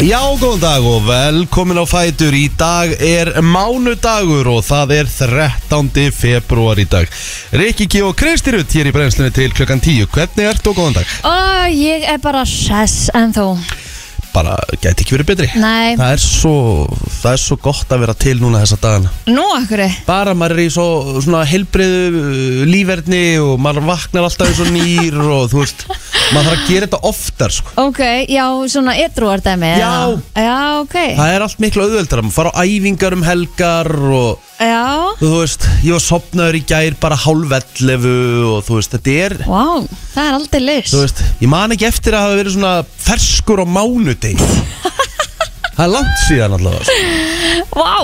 Já, góðan dag og velkomin á Fætur Í dag er mánudagur og það er 13. februar í dag Rikki G og Kristi Rutt hér í brennslunni til klukkan 10 Hvernig ert og góðan dag? Og ég er bara sess en þú Bara gæti ekki verið betri Nei. Það er svo, það er svo gott að vera til núna þessa dagana Nú akkur Bara maður er í svo, svona helbriðu lífverðni og maður vaknar alltaf eins og nýr og þú veist Maður þarf að gera þetta oftar sko Ok, já, svona edruar dæmi Já. eða? Já, ok Það er allt miklu auðveldar, maður fara á æfingar um helgar og Já, þú veist, ég var sopnaður í gær bara hálf 11 og þú veist, þetta er, vá, það er aldrei list þú veist, ég man ekki eftir að hafa verið svona ferskur á mánudeg. það er langt síðan allavega. sko. Vá,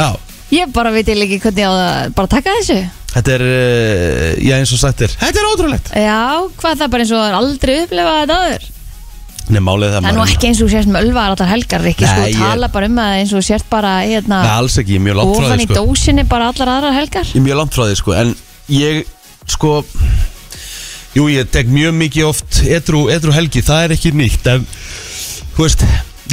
Já, ég bara veit ég ekki hvernig ég á að bara taka þessu þetta er, uh, já eins og sagt er, þetta er ótrúlegt. Já, hvað það bara eins og er aldrei upplifað þetta áður Nei, málið er það Það er nú ekki eins og þú sért með ölvaðar allar helgar Rikki, sko, Nei, ég- tala bara um að eins og þú sért bara hérna, Nei, alls ekki, ég er mjög langt frá ofan því, í sko. dósinni bara allar aðrar helgar Ég er mjög langt frá því, sko, en ég, sko, jú, ég tek mjög mikið oft edru, edru helgi, það er ekki nýtt, en, þú veist,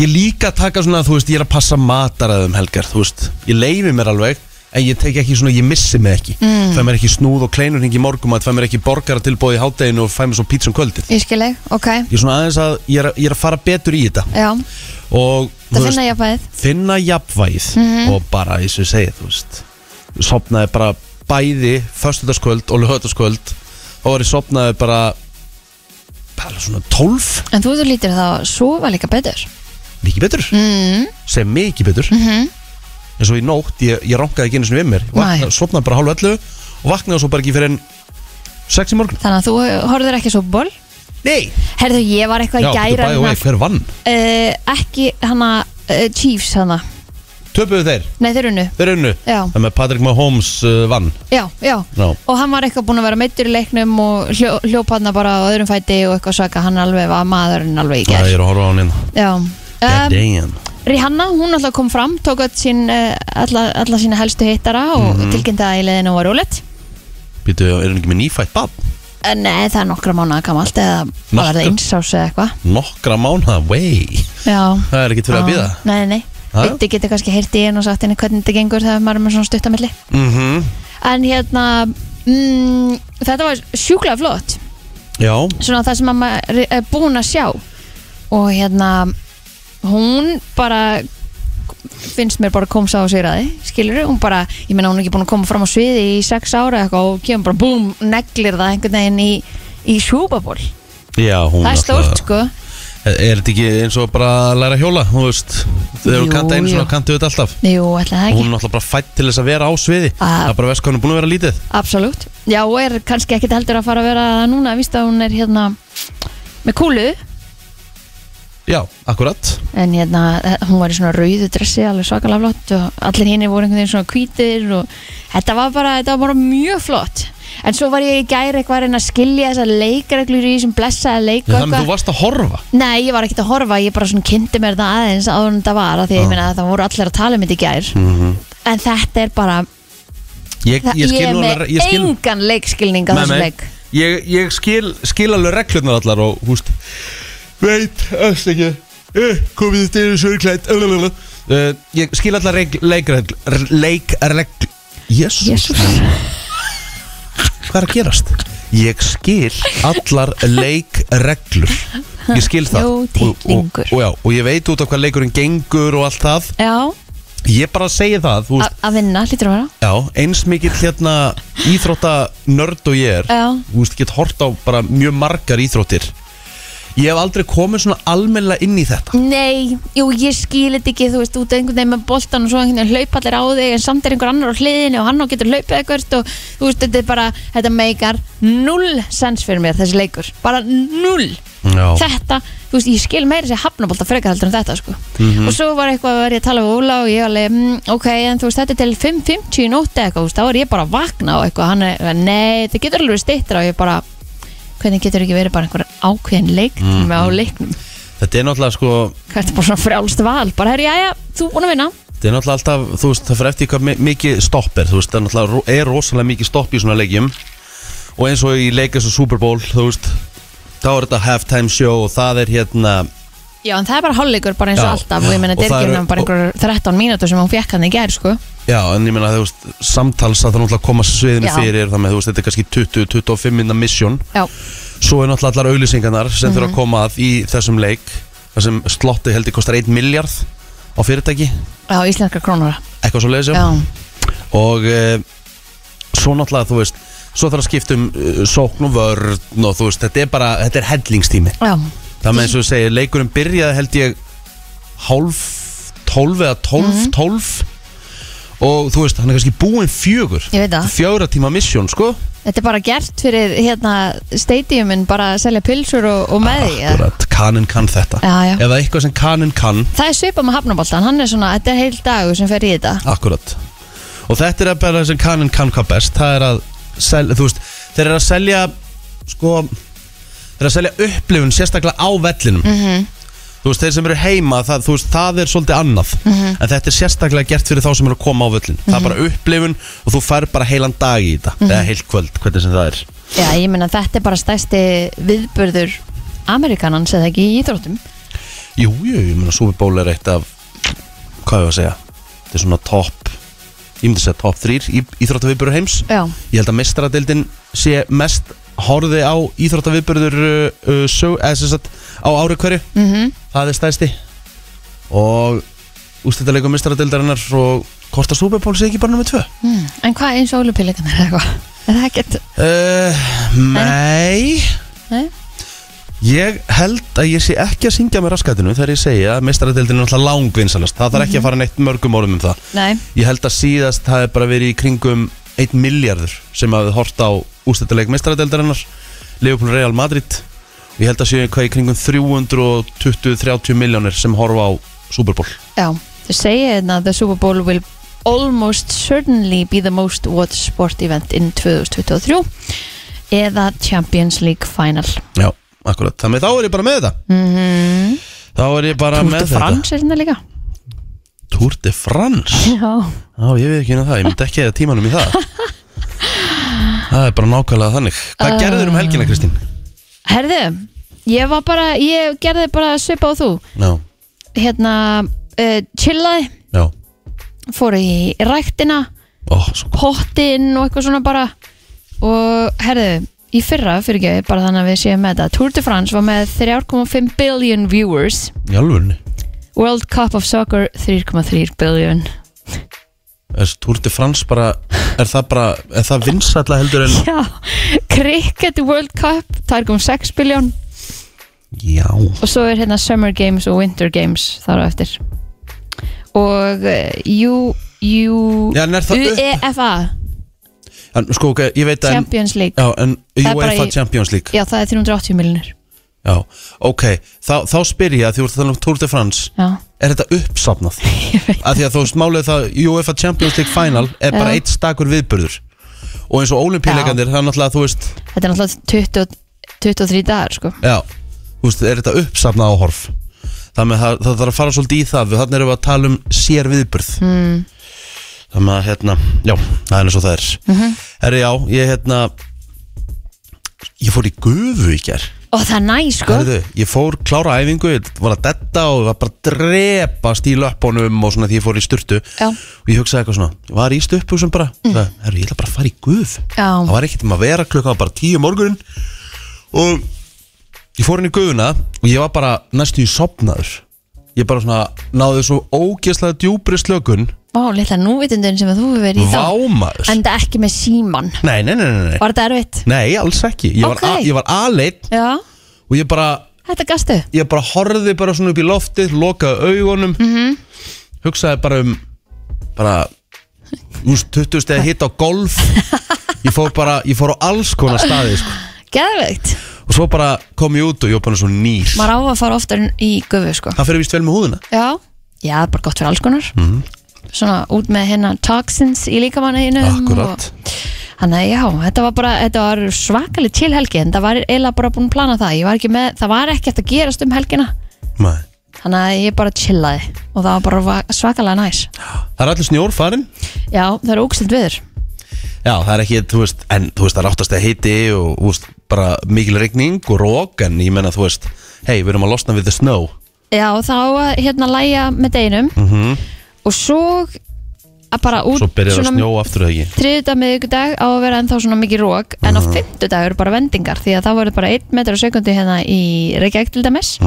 ég líka taka svona, þú veist, ég er að passa mataraðum helgar, þú veist, ég leifi mér alveg, en ég tek ekki svona, ég missi mig ekki, mm. fæ mér ekki snúð og kleinurning í morgumat, fæ mér ekki borgaratilbóð í hátteginu og fæ mér svo pítsum kvöldið. Ég skil ég, ok, Ég er svona aðeins að, ég er, að- ég er að fara betur í þetta já og, þú Það veist, finna Mhm. ég að fæðið finna jafnvægið og bara eins og ég segi þú veist sopnaði bara bæði föstudagskvöld og lögutaskvöld og var ég sopnaði bara bara svona 12 En þú þú lítir þá að sofa líka betur mikið betur, mm, sem mikið betur Mhm. eins og í nótt, ég, ég rankaði ekki einu sinni við mér Ég vakna- Nei. sopnaði bara hálf 11 og vaknaði svo bara ekki fyrir en 6 í morgun Þannig að þú horfður ekki svo ból Nei, Herðu, ég var eitthvað já, í betur gæra bæði og vei, hver vann? eh, Ekki hana uh, Chiefs hana Töpuðu þeir, Nei, þeir unnu þeir unnu Já. Það með Patrick Mahomes uh, vann Já, já Já. Og hann var eitthvað búinn að vera meittur í leiknum og hljó, hljópaðna bara á öðrum fæti og eitthvað svaka hann alveg var maðurinn alveg í Það gær er að horfa á hann hérna Já God um, damn Rihanna, hún alltaf kom fram tók öll sín, uh, alla, alla sína helstu hittara og Mhm. mm. tilkynnti að í leiðinu var rúlett Býtu, er hann ekki með nýfætt bad? Nei, eh, það er nokkra mánuða gamalt eða bara er það Nokkra? einsás eða eitthvað nokkra mánuða, vei Já það er ekki til að Já. býða Nei, nei, Já, já. Vitti getur kannski heyrt í henn og sagt henni hvernig þetta gengur þegar maður er með svona stuttamilli mm -hmm. En hérna, mm, þetta var sjúklega flott já, Svona það sem að maður er búin að sjá Og hérna, hún bara finnst mér bara komst á sér aði skilur hún bara, ég meina hún er ekki búin að koma fram á sviði í sex ára eða eitthvað og kemur bara búm, neglir það einhvern veginn í, í sjúbaból, já hún það er stórt alltaf- sko er er þetta ekki eins og bara að læra að hjóla þú veist, þegar Jú, þú kanta einu jú. svona kantu þetta alltaf Jú, ætla það og ekki hún er náttúrulega bara fætt til þess að vera á sviði Ah. það er bara veist hvað hún er búin að vera lítið Absolutt. Já, og er kannski ekkit heldur að fara að vera það núna, víst að hún er hérna með kúlu, já, akkurat en hérna hún var í svona rauðu dressi, alveg svakalega flott og allir hinni voru einhvern veginn svona hvítir og þetta var bara, þetta var bara mjög flott. En svo var ég í gæri eitthvað að reyna að skilja þessar leikreglur í þessum blessaða leik og þannig að þú eitthvað. varst að horfa Nei, ég var ekkert að horfa, ég bara svona kynnti mér það aðeins áður en það var, af því að ég meina að það voru allir að tala um þetta í gær. En þetta er bara, Mhm. ég, það, ég ég, skil er nú með alveg ég skil, engan leikskilning á Nei, þessum nei. leik. ég, ég skil, skil alveg reglurnar allar og húst veit, öst ekki eh, komið þetta yfir sörklætt uh, ég skil allar leik leikregl leikregl jésús Jesús. hvað er að gerast? ég skil allar leikreglur ég skil það Jú, og, og, tittlingur. og, já, og ég veit út af hvað leikurinn gengur og allt það Já, ég bara segi það, þú a- veist að vinna, lítur að vera. Já, eins mikill hérna íþrótta nörd og ég er Já. Þú veist, ég get hort á bara mjög margar íþróttir Ég hef aldrei komið svona almennilega inn í þetta Nei, jú, ég skil þetta ekki, þú veist, út einhvern veginn með boltan og svo einhvern veginn hlaup allir á þig en samt er einhver annar á hliðinni og hann á getur hlaupið eitthvað og þú veist, þetta er bara, þetta meikar null sens fyrir mér, þessi leikur, bara null. Já, Þetta, þú veist, ég skil meira þessi hafnabolta frekar heldur en þetta, sko. Mm. Og svo var eitthvað að vera ég að tala við Óla og ég alveg, mm, ok, en þú veist, þetta er til 5.50 í nótti eitthvað, þú veist, þá er ég bara að vakna og eitthvað, hann er, nei, þetta getur alveg stittra og ég bara, hvernig getur ekki verið bara einhver ákveðin leik með á leiknum? þetta er náttúrulega sko Þetta er bara svona frjálst val Bara, herri, jæja, þú búin að vinna Þetta er náttúrulega alltaf, þú veist, það fyrir eftir hvað mi- mikið stopp er Þú veist, það er náttúrulega ro- er rosalega mikið stopp í svona leikjum Og eins og í leik eins og Super Bowl, þú veist Þá er þetta halftime show og það er hérna Já, en það er bara hálfleikur bara eins og Já. alltaf og ég meina Og það eru- dyrkjum bara einhver 13 mínútur sem hún fekk hann í gær sko. Já, en ég meina þú veist, samtals að það náttúrulega að koma sviðinu Já. fyrir þannig að þú veist, þetta er kannski 20-25 minna mission Já, Mhm. Svo er náttúrulega allar auglýsingarnar sem þurfa að koma að í þessum leik þar sem slotti heldur kostar 1 miljard á fyrirtæki, á íslenska krónur eitthvað svo leiðis Já, og e, svo náttúrulega þú veist svo þarf að skipta um e, sókn og vörn og þú veist, þetta er bara, þetta er hellingstími já, það með eins og þú segir, leikurinn byrjaði held ég hálf, tólf eða tólf, Mhm. tólf og þú veist, hann er kannski búinn fjögur ég veit það fjögra tíma misjón, sko Þetta er bara gert fyrir hérna stadiumin bara að selja pilsur og, og með því eða? Akkurat, kaninn kann þetta Já, já. eða eitthvað sem kaninn kann, Það er svipað með hafnaboltan, hann er svona, þetta er heil dagur sem fer í þetta akkurat og þetta er bara það sem kaninn kann hvað best það er að, selja, þú veist þeir eru að selja, sko þeir eru að selja upplifun sérstaklega á vellinum Mm. Mhm. þú veist, þeir sem eru heima, það, þú veist, það er svolítið annað, en þetta er sérstaklega gert fyrir þá sem eru að koma á völlin, það er bara upplifun og þú fær bara heilan dag í þetta eða heilt kvöld, hvernig sem það er Já, ég meina þetta er bara stærsti viðburður Amerikanans eða ekki í íþróttum Jú, jú, ég meina, Super Bowl er eitt af hvað ég var að segja, þetta er svona top ég myndi að segja top 3 í íþróttaviðbörður heims, Já, ég held að mestaradeildin sé mest horfið á íþróttaviðbörður uh, uh, sög, eða sem sagt, á ári hverju mhm það er stæsti og ústættilegum mistaradeildarinnar og hvort að Super Bowl sé ekki bara nummer 2 mm. En hvað eins og olupillegarnir eða eitthvað? Er það ekkert? Uh, nei Nei? Ég held að ég sé ekki að syngja með raskatinu þegar ég segja að meistaradeildin er náttúrulega langvinsalast það þarf ekki að fara neitt mörgum orðum um það Nei, Ég held að síðast það er bara verið í kringum 1 miljardur sem hafði hort á ústættileik meistaradeildarinnar Liverpool Real Madrid og ég held að séu hvað í kringum 320-30 miljónir sem horfa á Super Bowl já Þau segja hérna að The Super Bowl will almost certainly be the most watched sport event in 2023 eða Champions League Final Já, akkurat, þannig þá er ég bara með þetta mm -hmm. Þá er ég bara með þetta er hérna líka Tour de France Já, Já, ég veit ekki hérna það, ég myndi ekki eða tímanum í það Það er bara nákvæmlega þannig Hvað Ah. uh. gerður um helgina, Kristín? herðu Ég var bara, ég gerði bara svipa á þú Já, Hérna, uh, chillaði já, fóru í ræktina ó, svo gott pottinn og eitthvað svona bara og herðu, í fyrra fyrir ekki bara þannig að við séum með þetta Tour de France var með 3,5 billion viewers Í alvörunni World Cup of Soccer 3,3 billion Er Tour de France bara, er það bara, er það vinsætla heldur en Já, Cricket World Cup 2,6 billion Já og svo er hérna Summer Games og Winter Games þar á eftir og eh, U, U, Já, en er það upp? UEFA En, sko, ok, ég veit að en, Champions League Já, en Það er bara UEFA í- Champions League Já, það er 380 miljonir Já, ok, þá, þá spyr ég að því úr þannig um Tour de France Já, Er þetta uppsafnað? ég veit að því að þú veist málið það UEFA Champions League Final er bara Já. eitt stakur viðburður og eins og olimpíuleikandir það er náttúrulega þú veist Þetta er náttúrulega 20, 23 dagar sko já, þú veist, er þetta uppsafnað áhorf þannig að það, það þarf að fara svolítið í það við þannig erum við að tala um sér viðburð mm. þannig að hérna já, það er eins og það er herri já, ég hérna ég fór í gufu í ger Og það er næ sko Herðu, ég fór klára æfingu, ég var að detta og var bara að drepast í löpunum og svona því ég fór í sturtu Já. og ég hugsaði eitthvað svona, ég var í sturtu sem bara, mm. það, herru, ég ætla bara að fara í guð Já. það var ekkert um að vera klukka bara tíu morgunin og ég fór inn í guðuna og ég var bara næstu í sopnaður ég bara svona náði svo ógeðslega djúbri slökun, Vá, litla núvitundin sem að þú hefur verið í þá vámaður En það ekki með síman nei, nei, nei, nei, nei, Var þetta erfitt? nei, alls ekki ég var, Ok. okay. var aðleitt Já, og ég bara þetta gastu ég bara horfði bara svona upp í loftið lokaði augunum Mhm. hugsaði bara um bara úst, 20 stegi hitt á golf ég fór bara, ég fór á alls konar staði sko. Geðveikt og svo bara kom ég út og ég var bara svona nýr Maður á að fara oftar en í gufu sko það fyrir vist vel með húðina Já, já, það er bara gott fyrir alls konar Mhm, Svona út með hérna toxins í líkamanninum akkurat, Þannig að já, þetta var bara þetta var svakalit til helgi en það var eiginlega bara búin að plana það Ég var ekki með, það var ekkert að gerast um helgina Nei. Þannig að ég bara chillaði og það var bara va- svakalega næs það er allir snjór farin Já, það er ógstild viður já, það er ekki, þú veist, en þú veist það er áttast að hitti og þú veist, bara mikil regning og rók, en ég menna, þú veist hei, við erum að losna við the snow já, þá að, hérna læja með deginum Mhm. og svo að bara út Svo byrjar að snjóa aftur eða ekki þriðdag miðvikudag á að vera ennþá svona mikið rók en á Mhm. fymtudag eru bara vendingar því að það voru bara 1 metr á sekundi hérna í Reykjavík til dæmis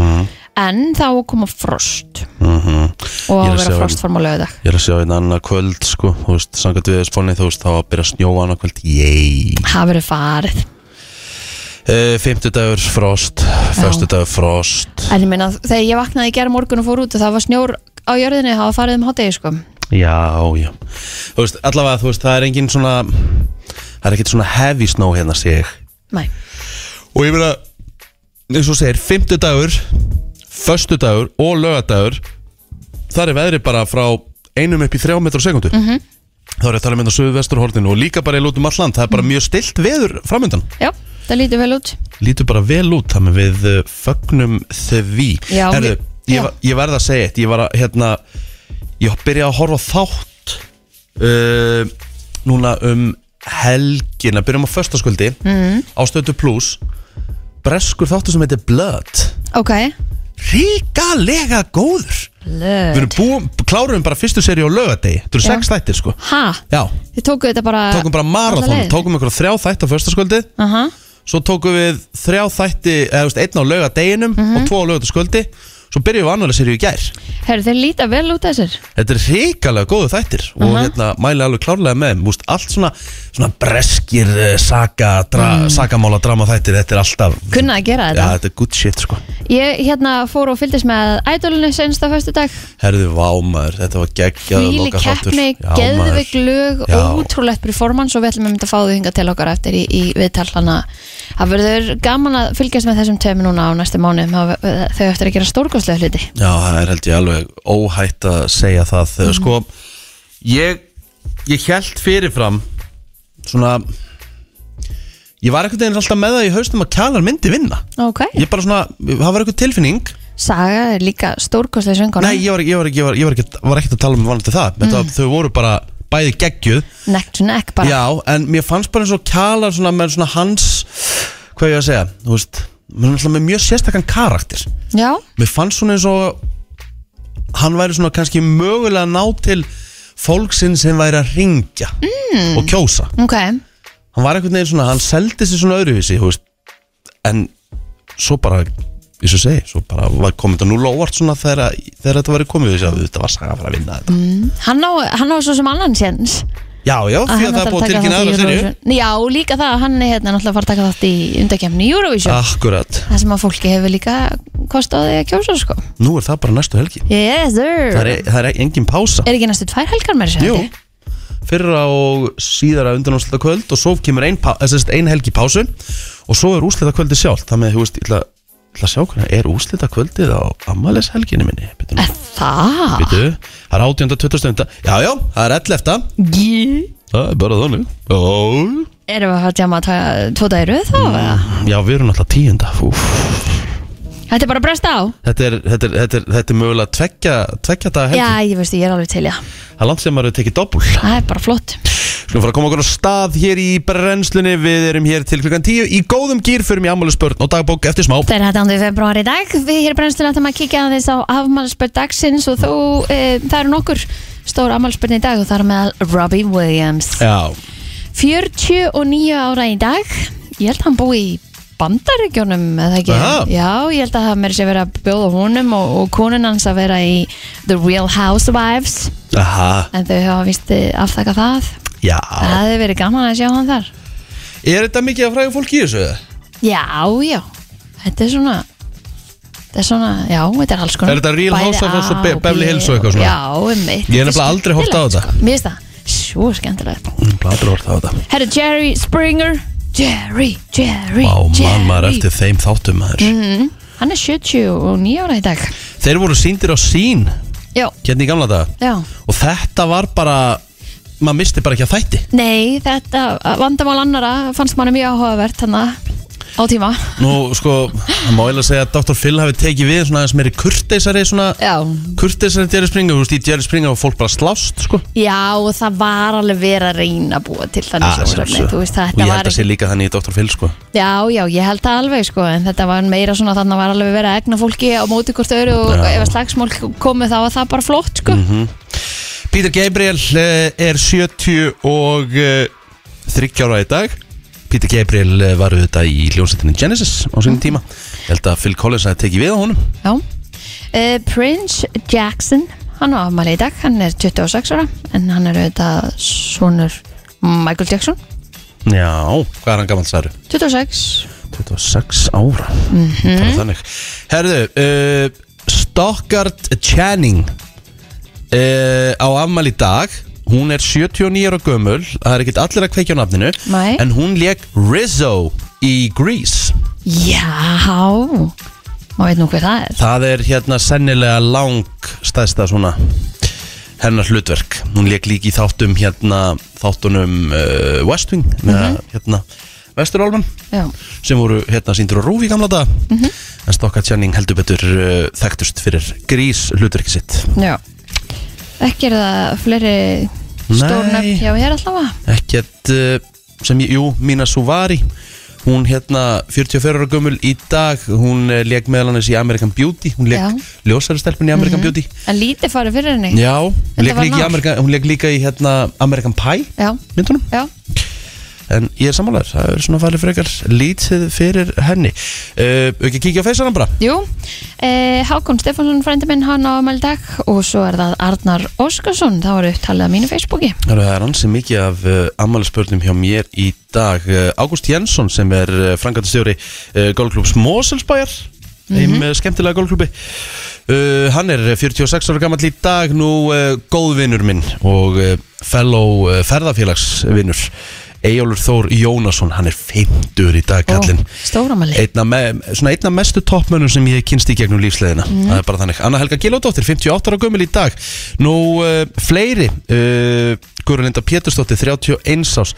en þá koma frost Mhm. og á að Ég er að vera sjá- um- frostform á lögadag Ég er að sjá einn annað kvöld sko, þú veist, sangat við spáni þú veist, þá að byrja að snjóa annað kvöld, yey það verður farið e, Fymtudagur frost, föstudagur frost en ég meina þegar ég vaknaði í gera morgun og fór út og það var snjór á jörðinni það var farið um hátegi sko Já, já Þú veist, allavega, þú veist, það er engin svona það er ekkert svona heavy snow hérna sé ég Nei. Og ég meina, eins og þú segir, fymtudagur föstudagur og lögadagur þar er veðri bara frá einum upp í þrjá metru á sekundu mm -hmm. þá er ég að tala með það söðu vesturhortinu og líka bara í lútum alland, það er bara mjög stilt veður framöndan já, það lítur vel út lítur bara vel út þannig við uh, fögnum því Já, Herðu, mér- já. ég, var- ég verð að segja eitt ég var að hérna ég byrjaði að horfa á þátt uh, núna um helgina, byrjum á föstaskvöldi mm. Mhm. á stötu plus breskur þáttu sem heitir Blood ok ríkalega góður við Lög. erum búum, klárum bara fyrstu seri á lögadegi, þetta eru Já. sex þættir sko ha, já, þið tóku þetta bara tókum bara alla marathon leiðina? tókum ykkur þrjá þætt á föstaskvöldi Aha. Svo tókum við þrjá þætti, eða þú veist, einn á laugadeginum Mhm. og tvo á laugataskvöldi Svo byrjuðum við annar serið í gær Herru, þeir líta vel út þessir Þetta er hrikalega góðu þættir og Aha. hérna mæli alveg klárlega með þeim. Þú veist, Allt svona, svona breskir eh, saga, dra, sagamála drama þættir, þetta er alltaf Kunna að gera Já, Mhm. þetta þetta er good shit sko Ég hérna fór og fylgdist með ædolinu senst á föstu dag Herðu vámaður, þetta var geggjað Hvíli lokaþáttur. keppni, Já, maður. geðvig lög Já. ótrúlegt performance og við ætlum einmitt að fá þau hinga til okkar eftir í, í viðtal þannig að það verður gaman að fylgjast með þessum tveim núna á næstu mánu þau eftir að gera stórkostlega hluti Já, það er held ég alveg óhætt að segja það mm. Sko, ég, ég held fyrirfram Svona Ég var einhvern veginn alltaf með það í haustum að kjalar myndi vinna Ok, Ég bara svona, það var einhver tilfinning Saga er líka stórkostlega söngona Nei, ég var, ég var, ég var, ég var, ekki, var ekkert að tala um vanandi það mm. það, Þau voru bara bæði geggjuð Neck to neck bara Já, en mér fannst bara eins og kjalar svona með svona hans Hvað ég að segja, þú veist Mér fannst alltaf með mjög sérstakann karakter Já, Mér fannst svona eins og hann væri svona kannski mögulega að ná til fólksinn sem væri að ringja mm. og kjósa. ok Hann var einhvern veginn svona, hann seldi sér svona öðruvísi, þú veist, en svo bara, eins og ég segi, svo bara var komið þetta núla óvart svona þegar, þegar þetta væri komið, þess að þetta var saga að fara að vinna þetta. Mm. Hann á, hann á svo sem annan séns Já, já, að því hann að það er ætlar búið taka þátt tilkynna í aðra serju. Eurovision. Já, líka það að hann er hérna náttúrulega að fara að taka þátt í undakefni Ah. Eurovision Akkurat, Það sem að fólki hefur líka kostaði að kjósa sko nú er það bara næstu helgi. Yes sir Það er, e- það er engin pása. Er ekki næstu tvær helgar með þessu Jú, fyrra og síðara undanámslita kvöld og svo kemur ein, pá- eða sem sagt, ein helgi pásu og svo er úslita kvöldi sjálf það með, þú veist, ég ætla ég ætla að sjá hvernig er úslita kvöldið á ammælis helginni minni Býtu, nú, Er það? býtu, það er 18. 20. Já, já, það er 11. Jú Það er bara þannig Já, Erum við að fara að djama að taka tvo dagir við þá? Mm. já við erum alltaf 10. Úf. Þetta er bara að bresta á? Þetta er, þetta er, þetta er, þetta er mögulega tvekja, tvekja daga helgi Já, ég veist, ég er alveg til í það Það er langt sem maður hefur tekið dobbul Það er bara flott Skulum fara að koma okkur á stað hér í brennslunni Við erum hér til klukkan 10 Í góðum gýr förum í ammælisbörn og dagbók eftir smá Það er 18. februar í dag Við hér brennstum að það maður kíkja aðeins á afmálspörn dagsins og þú, e, það eru nokkur stór afmálspörn í dag og það er meðal Robbie Williams Já, 49 ára í dag Ég held að hann búi í bandaríkjónum eða ekki Aha. Já, ég held að það mér sé verið að bjóða honum og, og konun hans að vera í The Real Housewives Aha, en þau hafa vist aftakað það já Það hefði verið gaman að sjá hann þar Er þetta mikið að fræðu fólki í þessu? Já, já, þetta er svona Þetta er svona, já, þetta er alls konar Er þetta Real Bæði Housewives A og Be- B Beverly Hills og eitthvað svona? Já, um eitt Ég hef nefnilega aldrei horft á þetta. sko. Mér finnst það svo skemmtilegt Bladur hort á þetta Herru, Jerry Springer Jerry, Jerry, Vá, Jerry mann maður eftir þeim þáttum maður Mm. Mhm. Hann er 79 ára í dag Þeir voru sýndir á sín Já, Hérna í gamla daga já Og þetta var bara Maður misti bara ekki að þætti Nei, þetta vandamál annara fannst manni mjög áhugavert þannig að á tíma Nú, sko, það má eiginlega segja að Dr. Phil hafi tekið við svona aðeins meiri kurteisari svona Já, kurteisari Jerry Springer, þú veist, í Jerry Springer og fólk bara slást, sko já og það var alveg verið að reyna að búa til þannig sjónarmið, þú veist, Ah, og þetta ég held var að sé líka þannig í Dr. Phil, sko Já, já, ég held það alveg sko en þetta var meira svona þannig að var alveg verið að egna fólki á móti hvort öru og ef að slagsmál komu þá var það bara flott sko Mhm. Peter Gabriel eh, er 70 og eh, 30 ára í dag Peter Gabriel eh, var auðvitað í hljómsveitinni Genesis á sínum tíma Ég held að Phil Collins hafi tekið við á honum Já uh, Prince Jackson hann á afmæli í dag, hann er 26 ára en hann er auðvitað sonur Michael Jackson Já, hvað er hann gammal særu? 26 26 ára Mhm. Bara Mhm. þannig Herðu, uh, Stockard Channing uh, á afmæli í dag hún er 79 ára gömul það er ekkert allir að kveikja á nafninu Nei. en hún leik Rizzo í Grease Já Má veit nú hver það er það er hérna sennilega lang stæðsta svona hennar hlutverk hún leik líki í þáttum hérna þáttunum uh, West Wing með hérna Vesturálman Mhm. Já, Mhm. sem voru hérna síndur á Rúf í gamla daga en Stokka Tjanning heldur betur uh, þekktust fyrir grís hlutverki sitt já Ekki er það fleiri stórnöfn Nei. hjá hér allavega ekkert uh, sem ég, jú, Mina Suvari hún hérna 44 ára gömul í dag hún uh, leik meðal annars í American Beauty hún leik Já. Mhm. ljósæri stelpun í American Beauty En lítið farið fyrir henni já, hún leik, var líka í nál. Amerika, hún leik líka í hérna American Pie Já, myndunum já. en ég er sammálaður, það er svona farið frekar lítið fyrir henni uh, ekki að kíkja á feysanum bara Jú, eh, Hákon Stefánsson frændi minn hann á afmæli í dag og svo er það Arnar Óskarsson, það var upptalið á mínu Facebooki. Hörru, Það er ansi mikið af uh, ammælisbörnum hjá mér í dag. Uh, Ágúst Jensson sem er uh, frangatastjóri uh, golfklúbs Moselsbæjar, mm Mhm. -hmm. skemmtilega golfklúbi. Uh, hann er 46 ára gammal í dag, nú uh, góðvinur minn og uh, fellow uh, ferðafélagsvinur. Eyjólfur Þór Jónasson, hann er 50 í dag, kallinn. Stóramæli. Einna, me, svona einna mestu toppmönnum sem ég hef kynst í gegnum lífsleðina Það er bara þannig Anna Helga Gilódóttir, 58 ára gömul í dag Nú, uh, fleiri uh, Gurulinda Pétursdóttir, 31 ás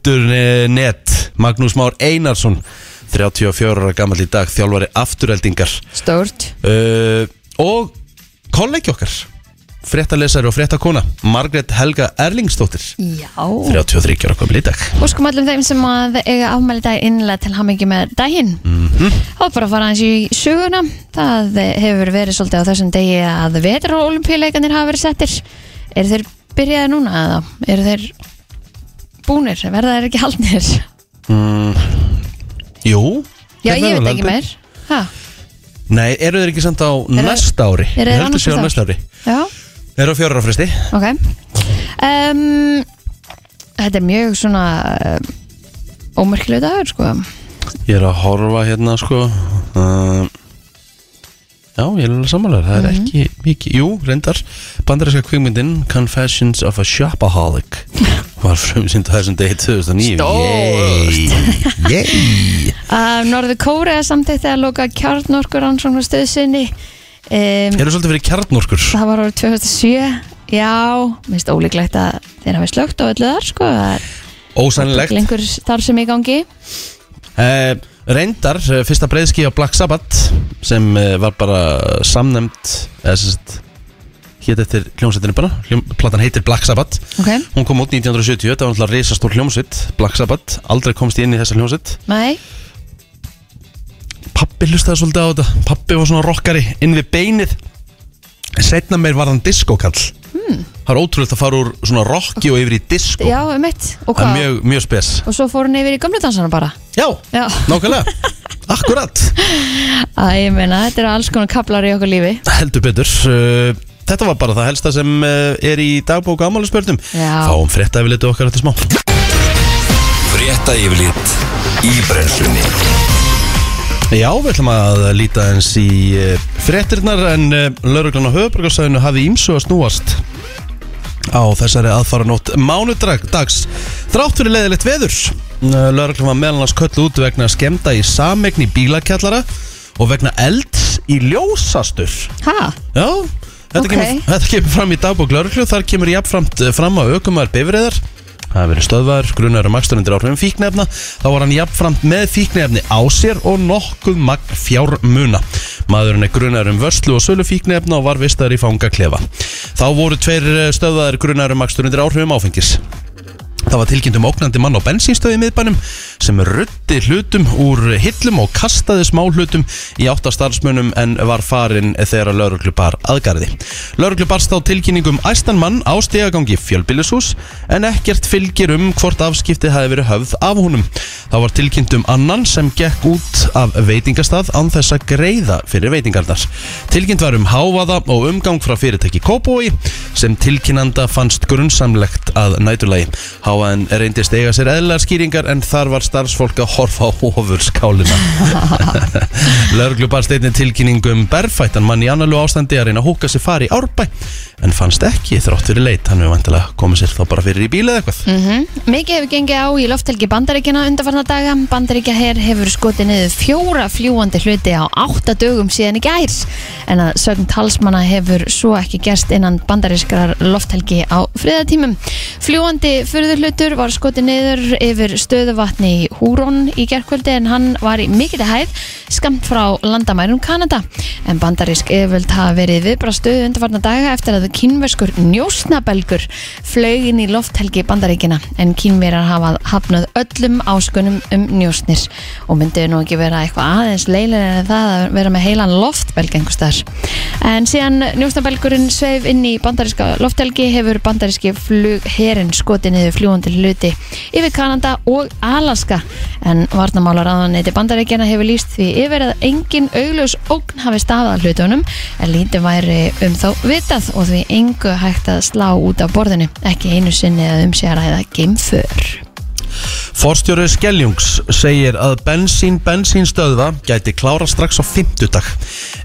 Maggi.net Magnús Már Einarsson 34 ára gammal í dag Þjálfari aftureldingar Stórt. uh, Og kollegi okkar Frettalesari og frettakona Margrét Helga Erlingsdóttir Já. 33 ára gömul í dag Óskum allum þeim sem að eiga afmæli í dag innlega til hamingi með daginn. Mm Mhm. Og bara að fara aðeins í söguna. Það hefur verið svolítið á þessum degi að vetur og olimpíuleikanir hafa verið settir. Eru þeir byrjaði núna eða? Eru þeir búnir? Verða þeir ekki haldnir? Mm, Jú Já, ég Hvernig er veit það ekki landið? meir. Hæ? Nei, eru þeir ekki samt á næsta ári? eru þeir Ég held annars að séu á staðar? næsta ári? Já. Þeir eru á fjárra fristi Ok um, Þetta er mjög svona um, ómerkileg dagur sko Ég er að horfa hérna sko um, Já, ég er alveg samanlega Það er Mhm. ekki mikið Jú, reyndar Bandaríska kvikmyndin Confessions of a Shopaholic Var frumsýnd á þessum degi 2009 Stórt Yay um, Norður Kórea samtitt að loka kjarnorkur rannsóknastöðu sinni um, Eru svolítið fyrir kjarnorkur Það var árið 2007 Já, minnst ólíklegt að þeir hafi slögt á öllu þar sko Það er Ósannlegt lengur þar sem í gangi Eh, reyndar, eh, fyrsta breyðski á Black Sabbath sem eh, var bara samnefnd eða sem sagt hétt eftir hljómsveitinu bara Hljóm, platan heitir Black Sabbath Ok, hún kom út 1970, það var náttúrulega risastór hljómsveit Black Sabbath, aldrei komst ég inn í þessa hljómsveit nei pappi hlustaði svolítið á þetta pappi var svona rockari inn við beinið setna meir var hann diskokall hmm. það er ótrúlegt að fara úr svona rocki og yfir í disko Já, um mitt Og Sko. það er hvað? mjög, mjög spes Og svo fór hann yfir í gömlu dansana bara já, Já, nákvæmlega, akkurat Æ, ég meina, þetta eru alls konar kaplar í okkur lífi Heldur betur uh, Þetta var bara það helsta sem uh, er í dagbók ámála spörnum Já. Fáum frétta yfirleitu okkar eftir smá Frétta yfirlit í brennslunni Já, við ætlum að líta eins í uh, fréttirnar En uh, lauruglan á höfuborgarsæðinu hafi ímsu að snúast Á þessari aðfara nótt mánudags Þrátt fyrir leiðilegt veður Uh, Lauruglan var meðalans köllu út vegna skemda í samegni bílakjallara Og vegna elds í ljósastur Ha? Já, þetta, Ok. kemur, þetta kemur fram í dagbók lauruglu Þar kemur jafnframt eh, fram að aukumar bifriðar Það hefur verið stöðvar, grunar um makstur undir áhrifum fíknefna Þá var hann jafnframt með fíknefni á sér og nokkuð magn fjármuna Maðurinn er grunar um vörslu og sölu fíknefna og var vistar í fangaklefa Þá voru tveir eh, stöðvaðir grunar um makstur undir áhrifum áfengis Það var tilkynnt um ógnandi mann á bensínstöði í miðbænum sem rutti hlutum úr hillum og kastaði smá hlutum í átta starfsmönum en var farinn þegar lauruglu bar aðgarði. Lauruglu barst á tilkynningum æstan mann á stegagangi fjölbýlishús en ekkert fylgir um hvort afskiptið hafi verið höfð af honum. Það var tilkynnt um annan sem gekk út af veitingastað án þess að greiða fyrir veitingarnar. Tilkynnt var um hávaða og umgang frá fyrirtæki Kóbói sem tilkynnanda fannst grunnsamlegt að nætulagi. Háan reyndist eiga sér eðlar skýringar en þar var starfsfólk að horfa á ofur skálina. Lörglu barst einnig tilkynningu um berfættan mann í annarlu ástandi að reyna að húka sér fari í árbæ en fannst ekki þrátt fyrir leit. Hann hefur vantilega komið sér þá bara fyrir í bíla eða eitthvað. Mhm. Mikið hefur gengið á í lofthelgi bandaríkjana undanfarnar daga. Bandaríkja her hefur skotið niður fjóra fljúandi hluti á átta dögum síðan í gær. En að sögn talsmanna hefur svo ekki gerst innan bandarískrar lofthelgi á friðatímum. Fljúandi fyrðurhlutur var skotið niður yfir stöðuvatni í Húrón í gerkvöldi en hann var í mikilli hæð skamt frá landamærum Kanada. En bandarísk yfirvöld hafa verið viðbrastuð undanfarnar daga eftir að kínverskur njósnabelgur flög inn í lofthelgi bandaríkina en kínverar hafa hafnað öllum áskunum um njósnir og myndið nú ekki vera eitthvað aðeins leilir en það að vera með heilan loftbelg einhvers þar. En síðan njósnabelgurinn sveif inn í bandaríska lofthelgi hefur bandaríski flugherin skotið niður fljúandi hluti yfir Kanada og Alaska en varnamálar aðaneyti bandaríkjana hefur líst því yfir að engin augljós ógn hafi stafað að hlutunum en lítið væri um þá vitað og því engu hægt að slá út af borðinu ekki einu sinni að um sé að ræða geimför Forstjóri Skeljungs segir að bensín bensínstöðva gæti klára strax á 50 dag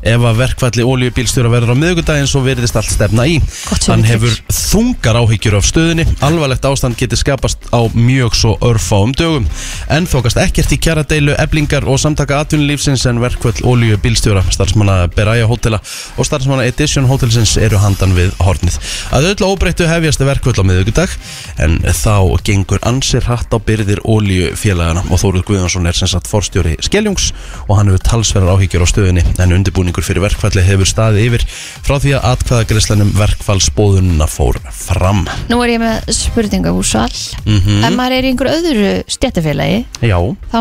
ef að verkfalli oljubílstjóra verður á miðvikudaginn svo virðist allt stefna í Gott sjónarmið. Hann hefur þungar áhyggjur af stöðinni alvarlegt ástand geti skapast á mjög svo örfáum dögum en þókast ekkert í kjaradeilu eblingar og samtaka atvinnulífsins en verkfall oljubílstjóra starfsmanna Beraya hótela og starfsmanna Edition hótelsins eru handan við hornið að öllu óbreyttu hefjast verkvöld á miðugudag en þá gengur ansir hatt á byrðir oljufélagana og Þóruð Guðjónsson er sem sagt forstjóri Skeljungs og hann hefur talsverðar áhyggjur á stöðinni en undirbúningur fyrir verkfalli hefur staðið yfir frá því að atkvæðagreislanum verkfallsbóðunna fór fram Nú er ég með spurninga úr sval Mhm. Ef maður er í einhverju öðru stjættafélagi Já, þá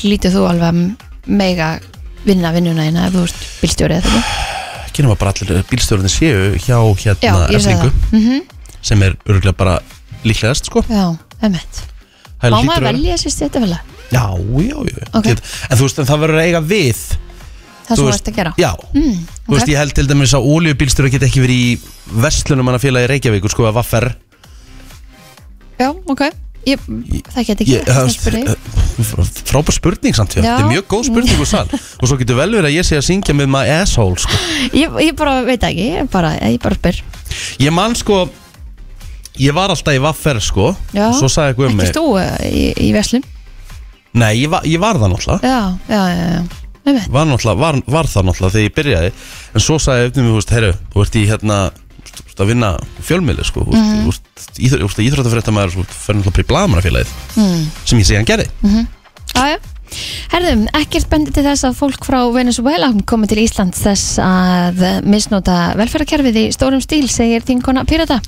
hlýtur þú alveg að mega vinna vinnuna hérna ef þú ert bílstjórið eða þannig ekki nema bara allir bílstjórnir séu hjá Já, hérna ég sagði eflingu það mm -hmm. sem er örgulega bara líklegast sko Já, emmett Það Má hlýtur maður að vera- velja sér stjættafélag? Já, já, já Ok. Get- En þú veist, en það verður að eiga við Það Þú sem þú veist- ert að gera Já, mm, Þú veist, ég held til dæmis að óljubílstjóra get ekki verið í vestlunum hann að félagi Reykjavíkur, sko, að vaffer Já, ok ég, Það geti ekki, Ég- það spyrir ég Frábær spurning samt, já. Já. þetta er mjög góð spurning úr sal og svo getur vel verið að ég sé að syngja með my asshole, sko Ég, ég bara veit það ekki, ég bara, ég bara spyr Ég man, sko, ég var alltaf í vaffer, sko Já, og svo sagði eitthvað um Ekki mig stú eh, í, í veslum Nei, ég var, ég var það náttúrulega Já, já, já, já Emmett var, náttúrulega, var, var það náttúrulega þegar ég byrjaði en svo sagði eftir mig, þú veist, herru, þú ert í hérna þú ert að vinna fjölmiðli, sko þú Mhm. ert- þú ert íþró- þú ert íþróttafréttamaður, þú ert ferð náttúrulega bara í blaðamannafélagið, mm. sem ég segja hann gerði Mhm. Jájá Herðum, ekkert bendi til þess að fólk frá Venezuela komi til Íslands þess að misnota velferðarkerfið í stórum stíl, segir þingona Pirata.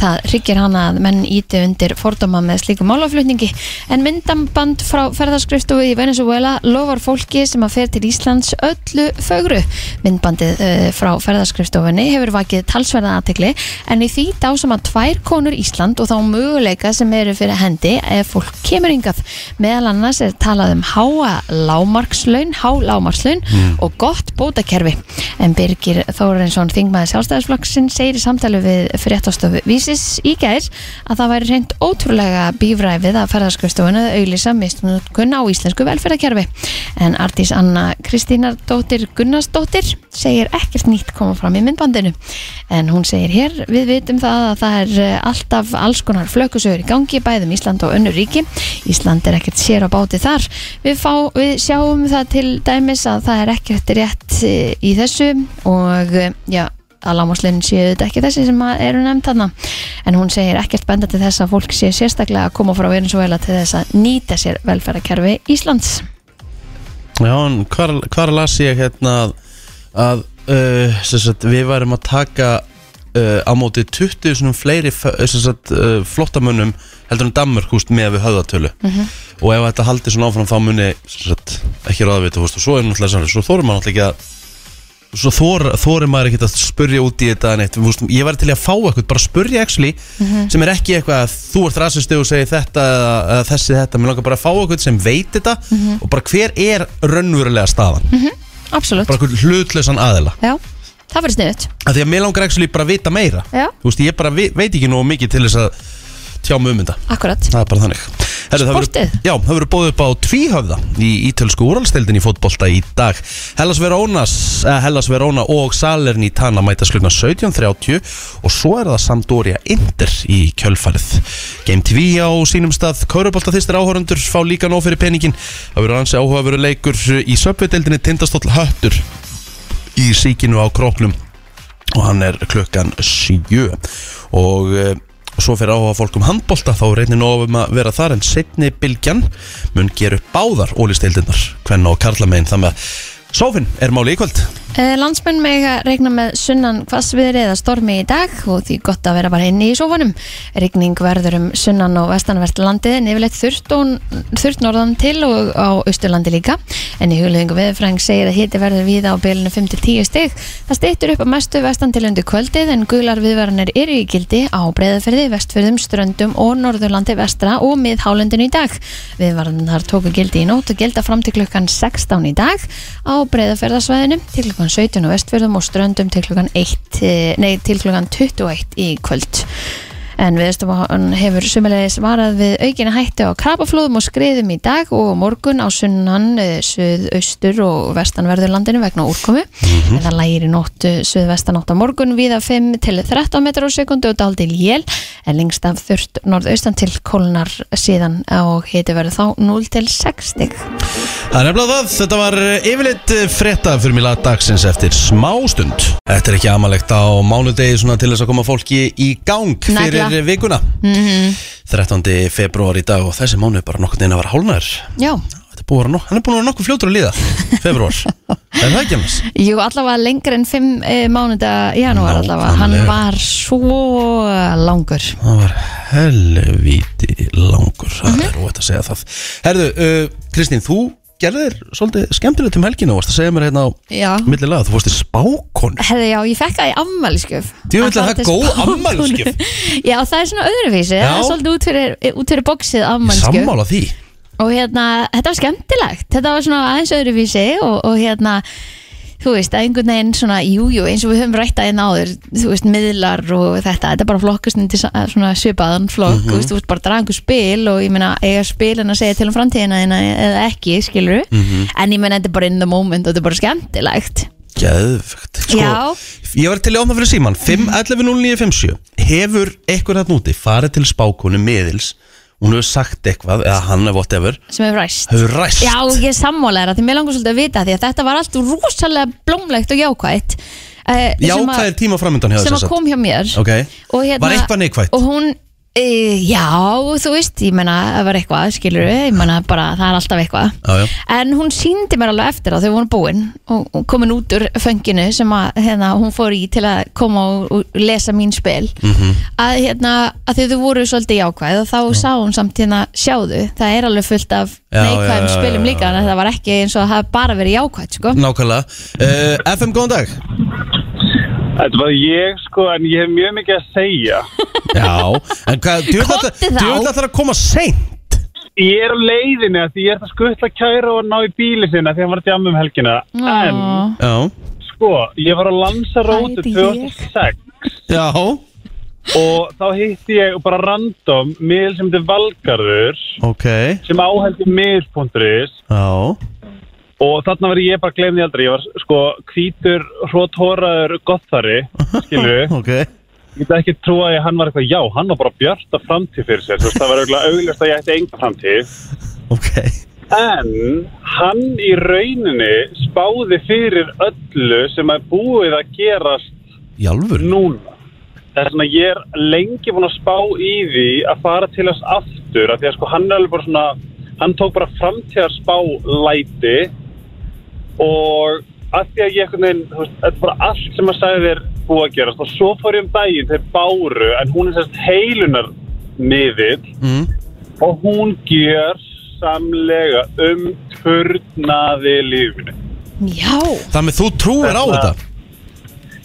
Það hryggir hana að menn íti undir fordóma með slíkum málaflutningi en myndamband frá ferðarskrifstofu í Venezuela lofar fólki sem að fer til Íslands öllu fögru. Myndbandið uh, frá ferðarskrifstofunni hefur vakið talsverða aðtegli en í því dásama tvær konur Ísland og þá möguleika sem eru fyrir hendi ef fólk kemur yngað. Meðal annars er talað um háa lámarkslaun, há lámarkslaun og gott bótakerfi. En Birgir Þórensson, þingmaði sjálfstæðisflokksin, segir í samtali við fréttastofu Vísis í gær að það væri reynd ótrúlega bífræfið að ferðarskjöfstofuna auðlýsa mistunutkunn á íslensku velferðarkerfi. En Artís Anna Kristínardóttir Gunnarsdóttir segir ekkert nýtt koma fram í myndbandinu en hún segir hér, við vitum það að það er eh, alltaf alls konar flökusögur í gangi bæðum Ísland og önnur ríki Ísland er ekkert sér á báti þar við, fá, við sjáum það til dæmis að það er ekkert rétt eh, í þessu og eh, já að lágmarslaunin séu þetta ekki þessi sem að eru nefnd þarna en hún segir ekkert benda til þess að fólk sé sérstaklega að koma frá Venezuela til þess að nýta sér velferðarkerfi Íslands Já, en hvar, hvar las ég hérna að, að uh, sem sagt, við værum að taka uh, á móti 20 svona fleiri f- eh, sem sagt, uh, flottamönnum heldur en Danmörk húst með við höfðatölu og ef þetta haldi svona áfram þá muni sem sagt, ekki ráðvita húst og svo er náttúrulega sannig, svo þórum maður náttúrulega ekki að svo þor, þórum maður ekki að spurja út í þetta neitt, húst, ég væri til í að fá eitthvað bara spurja actually sem er ekki eitthvað að þú ert rasistu og segir þetta eða, eða þessi þetta, mér langar bara að fá eitthvað sem veit þetta Mhm. og bara hver er raunverulega staðan, Absolutt, bara eitthvað hlutlausan aðila já, það verður sniðut að því að mér langar actually bara að vita meira Já. þú veist, ég bara vi- veit ekki nógu mikið til þess að tjá mig um þetta Akkurat, það er bara þannig Herri, það verður- Sportið? Já, það verður bóðið upp á tvíhöfða í ítölsku úrvalstildin í fótbolta í dag Hellas Verónas, eh, Hellas Verona og Salern í Tana mæta sklugna 17.30 og svo er það Sampdoria Inter í kjölfarið Game TV á sínum stað Kaurubolta þýstir áhörundur fá líka nóg fyrir peningin það verður ansi áhuga verður leikur í söpvedeldinni Tindastóll Höttur í síkinu á króknum og hann er klukkan 7 og uh, svo fyrir áhuga fólk um handbolta þá reynir nóg um að vera þar en setni bylgjan mun gera upp báðar ólistildinnar hvenna og karlamegin þannig að Sófinn er máli í kvöld Eh, Landsmenn með að regna með sunnan hvassviðri eða stormi í dag og því gott að vera bara inni í sofunum. Rigning verður um sunnan og vestanvert landið en yfirleitt þurrt, og, þurrt norðan til og á austurlandi líka. En í hugleðingu viðfræng segir að hiti verður víða á bylunu 5-10 stig. Það stýttur upp að mestu vestan til undir kvöldið en gular viðvaranir eru í gildi á breyðaferði, vestfyrðum, ströndum og norðurlandi vestra og miðhálundinu í dag. Viðvaranar tóku gildi í nótt og gilda fram til klukkan 16 í dag á breyðaferðasvæðinu til klukkan 17 á vestfjörðum og ströndum til klukkan, 1, eh, nei, til klukkan 21 í kvöld. En viðstofan hefur sumulegis varað við aukinni hættu á krabaflóðum og skriðum í dag og á morgun á sunnan, eh, suðaustur og vestanverðurlandinu vegna úrkomi. En það lægir í nótt eh, suðvestanátt á morgun viða 5 til 13 metrar á sekundu og daldil jél en lengst af þurft norðaustan til kólnar síðan og hiti verður þá 0 til 6 stig. Það er nefnilega það, þetta var eh, yfirleitt frétta fyrir mig dagsins eftir smástund. Þetta er ekki amalegt á mánudegi svona til þess að koma fólki í gang fyrir Nagla. vikuna. Mhm. -hmm. 13. februar í dag og þessi mánu er bara nokkur neina að vera hálnaður. Já, Þetta er búið að vera nokkur, hann er búin að vera nokkur fljótur að líða, februar. er það ekki annars? Jú, allavega lengur en 5 e, mánuða janúar allavega, hann Nákvæmlega. var svo langur Það var helvíti langur, það Mhm. er óvægt að segja það. Herðu, uh, Kristín, þú gerðir svolítið skemmtilegt um helginu og varst að segja mér hérna á Já. milli laga, þú fórst í spákonu. Herði, já, ég fekk það í ammælisgjöf Djöfull, er það Að góð spákonu. afmælisgjöf? Já, það er svona öðruvísi, það Já. er svolítið út fyrir, út fyrir bóksið Ég ammælisgjöf sammála því. Og hérna, þetta var skemmtilegt, þetta var svona aðeins öðruvísi og, og hérna Þú veist, að einhvern veginn svona, jújú, jú, eins og við höfum rætt að einn áður, þú veist, miðlar og þetta, þetta er bara flokkast til eh, svona svipaðan flokk, þú veist, þú veist, bara að draga einhver spil og ég meina, eiga spilin að segja til um framtíðina þína eða ekki, skilur en ég meina, þetta er bara in the moment og þetta er bara skemmtilegt. Geðvögt sko, Já. Mhm. Ég var til í ofna fyrir síman 5.11.09.57 Hefur einhver þarna úti farið til spákonu miðils Hún hefur sagt eitthvað Eða hann eða whatever sem hefur ræst Hefur ræst Já, ég er sammálega þetta, mér langar svolítið að vita því að þetta var allt rosalega blómlegt og jákvætt uh, Jákvæðir tíma framöndan hjá sem að þess að kom hjá mér Ok. Og hérna, Var eitthvað neikvætt? og hún e, já, þú veist, ég menna það var eitthvað, skilur við, ég menna bara það er alltaf eitthvað Já, já. en hún síndi mér alveg eftir að þau voru búin og, og komin út úr fönginu sem að hérna, hún fór í til að koma og, og lesa mín spil -hmm. að, hérna, að þau þau voru svolítið jákvæð og þá sá hún samt hérna sjáðu, það er alveg fullt af Já, neikvæðum já, já, spilum já, Mm. líka þannig að það var ekki eins og að það hafi bara verið jákvæð sko. Nákvæmlega uh, FM, góðan dag Þetta var ég sko, en ég hef mjög mikið að segja. Já, en hvað Djöfull Komdu ætlar- þá. djöfull ætlar að koma seint Ég er á leiðinni að því ég er það skuttla kæra og ná í bíli sinna því hann var að djamma um helgina. En Já, sko, ég var á Lansarótu Bæði ég. 2006 já og þá hitti ég bara random miðl sem þetta Valgarður Ok sem áheldi miðl.is Já og þarna var ég bara glemði aldrei. Ég var sko hvítur, hróthóraður, gottari, skilju. Ok Ég get ekki trúa að hann var eitthvað, já, hann var bara bjarta framtíð fyrir sér. Þú veist, það var auðvitað augljóst að ég ætti enga framtíð. Ok En hann í rauninni spáði fyrir öllu sem er búið að gerast Í alvöru? núna Það er svona, ég er lengi búin að spá í því að fara til hans aftur af því að sko hann er alveg bara svona hann tók bara framtíðarspá læti og af því að ég einhvern veginn þú veist, þetta er bara allt sem að sagði þér búið að gerast og svo fór ég um daginn þeir báru en hún er sérst heilunar miðill Mm. og hún gjör samlega um törnaði lífinu Já, Þannig að þú trúir á Þetta- þetta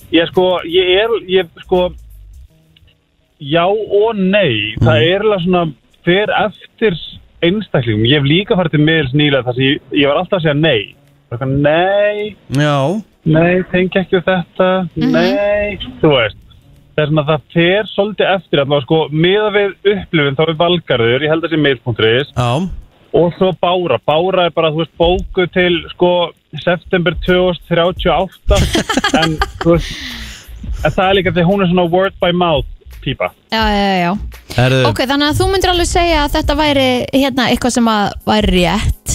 Ég sko, ég er, ég sko Já og nei Það er alveg svona Fer eftir einstaklingum Ég hef líka farið til miðils nýlega þar sem ég, ég var alltaf að segja nei Bara eitthvað, Nei, Já, nei, tengi ekki við þetta Mhm. Mhm. Nei, þú veist Það er svona það fer svolítið eftir allavega sko, miða við upplifin þá er valgarður, ég held að sé mail.is já, og svo Bára, Bára er bara, þú veist, bóku til sko september 2038 en, þú veist, en það er líka því hún er svona word by mouth pípa já, já, já Eh. Herðu, Ok, þannig að þú myndir alveg segja að þetta væri hérna eitthvað sem að væri rétt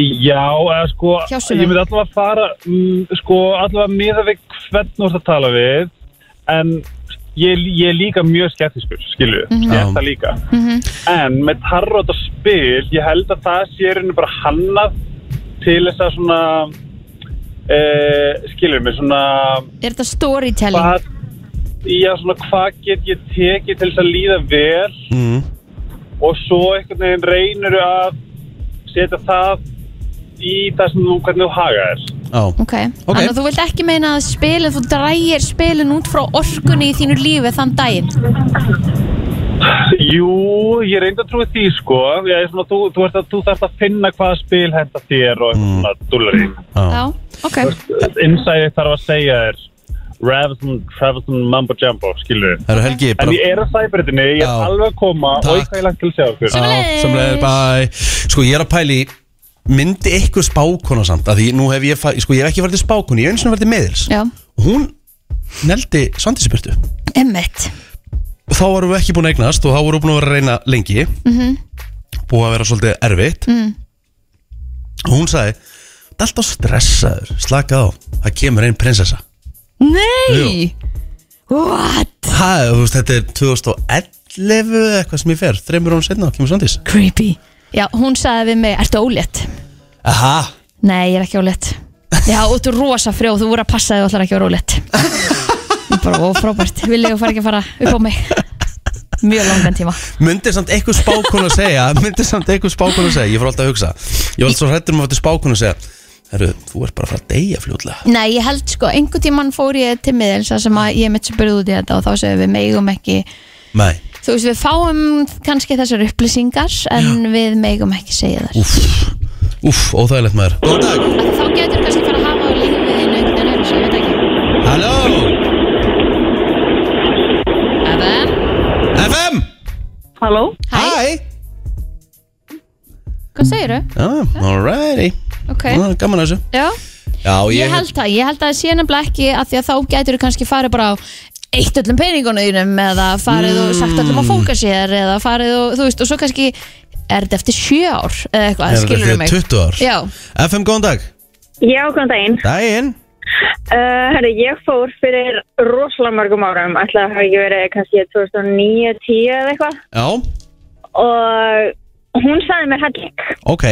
Já, eða sko, Hjá sumum. ég myndi allavega að fara, mm, sko, allavega miða við hvern þú ert að tala við, en ég, ég er líka mjög skeptiskur, skilju, mm ég er Já. það líka. En með tarot og spil, ég held að það sé henni bara hannað til þess að svona, e, skilju mig, svona, Er þetta storytelling? hvað, já, svona, hvað get ég tekið til þess að líða vel mm, og svo einhvern veginn reynir að setja það í það sem þú, hvernig þú haga þér já Ok, Ok. þannig að þú vilt ekki meina að spilin, þú drægir spilin út frá orkunni í þínu lífi þann daginn Jú, ég reyndi að trúi því sko ég, svona, þú, þú, ert að, þú þarft að finna hvaða spil henda þér og eitthvað svona dúllari Mm. Já, Já, ok, Innsæði þarf að segja þér Ravison, Ravison, Mambo Jumbo, skilur herru Helgi En bara, ég er að sæbritinni, ég er Já. alveg að koma Takk. og eitthvað ég langt til að segja okkur Já, Sömuleiðis. sömuleiðis, bæ Sko, ég er að pæli Myndi eitthvað spákona samt Af Því nú hef ég, fa- sko, ég hef ekki verið spákona Ég hef eins og verið meðils já, Og Hún neldi Svandisbyrtu emmitt Þá varum við ekki búin að eignast Og þá vorum við búin að vera að reyna lengi Mhm, -hmm. Búið að vera svolítið erfitt mm. Og hún sagði Það er alltaf stressaður, slakað á Það kemur einn prinsessa Nei, what? Ha, þú veist, þetta er 2011 eða eitthvað sem ég fer, þreymur hún setna kemur Svandís Creepy Já, hún sagði við mig, ertu ólétt? Aha, Nei, ég er ekki ólétt Já, og þú er rosa frjóð, þú voru að passa þig og ætlar ekki að vera ólétt Ég Bara ófrábært, vil ég fara ekki að fara upp á mig Mjög langan tíma myndi samt eitthvað spákun að segja myndi samt eitthvað spákun að segja, ég fór alltaf að hugsa ég var alltaf svo hrættur um að þetta spákun að segja herru, þú ert bara að fara að deyja fljótlega Nei, ég held sko, einhvern tíman fór ég til miðils þar sem að ég mitt sem burði út í þetta og þá segðum við megum ekki Nei, þú veist, við fáum kannski þessar upplýsingar en við megum ekki segja þar úff, úff, óþægilegt maður Góðan dag, þá getur kannski fara að hafa á lífið þínu einhvern veginn öðru, ég veit ekki halló, Evan, FM Halló? hæ, Hæ, hvað segiru? ah, alrighty Ok, ah, gaman að þessu já, Já, ég held það ég held að það sé nefnilega ekki að því að þá getur kannski farið bara á eitt öllum peningunum eða farið og Mm. sagt öllum að fóka sér eða farið og, þú veist, og svo kannski er þetta eftir sjö ár eða eitthvað, er skilur þetta mig 20 ár Já, FM, góðan dag, Já, góðan daginn. daginn Uh, herri, ég fór fyrir rosalega mörgum árum, ætla að hafa ekki verið kannski 2009, 10 eða eitthvað. Já, Og hún sagði mér helling ok,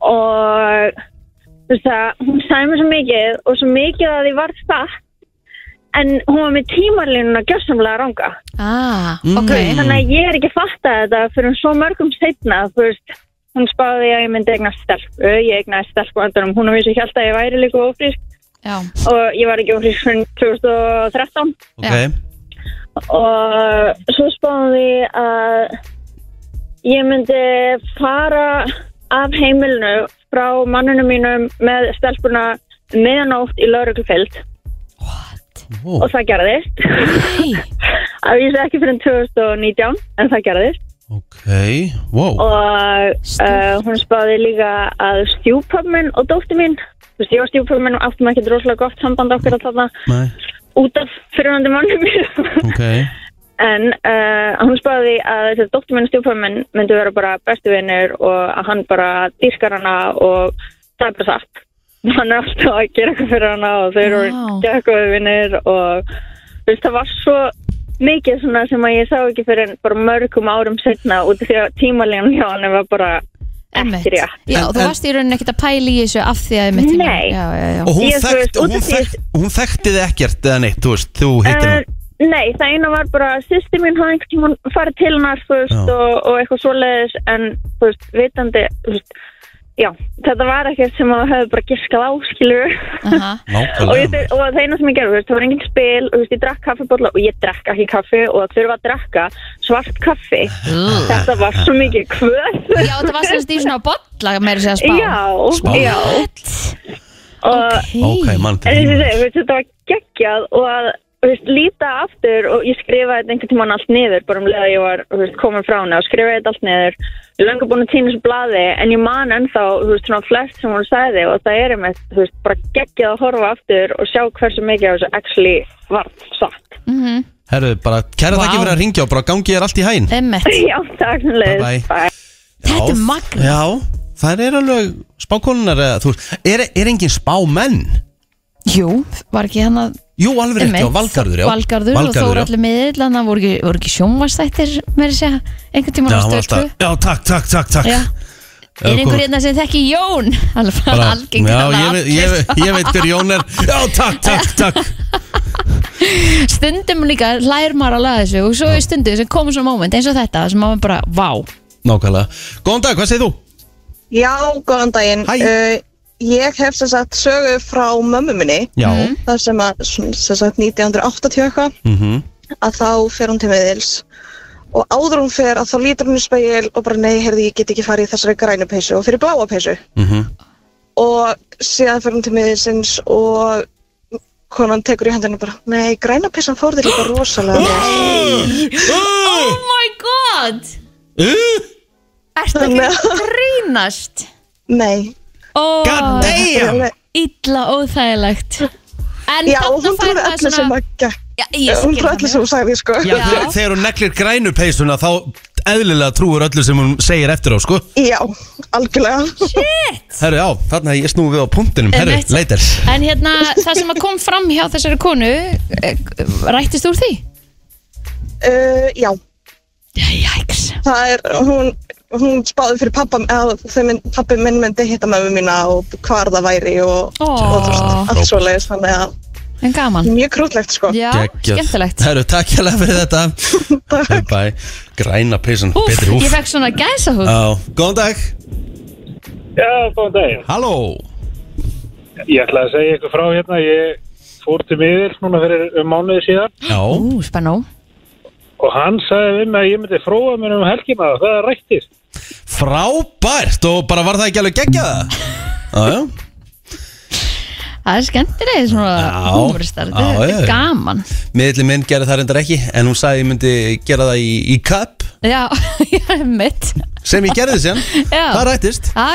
og þú veist það, hún sagði mér svo mikið og svo mikið að ég varð það. En hún var með tímarlínuna gjörsamlega ranga. ah, ok Þannig að ég er ekki að fatta þetta fyrir svo mörgum setna, þú veist. Hún spáði að ég myndi eignast stelpu, ég eignaði stelpu andanum, hún og mér sem held að ég væri líka ofrísk Já, og ég var ekki ofrísk fyrir 2013. ok og svo spáðum við að ég myndi fara af heimilinu frá manninu mínum með stelpuna meðanótt í lauruglufeld Ó, og það gerðist hei að ég sé ekki fyrir 2019 en það gerðist Ok, wow og uh, hún spáði líka að stjúpöf minn og dóttir mín þú veist ég og stjúpöf minn áttum ekki droslega gott samband okkur að þarna Nei, út af fyrirhandi mannum mínum ok En uh, hún spáði að þessi dóttur minn og stjúpa minn myndu vera bara bestu vinnur og að hann bara dýrkar hana og það er bara satt. hann er alltaf að gera eitthvað fyrir hana og þau eru Vá. gekkóðu vinnir og þú veist, það var svo mikið svona sem að ég sá ekki fyrir bara mörgum árum setna út af því að tímalíðan hjá hann var bara Einmitt. ekki rétt. Já, En- þú en- varst í rauninni ekkert að pæla í þessu af því að ég mitt Nei. já, já, já. Og hún, Ég, þú þekkt, veist, út hún, af því- Eh, þekkt, hún þekkti þið ekkert eða neitt, þú veist, þú hittir En, hennar nei, það eina var bara að sýsti mín hafði einhvern tímann farið til hennar þú veist, Já. og, og eitthvað svoleiðis en þú veist, vitandi þú veist, já, þetta var ekkert sem að höfðu bara giskað á, skilur Aha. og, ég, Nákvæmlega þur- og það eina sem ég gerði, þú veist, það var engin spil og, þú veist, ég drakk kaffibólla og ég drakk ekki kaffi og að þurfa að drakka svart kaffi þetta var svo mikið kvöð já, það var semst í svona bolla meira sér að segja já, Spá. já og Ok, mann en til eins og ég tíma segi, þú veist, þetta var geggjað og að þú veist, líta aftur og ég skrifaði þetta einhvern tímann allt niður bara um leið að ég var þú veist, komin frá hana og skrifaði þetta allt niður ég er löngu búin að týna þessu blaði en ég man ennþá þú veist, svona flest sem hún sagði og það er einmitt þú veist, bara geggjað að horfa aftur og sjá hversu mikið af þessu actually var satt Herru, bara kæra þakki Vá. fyrir að ringja og bara gangi þér allt í hæn Emmett, já, takk sem Bye-bye. leið þetta er Já, magna Já, það er alveg spákonunar eða, þú veist, er, er engin spámenn? Jú, var ekki hann að Jú, alveg rétt, já, Einmitt, Valgarður, já Valgarður og já. Þóralli miðill Þannig að voru ekki, voru ekki sjónvastættir Mér að segja, einhvern tímann á Já, hann var Stöð 2. alltaf, já, takk, takk, takk, takk Já. Já, Er einhver kom- hérna sem þekki Jón Alveg Bara- algengt Já, þannig ég, að veit- ég, veit- ég veit hver Jón er Já, takk, takk, takk allir- Stundum líka lær maður að laga þessu Og svo er stundu sem komur svona moment eins og þetta Sem maður bara, vá Nákvæmlega Góðan dag, hvað segir þú? Já, góðan daginn. Hæ. Uh, ég hef sem sagt sögu frá mömmu minni, Já Mm. þar sem að sem sagt 1980 eitthvað, Mhm. að þá fer hún til miðils og áður en hún fer að þá lítur hún í speil og bara nei, heyrði, ég get ekki farið í þessari grænu peysu og fyrir bláa peysu. Mhm. Og síðan fer hún til miðilsins og konan tekur í hendinu bara, nei, græna peysan fór þér líka rosalega. vel." Oh my god Uh, Ertu ekki að grínast nei. oh, God damn Illa óþægilegt En Já, þarna hún fær trúði maður öllu sem að gekk. Já, ég Hún skil trúði það öllu mjög. sem hún sagði, sko. Já, þegar- þegar hún neglir grænu peysuna þá eðlilega trúur öllu sem hún segir eftir á, sko Já, algjörlega. Herru, já, þarna ég snúi við á punktinum Herru, Einmitt. leitar En hérna, það sem að kom fram hjá þessari konu eh, Rættist úr því? Uh, já, Jæks það er, hún, hún spáði fyrir pappa, eða þau mynd, pappi minn myndi hitta mömmu mína og hvar það væri og, og þú veist, Ó, allt svo leiðis, þannig að Ah. en gaman mjög krútlegt sko. Já, skemmtilegt Herru, takk hérlega fyrir þetta Bye. Græna peysan, Úf, betri Uh, ég úf fekk svona gæsa hún Já, góðan dag Já, góðan daginn. Halló Ég ætla að segja ykkur frá hérna, ég fór til miður núna fyrir um mánuði síðan Já, Ú, spennó og hann sagði við mig að ég myndi fróa mér um helgina og það er rættir. frábært og bara var það ekki alveg geggjaða Já, já Það er skemmtilegt svona Já, húmuristar já, Þetta já, er já. gaman Miðli minn gerði það reyndar ekki En hún sagði ég myndi gera það í, í cup Já, ég er mitt Sem ég gerði síðan Já. Það rættist Æ,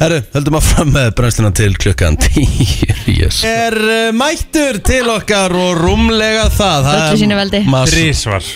Herru, höldum að fram með brennsluna til klukkan 10 yes. Er uh, mættur til okkar og rúmlega það Það Öllu er- sínu veldi. má- Þrísvar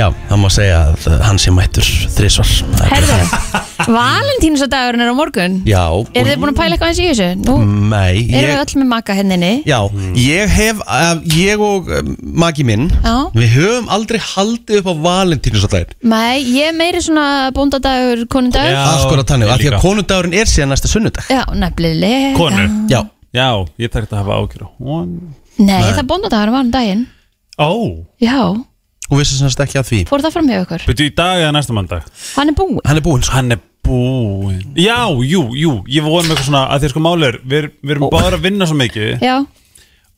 Já, það má segja að uh, hann sé mættur þrísvar Það er herðu bara- Valentínsadagurinn er á morgun Já Eru þið búin að pæla eitthvað eins í þessu? Nú Nei erum Mm, ég- við öll með maka hérna henninni Já, Mm. ég hef, uh, ég og uh, magi minn, Já. við höfum aldrei haldið upp á valentínusaldaginn Nei, ég er meiri svona bóndadagur, konundagur Já, Akkurat þannig, ég af því að líka. konundagurinn er síðan næsta sunnudag Já, nefnilega Konu. Já, Já, ég þarf þetta að hafa ágjur á honum. Nei, það bóndadagur var um daginn Ó, Já, og vissi semst ekki að því fór það fram hjá ykkur betur í dag eða næsta mandag Hann er búinn Hann er búinn sko Hann er búinn Já, jú, jú, ég voru með eitthvað svona að því að sko máli er, við, við erum báðar að vinna svo mikið Já,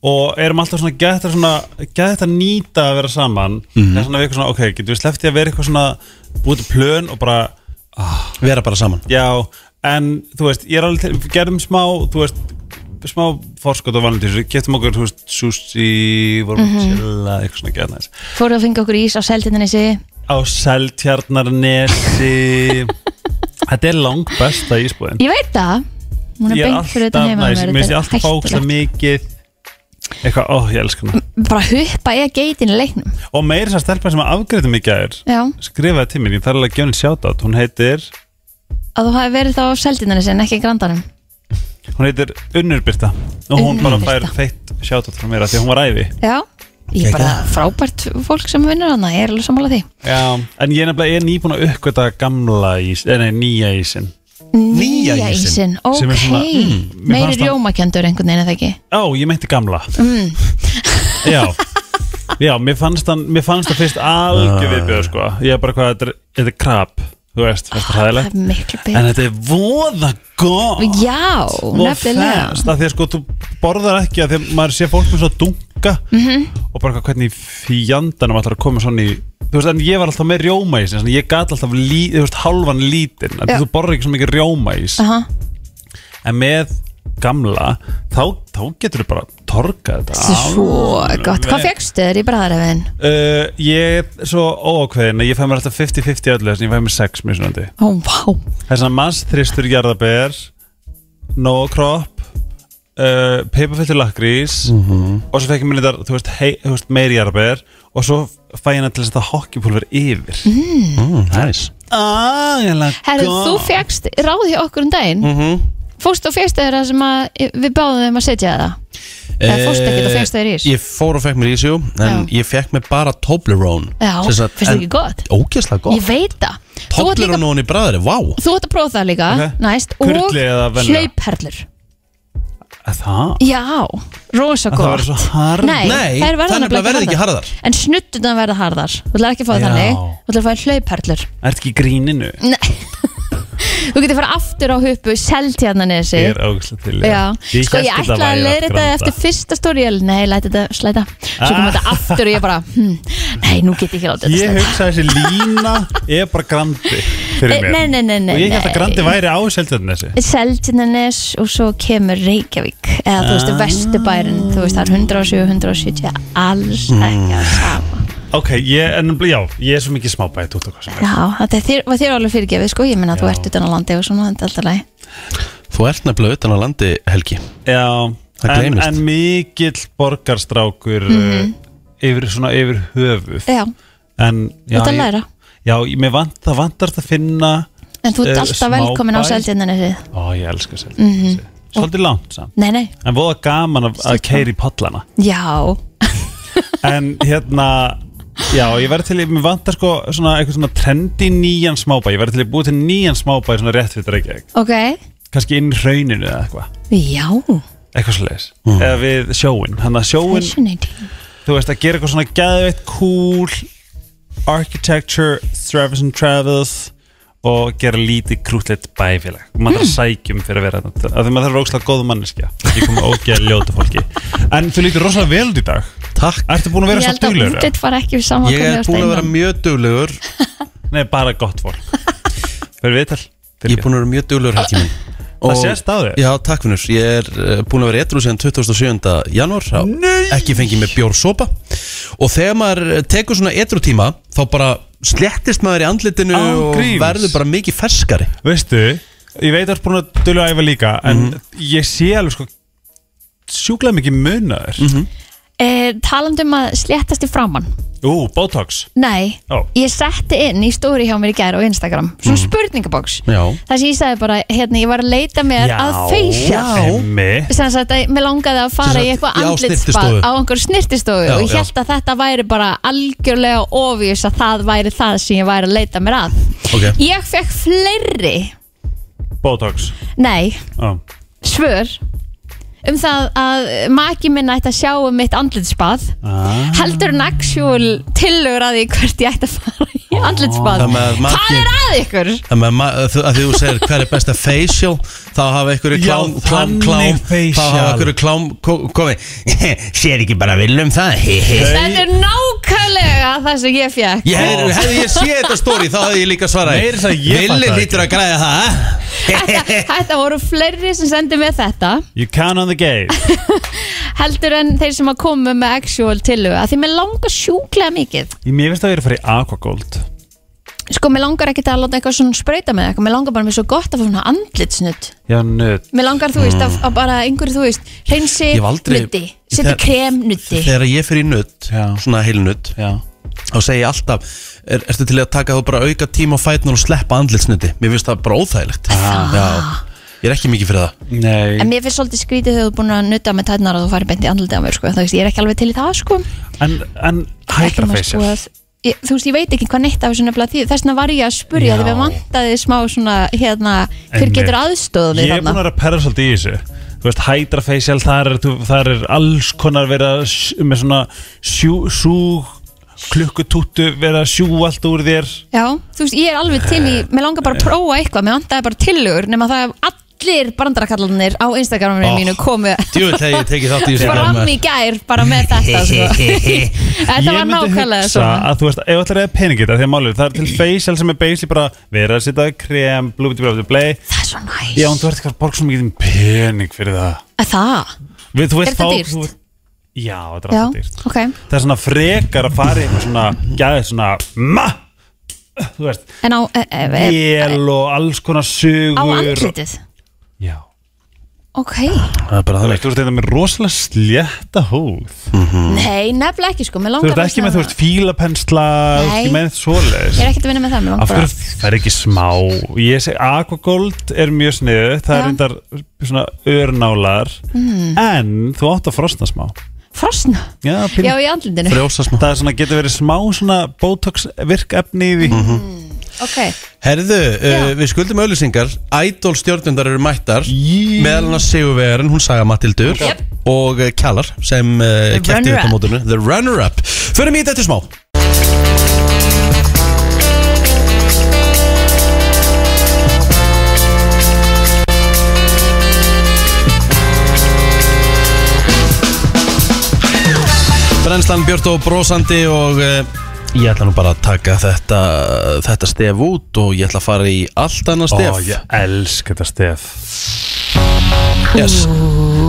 og erum alltaf svona gett að svona gett að nýta að vera saman Mhm. það er svona við eitthvað svona, ok, getum við sleftið að vera eitthvað svona búið til plön og bara Vera bara saman já, en þú veist, ég er alveg til, við gerðum smá, þú veist smá forskot á valentísu, getum okkur, þú veist sushi, vorum Mhm. mm -hmm. chilla eitthvað svona gett næst fóruð að fengi okkur ís á seltinnissi á Seltjarnarnesi þetta er langt besta ísbúðin Ég veit það Hún er ég er beint fyrir þetta alltaf heima næs, mér finnst ég alltaf fákslega hættulegt mikið eitthvað, ó, ég elska hana Bara huppa eða geitin í leiknum og meira þess að stelpa sem afgriðum í gær Já, skrifaði til mér, ég þarf alveg að gefa henni sjátt hún heitir að þú hafi verið þá á seltinnissi en ekki í grandanum Hún heitir Unnurbyrta og hún Unnur bara fær Birta. feitt sjátat frá mér af því að hún var æfi Já, ég er bara Geggjað. frábært fólk sem vinnur hana, ég er alveg sammála því Já. En ég er nefnilega, ég er nýbúin að uppgöta gamla ís, eh, nei, nýja ísin Nýja ísinn, ísinn. Sem er ok svona, mm, mér Meiri fannst hann- rjómakjöndur einhvern veginn, er það ekki? Ó, ég meinti gamla mm. Já Já, mér fannst, hann, mér fannst það fyrst algjör viðbjöð sko. Ég er bara hvað, þetta er, þetta er krab Þú veist, fannst það Ah, Það hæðilegt er miklu En betur þetta er voða gott Mm. Já, nefnilega að því að sko þú borðar ekki að því að maður sé fólk með svona dunga Mhm. -hmm. og bara eitthvað hvernig fjandanum ætlar að koma svona í þú veist en ég var alltaf með rjómaís en ég gat alltaf lí, þú veist, halvan lítinn en Já. þú borðar ekki svo mikið rjómaís Aha, en með gamla þá, þá getur þú bara torkað þetta þetta er svo gott Hvað fegstu þér í bræðarefin? Uh, ég er svo óákveðin að ég fæ mér alltaf 50-50 öllu þess að ég fæ mér 6 misunandi Ó, vá Þess að massþristur jarðabær Nóa kropp uh, Peipafittur lakrís Og svo fekk ég mér lindar Þú veist, hei, þú veist meiri jarðabær Og svo fæ ég hennar til að setja hockeypulver yfir mm. Nice ah, Herru, þú fegst ráð hjá okkur um daginn mm Mhm. Fórst og fegst þér það sem að við báðum þeim að setja það Eða fórstu ekkert og fékkst þér ís? Eh, Ég fór og fekk mér ís, jú En ég fekk mér bara Toblerone Já, Sem sagt- finnst það en- ekki gott? Ég Ógeðslega gott veit það Þú ert líka Toblerone og í bræðari, vá Þú ert að prófa það líka, Ok. næst Kurli eða Og venjulega? hlauperlur Það, Já, rosa það var gott svo harð Nei, Nei, þær verða það nefnilega nefnilega verða ekki harðar. En snuttunan verða harðar Þú ætlar ekki að fá það Já. þannig Þú ætlar að fá hlauperlur Ertu ekki í gríninu? Nei Þú getur fara aftur á hupu Seltjarnanesi Ég er ágæslega til í Já, það. sko ég hélt þetta ætlaði að væri leiðri þetta granda. eftir fyrsta stóri Ég, nei, læti þetta slæta Svo kom Ah. þetta aftur og ég bara hm, Nei, nú get ég ekki látið Ég þetta slæta hugsa að þessi lína er bara grandi Nei, fyrir mér Eh, nei, nei, nei, nei, Og ég held að nei. grandi væri á seltjarnesi Seltjarnanes og svo kemur Reykjavík eða þú Ah. veist, Vesturbærin þú veist, það er 107, 170 alls Hm. ekki að sama Ok, ég, en já, ég er svo mikið smábæði út og hvað sem er Já, þetta er þér, var þér alveg fyrirgefið sko ég minna að þú ert utan á landi og svona þetta er alltaf leið Þú ert nefnilega utan á landi, Helgi Já, Það en, gleymist. en mikill borgarstrákur mm yfir svona yfir höfuð Mhm. Já, En þú já, ert að ég- læra Já, ég- mér vant, það vantast að finna En þú ert eh, alltaf velkomin á Mm. smábæ. Seltjarnanesi Ó, ég elska seltjarnesi Svolítið langt samt Nei, nei, En voða gaman að, að keiri pollana já En hérna Já, ég verði til í, mér vantar sko svona eitthvað svona trendi nýjan smábæ Ég verði til í að búið til nýjan smábæ svona rétt við Reykjavík Ok, Kannski inn í hrauninu eða eitthvað já Eitthvað svo leiðis Mm. Eða við sjóin Þannig að sjóin, Fascinating þú veist, að gera eitthvað svona geðveitt cool architecture, service and travels og gera lítið krútlegt bæfélag og Mm. maður þarf að sækjum fyrir að vera þetta af því maður þarf rókslega góð manneskja ekki koma ógeð ljóta fólki en þú lítur rosalega vel út í dag Takk Ertu búin Ég að vera svo held að duglegur? útlitt var ekki saman Ég er búin að vera mjög duglegur eða? Nei, bara gott fólk Fyrir viðtal Ég er búin að vera mjög duglegur, Helgi minn Það Og- sést á þér Já, takk finnur, ég er eh, búin að vera etru síðan 27. janúar þá ekki fengið með bjórsopa og þegar maður eh, tekur svona etru tíma þá bara slettist maður í andlitinu Án og gríns. verður bara mikið ferskari Veistu, ég veit að þú ert búin að duglega að æfa líka en Mhm. ég sé alveg sko sjúklega mikið munaður mm Mhm. -hmm. Eh, talandi um að sléttast í framann Ú, botox Nei, Ó. ég setti inn í stóri hjá mér í gær á Instagram Svona spurningaboks Já. Það sem ég sagði bara, hérna, ég var að leita mér að facial Emmi. sem sagt að mér langaði að fara Sem sagt, í eitthvað já, andlitsbað snyrtistofu. á einhver snirtistofu Já, og ég já. held að þetta væri bara algjörlega ofjus að það væri það sem ég væri að leita mér að Ok. Ég fekk fleiri, Botox nei, Já. svör um það að maki minn ætti að sjá um mitt andlitsbað Ah. heldur en actual tillögur að því hvert ég ætti að fara í andlitsbað Þannig að Hvað maki- er að ykkur? Þannig að ma- að þú- að því þú segir hver er besta facial þá hafa einhverju Já, klám, klám, þannig klám þá facial. hafa einhverju klám ko- komið sér ekki bara vil um það he, he. Þetta er nákvæmlega það sem ég fekk Ég hefði hef ég séð þetta stóri þá hefði ég líka svarað Meira þess að ég Villi fattaði lítur að græða það Þetta, þetta voru fleiri sem sendi með þetta You count on the game heldur en þeir sem að koma með actual tillögu að því mér langar sjúklega mikið Ég mér finnst að ég er að fara í Aquagold sko mér langar ekki að láta eitthvað svona sprauta með eitthvað mér langar bara mér svo gott að fá svona andlitsnutt Já, nöð mér langar þú veist að, að bara einhverju þú veist reynsi Ég hef aldrei- nutti setja Þegar- krem nutti Þegar ég fer í nutt, Já. svona heilnutt Já þá segi ég alltaf er, ertu til í að taka þú bara auka tíma á fætnum og sleppa andlitsnuti mér finnst það bara óþægilegt já. Ég er ekki mikið fyrir það Ah. Nei En mér finnst svolítið skrítið þegar þú er búin að nutta með tætnar og þú farið beint í andlitið á mér sko. Þú veist, ég er ekki alveg til í það sko. En, en Ekki maður sko hydrafacial að- ég, Þú veist, ég veit ekki hvað neitt af þessu nefnilega því Þess vegna var ég að spurja Já. þegar við vantaði smá svona hérna, hver Einmitt. getur aðstóð Ég við er búin að þarna vera að perra svolítið í þessu Þú veist, hydrafacial, þar er, þú- þar er alls konar verið að sj- með svona sjú, sú klukkutúttu verið að sjú allt úr þér Já, þú veist, ég er alveg til í Mér langar bara að prófa eitthvað, mér vantaði bara tillögur nema það að allir brandarkallanir á Instagraminu Oh. mínu komu Djúvill þegar ég tekið þátt í þessu fram í gær bara með þetta sko. Þetta var nákvæmlega hugsa svona að þú veist, ef allir eða peningið það, því að málið, það er til facial sem er basically bara verið að setja krem, blúbiti, blúbiti, blei Það er svo næs Já, en þú ert eitthvað að borga svo mikið um pening fyrir það Að Það, Við, þú veist, Er þetta þá- dýrt? þú veist- Já, þetta er já, alltaf dýrt ok Það er svona frekar að fara í eitthvað svona gæðið svona ma, þú veist, En á, e, e, e, el og alls konar á sugur andlitið Já, Ok, Það er bara þú veist, þú veist, þetta er með rosalega slétta húð Mhm. nei, nefnilega ekki sko Mér Þú langar veist, bara ekki svona- með, þú veist, fílapensla þú veist, Nei. ekki með neitt Ég er svoleiðis ekkert að vinna með það, mér Af langar bara hverju það er ekki smá Ég segi, Aquagold er mjög sniðu Það er Já. Mm. reyndar svona örnálar En þú átt að frosna smá Mhm. frosna Já, pínu. Já, í andlindinu Frjósa smá Það er svona, getur verið smá svona Botox virkefni í því Mm. Ok, Mhm. Herðu, uh, Já. við skuldum auðlýsingar Idol stjórnundar eru mættar Jí. Meðal hann að Sigurvegarinn, hún saga Matildur Yep. Og uh, Kjallar sem uh, The kæfti upp á runner-up. mótinu The Runner-Up Förum í þetta eftir smá Brennslan Björn og brósandi og uh, ég ætla nú bara að taka þetta, þetta stef út og ég ætla að fara í allt annað stef Ó, ég elsk þetta stef yes.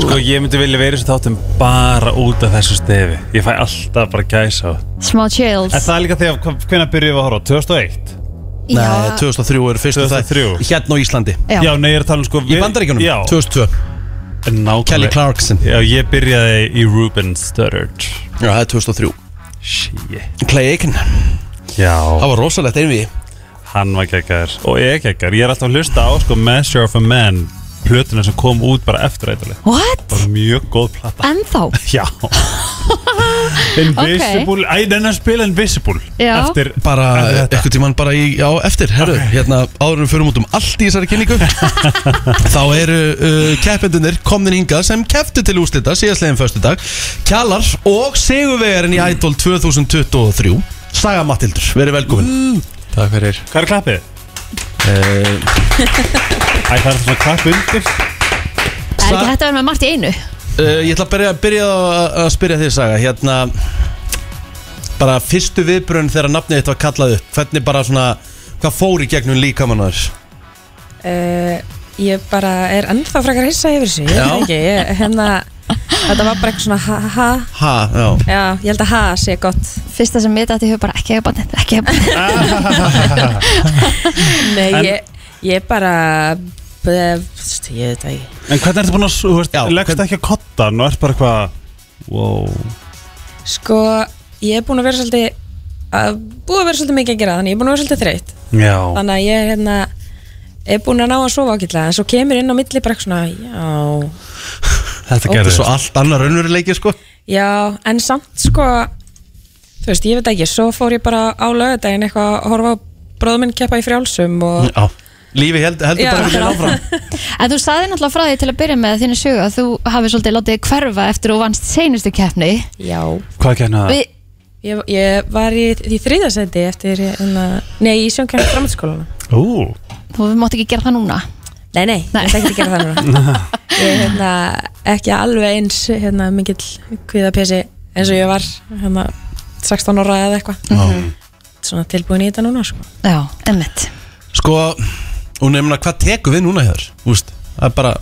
Sko, ég myndi vilja verið þessu þáttum bara út af þessu stefi Ég fæ alltaf bara gæsa á smá chills En það er líka þegar, hva- hvenær byrjuðum við að horfa? á? 2001? Nei, 2003 er fyrstu þætt 2003. Hérna á Íslandi Já. Já, nei, ég er að tala um sko Í bandaríkjunum, Já, 2002 nákvæmlega. Kelly Clarkson Já, ég byrjaði í Ruben Studdard Já, það er 2003 Shit Clay Aiken, Já, það var rosalegt einvið hann var geggar Og ég geggar, ég er alltaf að hlusta á sko Measure of a Man Plötuna sem kom út bara eftir eitthvað What? Bara mjög góð plata Ennþá? Já Invisible, æ, neina spila Invisible Já. Eftir Bara, eftir þetta. eitthvað tíman bara í, já, eftir Herru, hérna, áður en við förum út um allt í þessari kynningu Þá eru uh, keppendunir komnir hingað sem kepptu til úslita síðastlegin föstudag Kjallar og Sigurvegarinn í Idol 2023 Saga Matildur, verið velkomin Takk fyrir Eh. Hvað er klappið? Æ, það er svona klapp undir Það er ekki hægt að vera með margt í einu Uh, ég ætla að byrja, byrja að, að spyrja þig Saga Hérna Bara fyrstu viðbrun þegar nafnið þitt var kallað upp Hvernig bara svona Hvað fór í gegnum líkamann á þér? Uh, ég bara er ennþá frekar hissa yfir þessu, ég veit Já. það ekki ég, hérna, þetta var bara eitthvað svona ha, ha, ha. Ha, já já, ég held að ha sé gott Fyrsta sem ég dætti hefur bara ekki hefur bandið Ekki hefur bandið nei, En- ég, ég bara eh, veist, ég veit það ekki En hvernig ertu búin að, þú veist, Já, leggst hvern- ekki að kotta Nú ert bara eitthvað Wow sko, ég er búin að vera svolítið að búið að vera svolítið mikið að gera þannig ég er búin að vera svolítið þreytt Já þannig að ég hérna, er búin að ná að sofa ágætlega en svo kemur inn á milli bara eitthvað svona já, Þetta Þetta er gerðist svo allt annar önnuruleiki sko Já, en samt sko þú veist, ég veit ekki, svo fór ég bara á lögadaginn eitthvað að horfa á bróðum minn keppa í frjálsum og Já Lífi held, heldur Já, bara þetta ekki er áfram En þú saði náttúrulega frá því til að byrja með þínu sögu að þú hafi svolítið látið þig hverfa eftir og vannst seinustu keppni já, Hvað gerna það? Við, ég, ég var í, í þriðasæti eftir, hérna, nei, í sjónkjörnum framhaldsskólana. Ú þú mátt ekki gera það núna Nei, nei, Nei. ég ætla ekki að gera það núna Ég er hérna, ekki alveg eins hérna, mikill kviðapesi eins og ég var hérna, 16 ára eða eitthvað svona tilbúin í þetta núna sko. Mm. Já, emmitt Sko Og nefna hvað tekum við núna hér? Úst Það er bara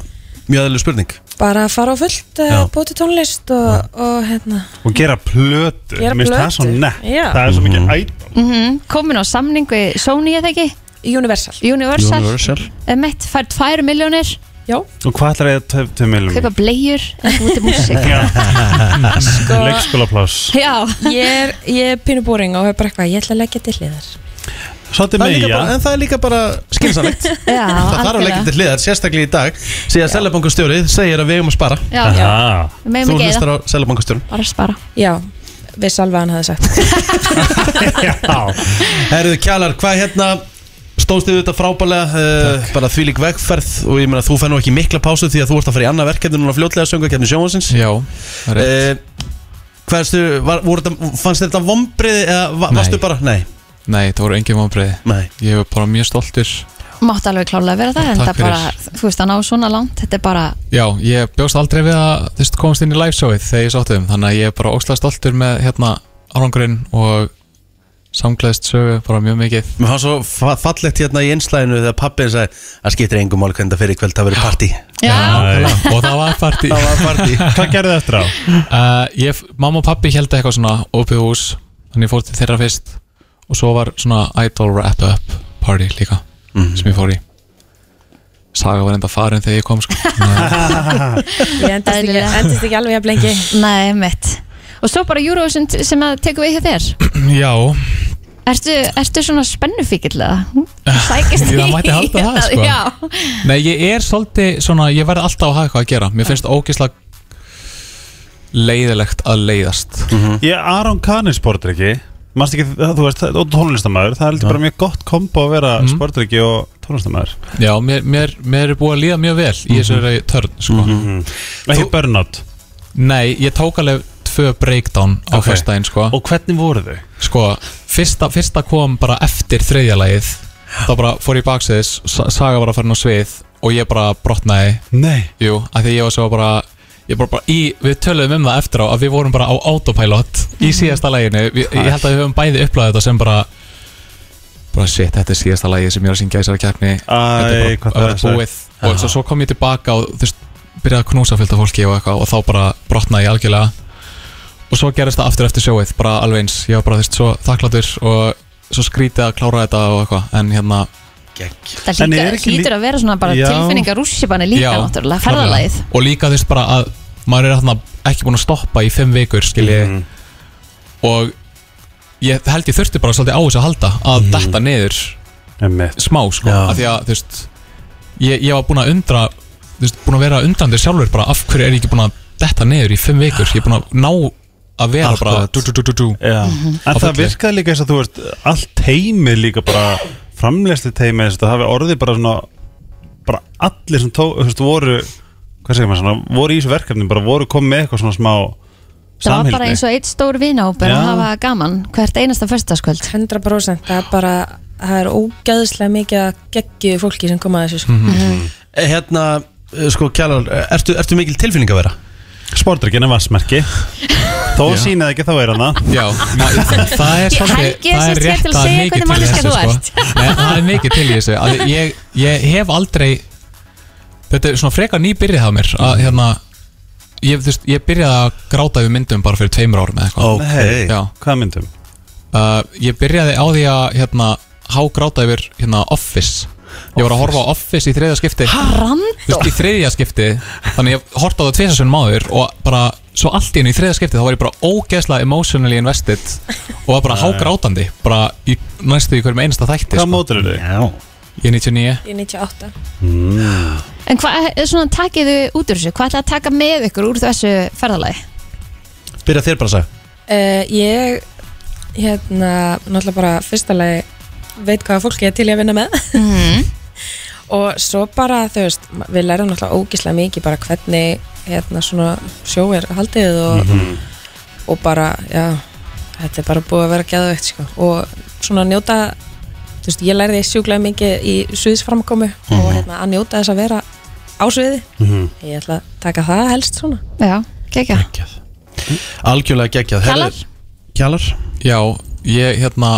mjög aðeinslega spurning bara að fara á fullt, Já. uh, búti tónlist og, og hérna Og gera plötu Gera Mér finnst það plötu. svo nett Já. Það er svo Mhm. mikið ætt mm, Komin á samning við Sony eða ekki Universal, Universal, Universal. Emmitt, fær 2 miljónir já, Og hvað ætlar ég að töf miljum? Kaupa blegjur, búti músik sko Leikskólaplás Já ég er, ég er pínu búring og er bara eitthvað, ég ætla að leggja til hliðar Svolítið Það er líka meja bara- En það er líka bara skilsamlegt Já, Það þarf að leggja til hliðar, sérstaklega í dag Síðan Sælabankastjóri segir að við eigum að spara Já, já, Aha. við meðum Þú ekki eða, hlustar á Sælabankastjórun bara spara Já, við salva hann hafði sagt Já, Herðu Kjalar, hvað hérna stóðst þið þetta frábælega uh, bara þvílík vegferð og ég meina þú fær nú ekki mikla pásu því að þú ert að fara í annað verkefni núna fljótlega söngakeppni sjónvansins Já, rétt uh, Hverstu, var, voru þetta, fannst þér þetta vombriði eða va, Nei. Ah, varstu bara, nei, Nei, það voru engin vonbreiði nei Ég var bara mjög stoltur Mátt alveg klálega vera það, en Takk það bara, þú veist, að ná svona langt, þetta er bara, Já, ég bjóst aldrei við að þú veist, komast inn í liveshowið þegar ég sátti um Þannig að ég er bara óslega stoltur með hérna árangurinn og samglaðist sögu bara mjög mikið Mér fannst svo fa- fallegt hérna í einslæðinu þegar pappin sagði að skiptir engum mál hvernig það fyrir kvöld það verið partí já, já. Og það var partí Það var partí Hvað gerði eftir á? uh, ég, Mamma og pappi held eitthvað svona opið hús Þannig ég fór til þeirra fyrst Og svo var svona idol wrap-up party líka Mhm. sem ég fór í Saga var enda farin þegar ég kom sko. Þannig að- Ég endist ekki, Eðlilega. endist ekki alveg jafn lengi nei, mitt. Og svo bara Eurovision t- sem að tekur við hjá þér. Já, Ertu, ertu svona spennufíkill eða? Sækist Ég, Ah, það mætti halda það, sko. Já, Nei, ég er svolítið svona, ég verði alltaf að hafa eitthvað að gera Mér finnst ógeðslega leiðilegt að leiðast Mhm. Ég er Aron Kanin sportryggi Manst ekki, það- þú veist, það- og tónlistamæður Það er heldur bara mjög gott kombo að vera Mhm. mm. sportryggi og tónlistamæður Já, mér, mér, mér er búið að líða mjög vel í þessari törn sko. Mhm. Ekki burnout Nei, ég tók alveg tvö breakdown á Ok. okay. föstudaginn sko. Og hvernig voru þau? sko, fyrsta, fyrsta kom bara eftir þriðjalagið Þá bara fór ég baksins, Saga var að fara inn á svið Og ég bara brotnaði Nei Jú, að því ég var svo bara Ég bara, bara í, við töluðum um það eftir á að við vorum bara á autopilot í Mhm. síðasta læginu við, ég held að við höfum bæði upplæðið þetta sem bara bara shit, þetta er síðasta lægi sem ég er að syngja í þessari keppni þetta Æ, er bara að hvað það vera er sagt. búið og svo, svo kom ég tilbaka og þú veist, byrjaði að knúsa fylgta fólki og eitthvað og þá bara brotnaði ég algjörlega og svo gerist það aftur eftir sjóið bara alveg eins, ég var bara þú veist, svo þakkláttur og svo skrítið að klára þetta og eitthvað en hérna, það En hlýtur, er ekki lí- hlýtur að vera svona bara Já. tilfinningar rússipanni líka Já, náttúrulega, klárlega. ferðalagið. og líka þú veist bara að maður er hérna ekki búin að stoppa í fimm vikur skiljið Mhm. og ég held ég þurfti bara svolítið á þessu að halda að detta niður Mhm. Einmitt. smá sko, Já. af því að þú veist ég, ég var búin að undra þú veist, búin að vera undrandi sjálfur bara af hverju er ég ekki búin að detta niður í fimm vikur ég er búin að ná að vera bara Akkurat. dú, dú, dú, dú, dú. Já, Mhm. Á en það fullu. virkaði líka eins og þú veist allt teimið líka bara framlegsli teimið eins og það hafi orðið bara svona bara allir sem tó, þú veist, voru hvað segir maður svona, voru í þessu verkefni bara voru komið með eitthvað svona smá Það var bara samhildni eins og eitt stór vinahópur að Já. hafa gaman hvert einasta förstaskvöld. 100% það er bara, það er ógæðslega mikið að geggju fólki sem koma að þessu sko. Mhm. Eh, Hérna, eh, sko Kjalar, eh, ertu, ertu mikil tilfinning að vera? sportryggjana vassmerki þó að sína það ekki þá er hann það Já, ma- það er Ég- svolítið Helgi er það sem sagt hér til að það er segja mikið hvernig til í manneskja þú þessu, sko. ert. Nei, það er mikið til í þessu að ég, ég hef aldrei þetta er svona frekar nýbyrjað á mér að hérna ég, þú veist, ég byrjaði að gráta yfir myndum bara fyrir tveimur árum eða eitthvað Ókei. Já. hvað myndum? uh, ég byrjaði á því að hérna, hágráta yfir hérna, Office ég var að horfa á Office í þriðja skipti Þú Randó. veist, í þriðja skipti þannig ég horfði á það tvisasun máður og bara svo allt í hennu í þriðja skipti þá var ég bara ógeðslega emotionally invested og var bara hágrátandi bara í næstu í hverjum einasta þætti sko. hvað mótur eru þið? Já ég er 99 Ég er 98 Mm. En hvað, svona takið þau út úr þessu, hvað ætlaði að taka með ykkur úr þessu ferðalagi? Byrja þér bara að segja uh, Ég hérna, náttúrulega bara fyrsta lagi veit hvaða fólki ég er til ég að vinna með og svo bara þú veist, ma- við lærum náttúrulega ógislega mikið bara hvernig hérna svona sjó er haldið og, og bara, já þetta er bara búið að vera geðveikt sko og svona njóta þú veist, ég lærði sjúklega mikið í suðisframkomu og hérna að njóta þess að vera á suði, ég ætla að taka það helst svona Já, kekja. Geggjað. Algjörlega geggjað Herðu- Kjalar? Kjalar já, ég hérna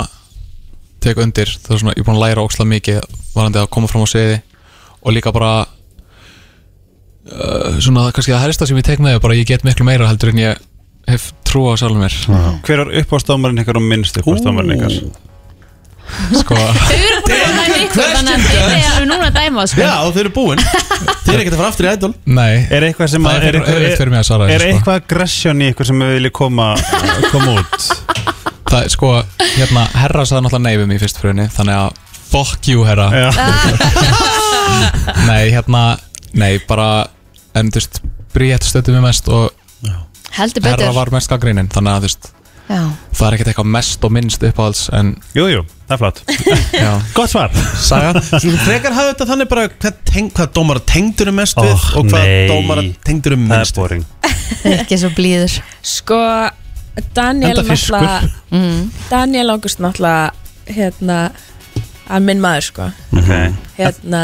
tek undir, það er svona, ég er búin að læra ógeðslega mikið varandi að koma fram á sviði og líka bara uh, svona kannski að helsta sem ég tek með er bara að ég get miklu meira heldur en ég hef trú á sjálfur mér hver er uppástámarinn ykkar og minnst uppástámarinn ykkar? sko Þau eru búin að dæma ykkur, þannig að þau eru núna að dæma, sko. Já, þau eru búin Þið eru ekkert að fara aftur í ædol Nei, er eitthvað sem Það að- er fyrir- eitthvað- erfitt fyrir mig að svara er þessu, sko. eitthvað aggression í ykkur sem við viljið koma koma út? það þetta, sko, hérna, herra sagði náttúrulega nei við mig í fyrstu fröðinni Þannig að, fuck you, herra Nei, hérna, nei, bara, en þú veist, Bríett stöttu mig mest og Heldur herra betur var mest gaggrínin Þannig að, þú veist, Já, það er ekkert eitthvað mest og minnst uppáhalds En, Jú, jú, það er flott já, Gott svar Saga, svona frekar hafði þetta þannig bara hvað, teng, hvað dómara tengdur um mest við Oh, og hvað nei. dómara tengdur um Það er minnst við boring ekki svo blíður Sko, Daniel Enda fiskur. náttúrulega Mm. Daniel Ágúst náttúrulega hérna, hann minn maður sko okay. hérna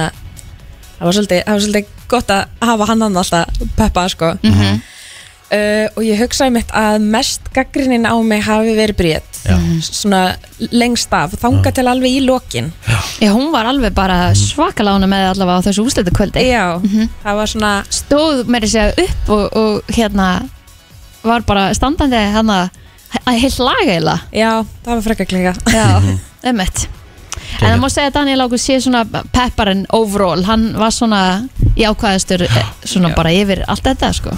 það var svolítið, það var svolítið gott að hafa hann hann alltaf peppa sko Mhm. uh, og ég hugsaði mitt að mest gaggrinin á mig hafi verið brét Mhm. svona lengst af þanga til alveg í lokin Já, hún var alveg bara svakalána með allavega á þessu úsletu kvöldi Mhm. já, það var svona Stóð meiri segja upp og, og hérna var bara standandi hérna að heilt laga eila já, það var frekka klika Já, Mhm. ummitt En það má segja að Daniel Ágúst sé svona pepparinn overall, hann var svona jákvæðastur eh, svona bara yfir allt þetta sko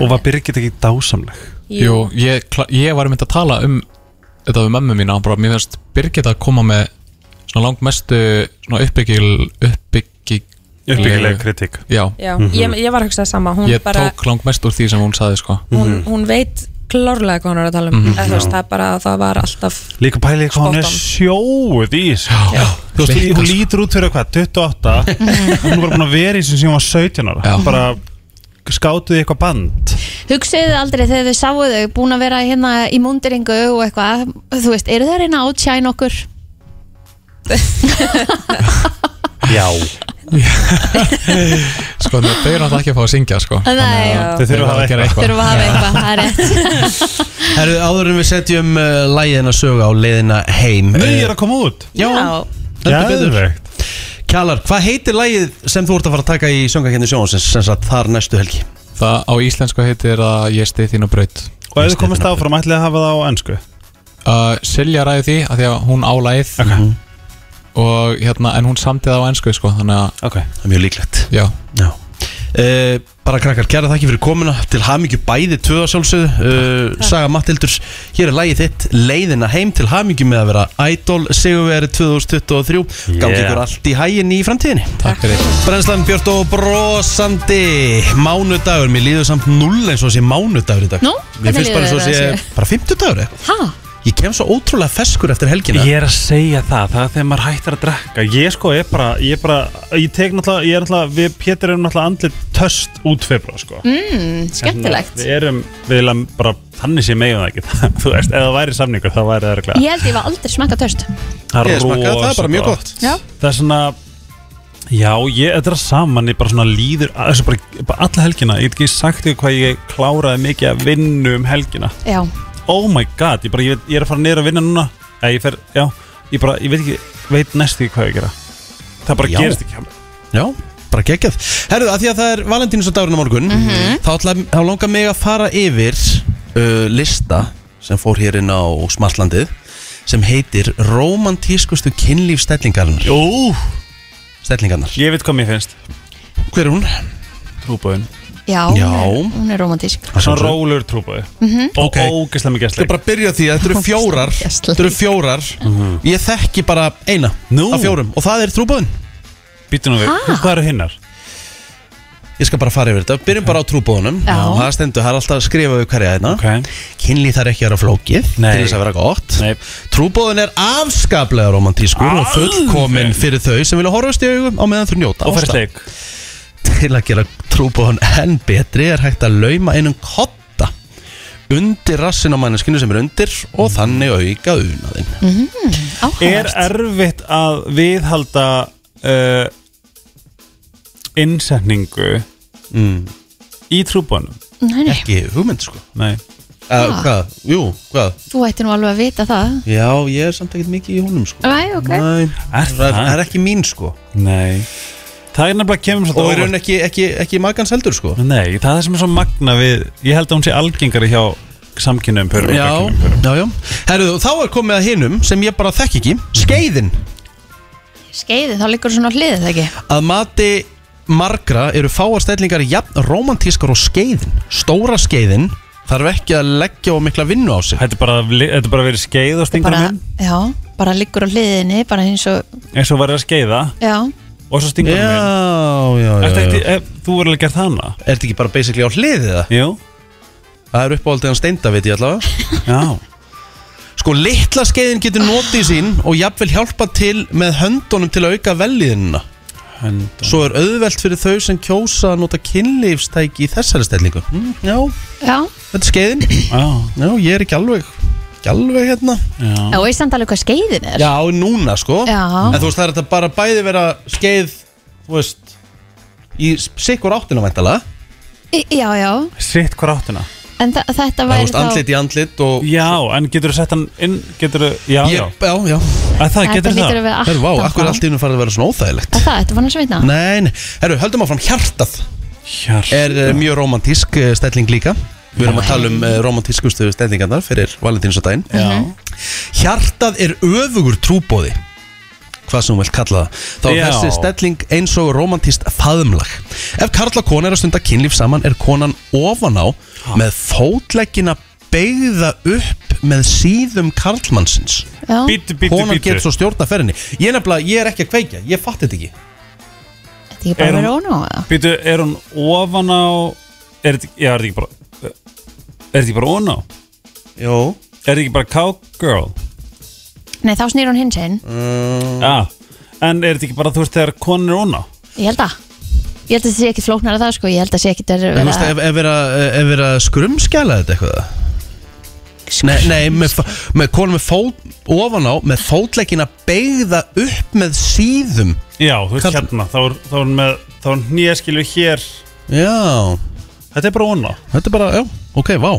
Og var Birgit ekki dásamleg? jú, ég, kla- ég var einmitt að tala um Þetta við mömmu mína, bara, mér finnst Birgit að koma með svona langmestu Svona uppbyggil, uppbyggil Uppbyggileg kritik Mhm. Já, já, ég, ég var að hugsa það sama hún, Mhm. ég bara, tók langmest úr því sem hún saði, sko hún, Mhm. hún veit klárlega hvað hún er að tala um eða þú veist, það er bara, það var alltaf Líka pæli hvað hún er Spot on. sjóð í þessu Þú veist, Klikkað, hún sko. lítur út fyrir hvað, 28 Hún er bara búin að vera í þessu sem hún var 17 ára Já. Bara skátuði eitthvað band Hugsiðu þið aldrei þegar þau sáu þau búin að vera hérna í múndiringu og eitthvað Þú veist, eru þau að reyna að átsjæna okkur? Já Sko, þau þau eru náttúrulega ekki að fá að syngja, sko Nei, já. Þau þurfa að hafa gera eitthvað þurfum að hafa eitthvað, það er rétt Herru, áður en við setjum uh, lægina sögu á leiðina heim Nei, ég Eh, er að koma út Já, heldur betur Geðveikt. Kjallar, hvað heitir lægið sem þú ert að fara að taka í söngakenni sjónsins sem sagt þar næstu helgi? Það á íslensku heitir að ég stið þín á braut Og ef þú komist áfram, ætlið þið að hafa það á ennsku uh, Silja ræði því að því að hún álæð Ok, og hérna, en hún samdi það á ennsku, sko Þannig að, ok Það er mjög líklegt já, Já Uh, bara krakkar, kæra þakki fyrir komuna til hamingju bæði tvöða sjálfsögðu uh, Saga Mattildur, hér er lagið þitt leiðina heim til hamingju með að vera Idol Sigurveri 2023 gangi Yeah. ykkur allt í hægin í framtíðinni takk fyrir Brennslan Björn og brosandi Mánudagur, mér líður samt null eins og sé mánudagur í dag Nú, Mér hvernig finnst bara líður eins og þér sé að bara 50 dagur Ha? Ég kem svo ótrúlega feskur eftir helgina Ég er að segja það, það er þegar maður hættir að drekka Ég sko, ég bara, ég bara Ég tek náttúrulega, ég er náttúrulega Við Pétur erum náttúrulega andlit töst út februar sko. Mm, skemmtilegt Við erum, Hérna, við erum bara Þannig sé megin það ekki, þú veist Ef það væri samningur, þá væri það örglega Ég held ég var aldrei smakka törst Ég smakkaði það, bara mjög gott. Já. Það er svona Já, ég, þetta er saman, ég bara svona líður þessu bara, bara alla helgina, ég get ekki sagt ykkur hvað ég kláraði mikið að vinnu um helgina Já, oh my god, ég, bara, ég, veit- ég er að fara niður að vinna núna eða ég fer, já, ég bara, ég veit ekki veit næst ekki hvað ég að gera það bara Já. gerist ekki Já, bara geggjað Herðu, að því að það er Valentínus á dagurinn á morgun þá, ætla, þá langar mig að fara yfir uh, lista sem fór hér inn á Smartlandið sem heitir Romantískustu kynlíf stellingarnar Jú, Stellingarnar ég veit hvað mér finnst Hver er hún? trúbóðin, já, Já. Hún, er, hún er Mhm. romantísk svona rólur trúbóði og Ok. ógeðslega mikið Ég sleik bara að byrja á því að þetta eru fjórar Ógeðslega. Þetta eru fjórar Ég þekki bara eina Mhm. Nú. af fjórum Og það er trúbóðin býtu nú við, hvað eru hinnar? Ég skal bara fara yfir þetta Byrjum bara á trúbóðunum Já. Það stendur, það er alltaf að skrifa við hverja þetta ok, Kynlíf þarf ekki að vera flókið Nei. Til þess að vera gott Nei. Trúbóðin er afskaplega romantískur Og fullkomin fyrir þau sem vilja horfast í augum Á meðan þau njóta og fyrir ásta. sleik Til að gera trúbóðin enn betri Er hægt að lauma einum kotta Undir rassin á manneskinu sem er undir Og þannig auka unaðinn er Áhugavert erfitt að viðhalda uh, innsetningu mm. í trúbóðinum Nei, nei, Ekki hugmynd sko nei, uh, Hvað? Jú, hvað? Þú ætti nú alveg að vita það Já, ég er samt ekkert mikið í honum sko Nei, ok Nei, Er það er, það? það er ekki mín sko nei það er nefnilega kemur Og svolítið er óvart. hún ekki, ekki, ekki magans heldur sko Nei, það er sem er svo magna við Ég held að hún sé algengari hjá samkynum pörum og Já, gagnkynhneigðum pörum. já, já Herruðu, þá er komið að hinum sem ég bara þekk ekki Skeiðin Skeiðið, þá liggur svona á hliðið það ekki Að mati margra eru fáar stellingar jafn romantískar og skeiðin Stóra skeiðin þarf ekki að leggja og mikla vinnu á sig Þetta er bara, þetta er bara verið skeið og stingur um bara, hann inn já, bara liggur á hliðinni bara eins og, eins og verið að skeiða já, og svo stingur hann inn Já, já, já, Ertu já. ekki, er, Þú verður alveg gert hana Er þetta ekki bara basically á hliðið það? Jú, Það er uppáhaldið hann steinda, veit ég allavega já Sko, litla skeiðin getur notið sín og jafnvel hjálpa til með höndunum til að auka velliðinna Hönda. Svo er auðvelt fyrir þau sem kjósa að nota kynlífstæki í þessari stellingu mm, Já, já þetta er skeiðin Já, Já, ég er ekki alveg, ekki alveg hérna já Já, veist samt alveg hvað skeiðin er Já, núna, sko Já. En þú veist, það er þetta bara bæði vera skeið, þú veist, í sikkur áttina væntalega Í- já, já. Sitt hvar áttuna en þa- þetta Það væri veist, andlit í andlit og Já, en getur þú sett hann inn Getur þú, já, Ég, já já, já að Það þetta getur lítur það að vera Herru, vá, aftan akkur er frá. allt í hennum farið að vera svona óþægilegt Er Það, þetta var hann að sveitna Nei, nei, herru, höldum áfram hjartað Hjart Er uh, mjög romantísk uh, stelling líka Við erum að tala um uh, romantískustu stellingarnar fyrir valentínsdaginn Já, Mhm. Hjartað er öfugur trúbóði hvað sem hún vilt kalla það þá er Já. þessi stelling eins og romantist faðumlag ef karl og kona er að stunda kynlíf saman er konan ofan á með fótleggina beigða upp með síðum karlmannsins Já, bítu, bítu, konan getur bítu svo stjórna ferðinni ég er nefnilega, ég er ekki að kveikja, ég fatt þetta ekki þetta er ekki bara að Er hún- vera ónú eða? Bítu, er hún ofan á Er þetta, já, er þetta ekki bara Er þetta ekki bara ofan á Jó, Er þetta ekki bara cowgirl Nei, þá snýr hún hins einn Uh. Já, Ah, en er þetta ekki bara, þú veist, þegar konan er ofan á Ég held að Ég held að það sé ekki flóknar að það sko Ég held að sé ekki að en þú veist, ef, vera ef vera, ef vera skrumskjala þetta eitthvað Nei, nei með, fó- með konum með fót ofan á, með fótleggina beigða upp með síðum Já, þú veist, Karl- hérna, þá er þá er hún með Þá er hún hnýjaskilu hér Já, Þetta er bara ofan á Þetta er bara, já, ok, vá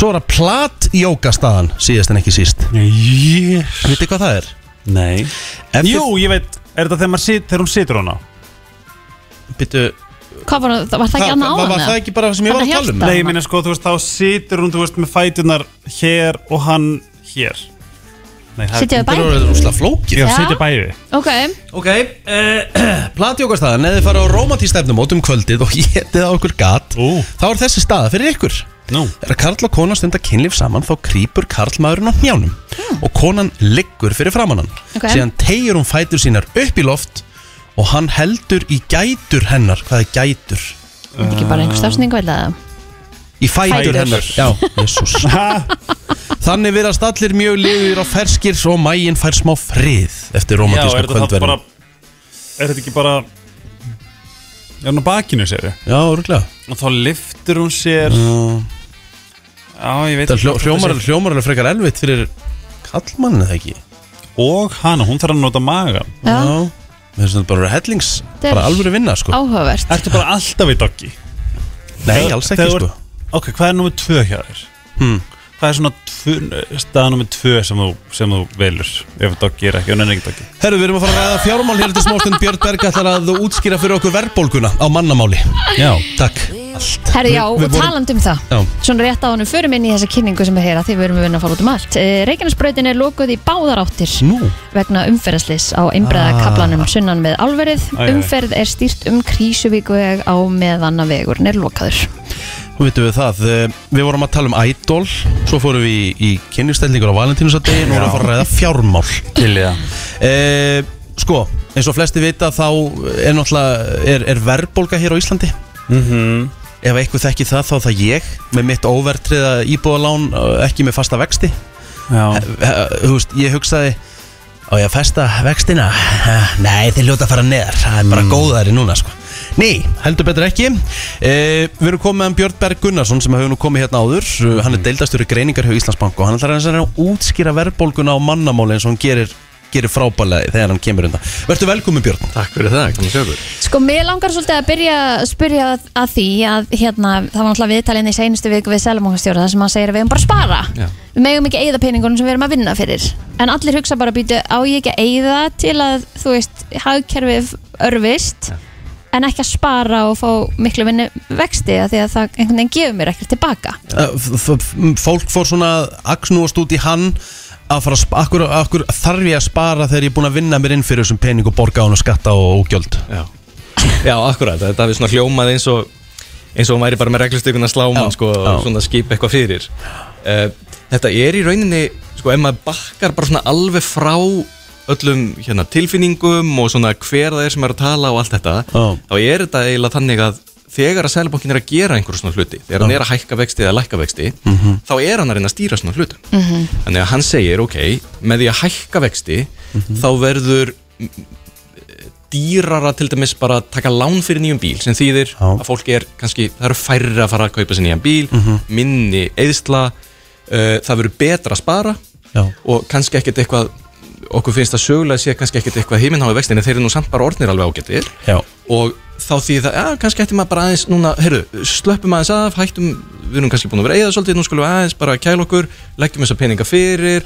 Svo er það platjókastaðan síðast en ekki síst Yes. Vitið hvað það er? Nei Eftir, Jú, ég veit, er þetta þegar, maður sit, þegar hún situr hana? Bittu, Hvað var það, var það ekki annað á var, var það hana? ekki bara það sem ég var að Þarna tala um? hjarta. Nei, ég meina sko, þú veist, þá situr hún, þú veist, með fætunar hér og hann hér Nei, Sitja það við Þetta er bæði? orðið rúslega flókið Já, Já. sitja bæði Ok, Ok, uh, platjókastaðan eða þið fara á romantístefnum út um kvöldið og getið á okkur gat Ú. þá er þessi staða fyrir ykkur Nú, Er að karl og kona stunda kynlíf saman þá krýpur karlmaðurinn á hnjánum og konan liggur fyrir framann hann Hmm. Ok. síðan tegir hún fætur sínar upp í loft og hann heldur í gætur hennar hvað er gætur? er þetta ekki bara einhver stafsning vel að Í fætur, Fætur. hennar Já, Jesus Þannig virðast allir mjög liður á ferskir Svo mægin fær smá frið Eftir já, er romantíska þetta þá bara kvöldverðin Er þetta ekki bara Er hún á bakinu, segir Já, örgulega Og þá liftur hún sér Já, ég veit Þetta er hljó- hvort hljómar þetta hljómar alveg frekar elvitt fyrir Kallmann eða ekki sé- Og hana, hún þarf að nota magan Já, Mér finnst þetta bara að vera hellings er Bara alvöru vinna, sko áhugavert Ertu bara alltaf í doggi? Nei, alls ekki, Þegar- sko Ok, hvað er nummið tvö hjá þér? Hmm. Hvað er svona tvö, staða nummið tvö sem þú, sem þú velur Ef doggi er ekki, hún er ekki doggi Herru, við erum að fara að ræða fjármál hér til smástund Björn Berg ætlar að útskýra fyrir okkur verðbólguna á mannamáli Já, takk Herri, já, Við- við og vorum- taland um það Já, Svona rétt á honum förum inn í þessa kynningu sem er hér að því við erum að vinna að fara út um allt Reykjanesbrautin er lokuð í báðaráttir nú Ah. vegna umferðaslis á einbreðakablanum sunnan með alverið Æ, æ, æ. Umferð er stýrt um krísuvíkuveg á meðan að vegurinn er lokaður Þú veitum við það, eh, við vorum að tala um Idol Svo fórum við í, í kynningstællingur á valentínusadegi Nú erum við að fara að ræða fjármál Til í það e, Sko, eins og flesti vita þá er náttúrulega er, er verðbólga hér á Íslandi Mhm. Ef eitthvað þekki það þá er það ég Með mitt óvertriða íbúðalán eh, ekki með fasta vexti Já, Eh, þú veist, ég hugsaði á ég að festa vextina Eh, nei, þeir ljóta að fara neðar það er Mm. bara góðari núna sko Nei, heldur betur ekki e, Við erum komið meðan Björn Berg Gunnarsson sem hefur nú komið hérna áður Eh, Mhm. Hann er deildastur í greiningar hjá Íslandsbanku og hann ætlar aðeins að reyna að útskýra verðbólguna á mannamáli eins og hann gerir, gerir frábælega þegar hann kemur undan Vertu velkomin Björn Takk fyrir það, komum sjöfur Sko, mér langar svolítið að byrja að spyrja að því að hérna, það var náttúrulega viðtalinn í seinustu viku við Selmókastjóra þar sem hann segir að við eigum bara að spara Já. Við megum ekki eigða peningunum sem við erum að vinna fyrir En allir hugsa bara að býta á ég ekki að eigða til að, þú veist, hagkerfið örfist En ekki að spara og fá miklu minni vexti af Því að það einhvern veginn gefur mér ekkert tilbaka Eh, f- f- m, Fólk fór svona að aksnúast út í hann að fara að spa, akkur, akkur þarf ég að spara þegar ég er búin að vinna mér inn fyrir þessum pening og borga á hann og skatta og, og gjöld Já, já akkurat, þetta hefði svona hljómað eins og eins og hún væri bara með reglustökun að slá mann sko, og svona skipa eitthvað fyrir uh, þetta er í rauninni sko, ef maður bakkar bara svona alveg frá öllum hérna, tilfinningum og svona hver það er sem er að tala og allt þetta þá er þetta eiginlega þannig að þegar að sælbókin er að gera einhverjum svona hluti þegar hann Já. er að hækka vexti eða lækka vexti Mhm. þá er hann að reyna að stýra svona hlutum Mhm. þannig að hann segir, ok, með því að hækka vexti Mhm. þá verður mm, dýrara til dæmis bara að taka lán fyrir nýjum bíl sem þýðir að fólk er kannski, það eru færri að fara að kaupa sér nýjan bíl Mhm. minni eðsla uh, það verður betra að spara Já. og kannski ekkert eitthvað okkur finnst að sögulega sé kannski ekkert eitthvað heiminháði vextin en þeir eru nú samt bara orðnir alveg ágættir Já. og þá því það, já, kannski ætti maður bara aðeins núna, heyrðu, slöppum aðeins af hættum, við erum kannski búin að vera að eyða svolítið nú skulum við aðeins bara kæla okkur, leggjum þessa peninga fyrir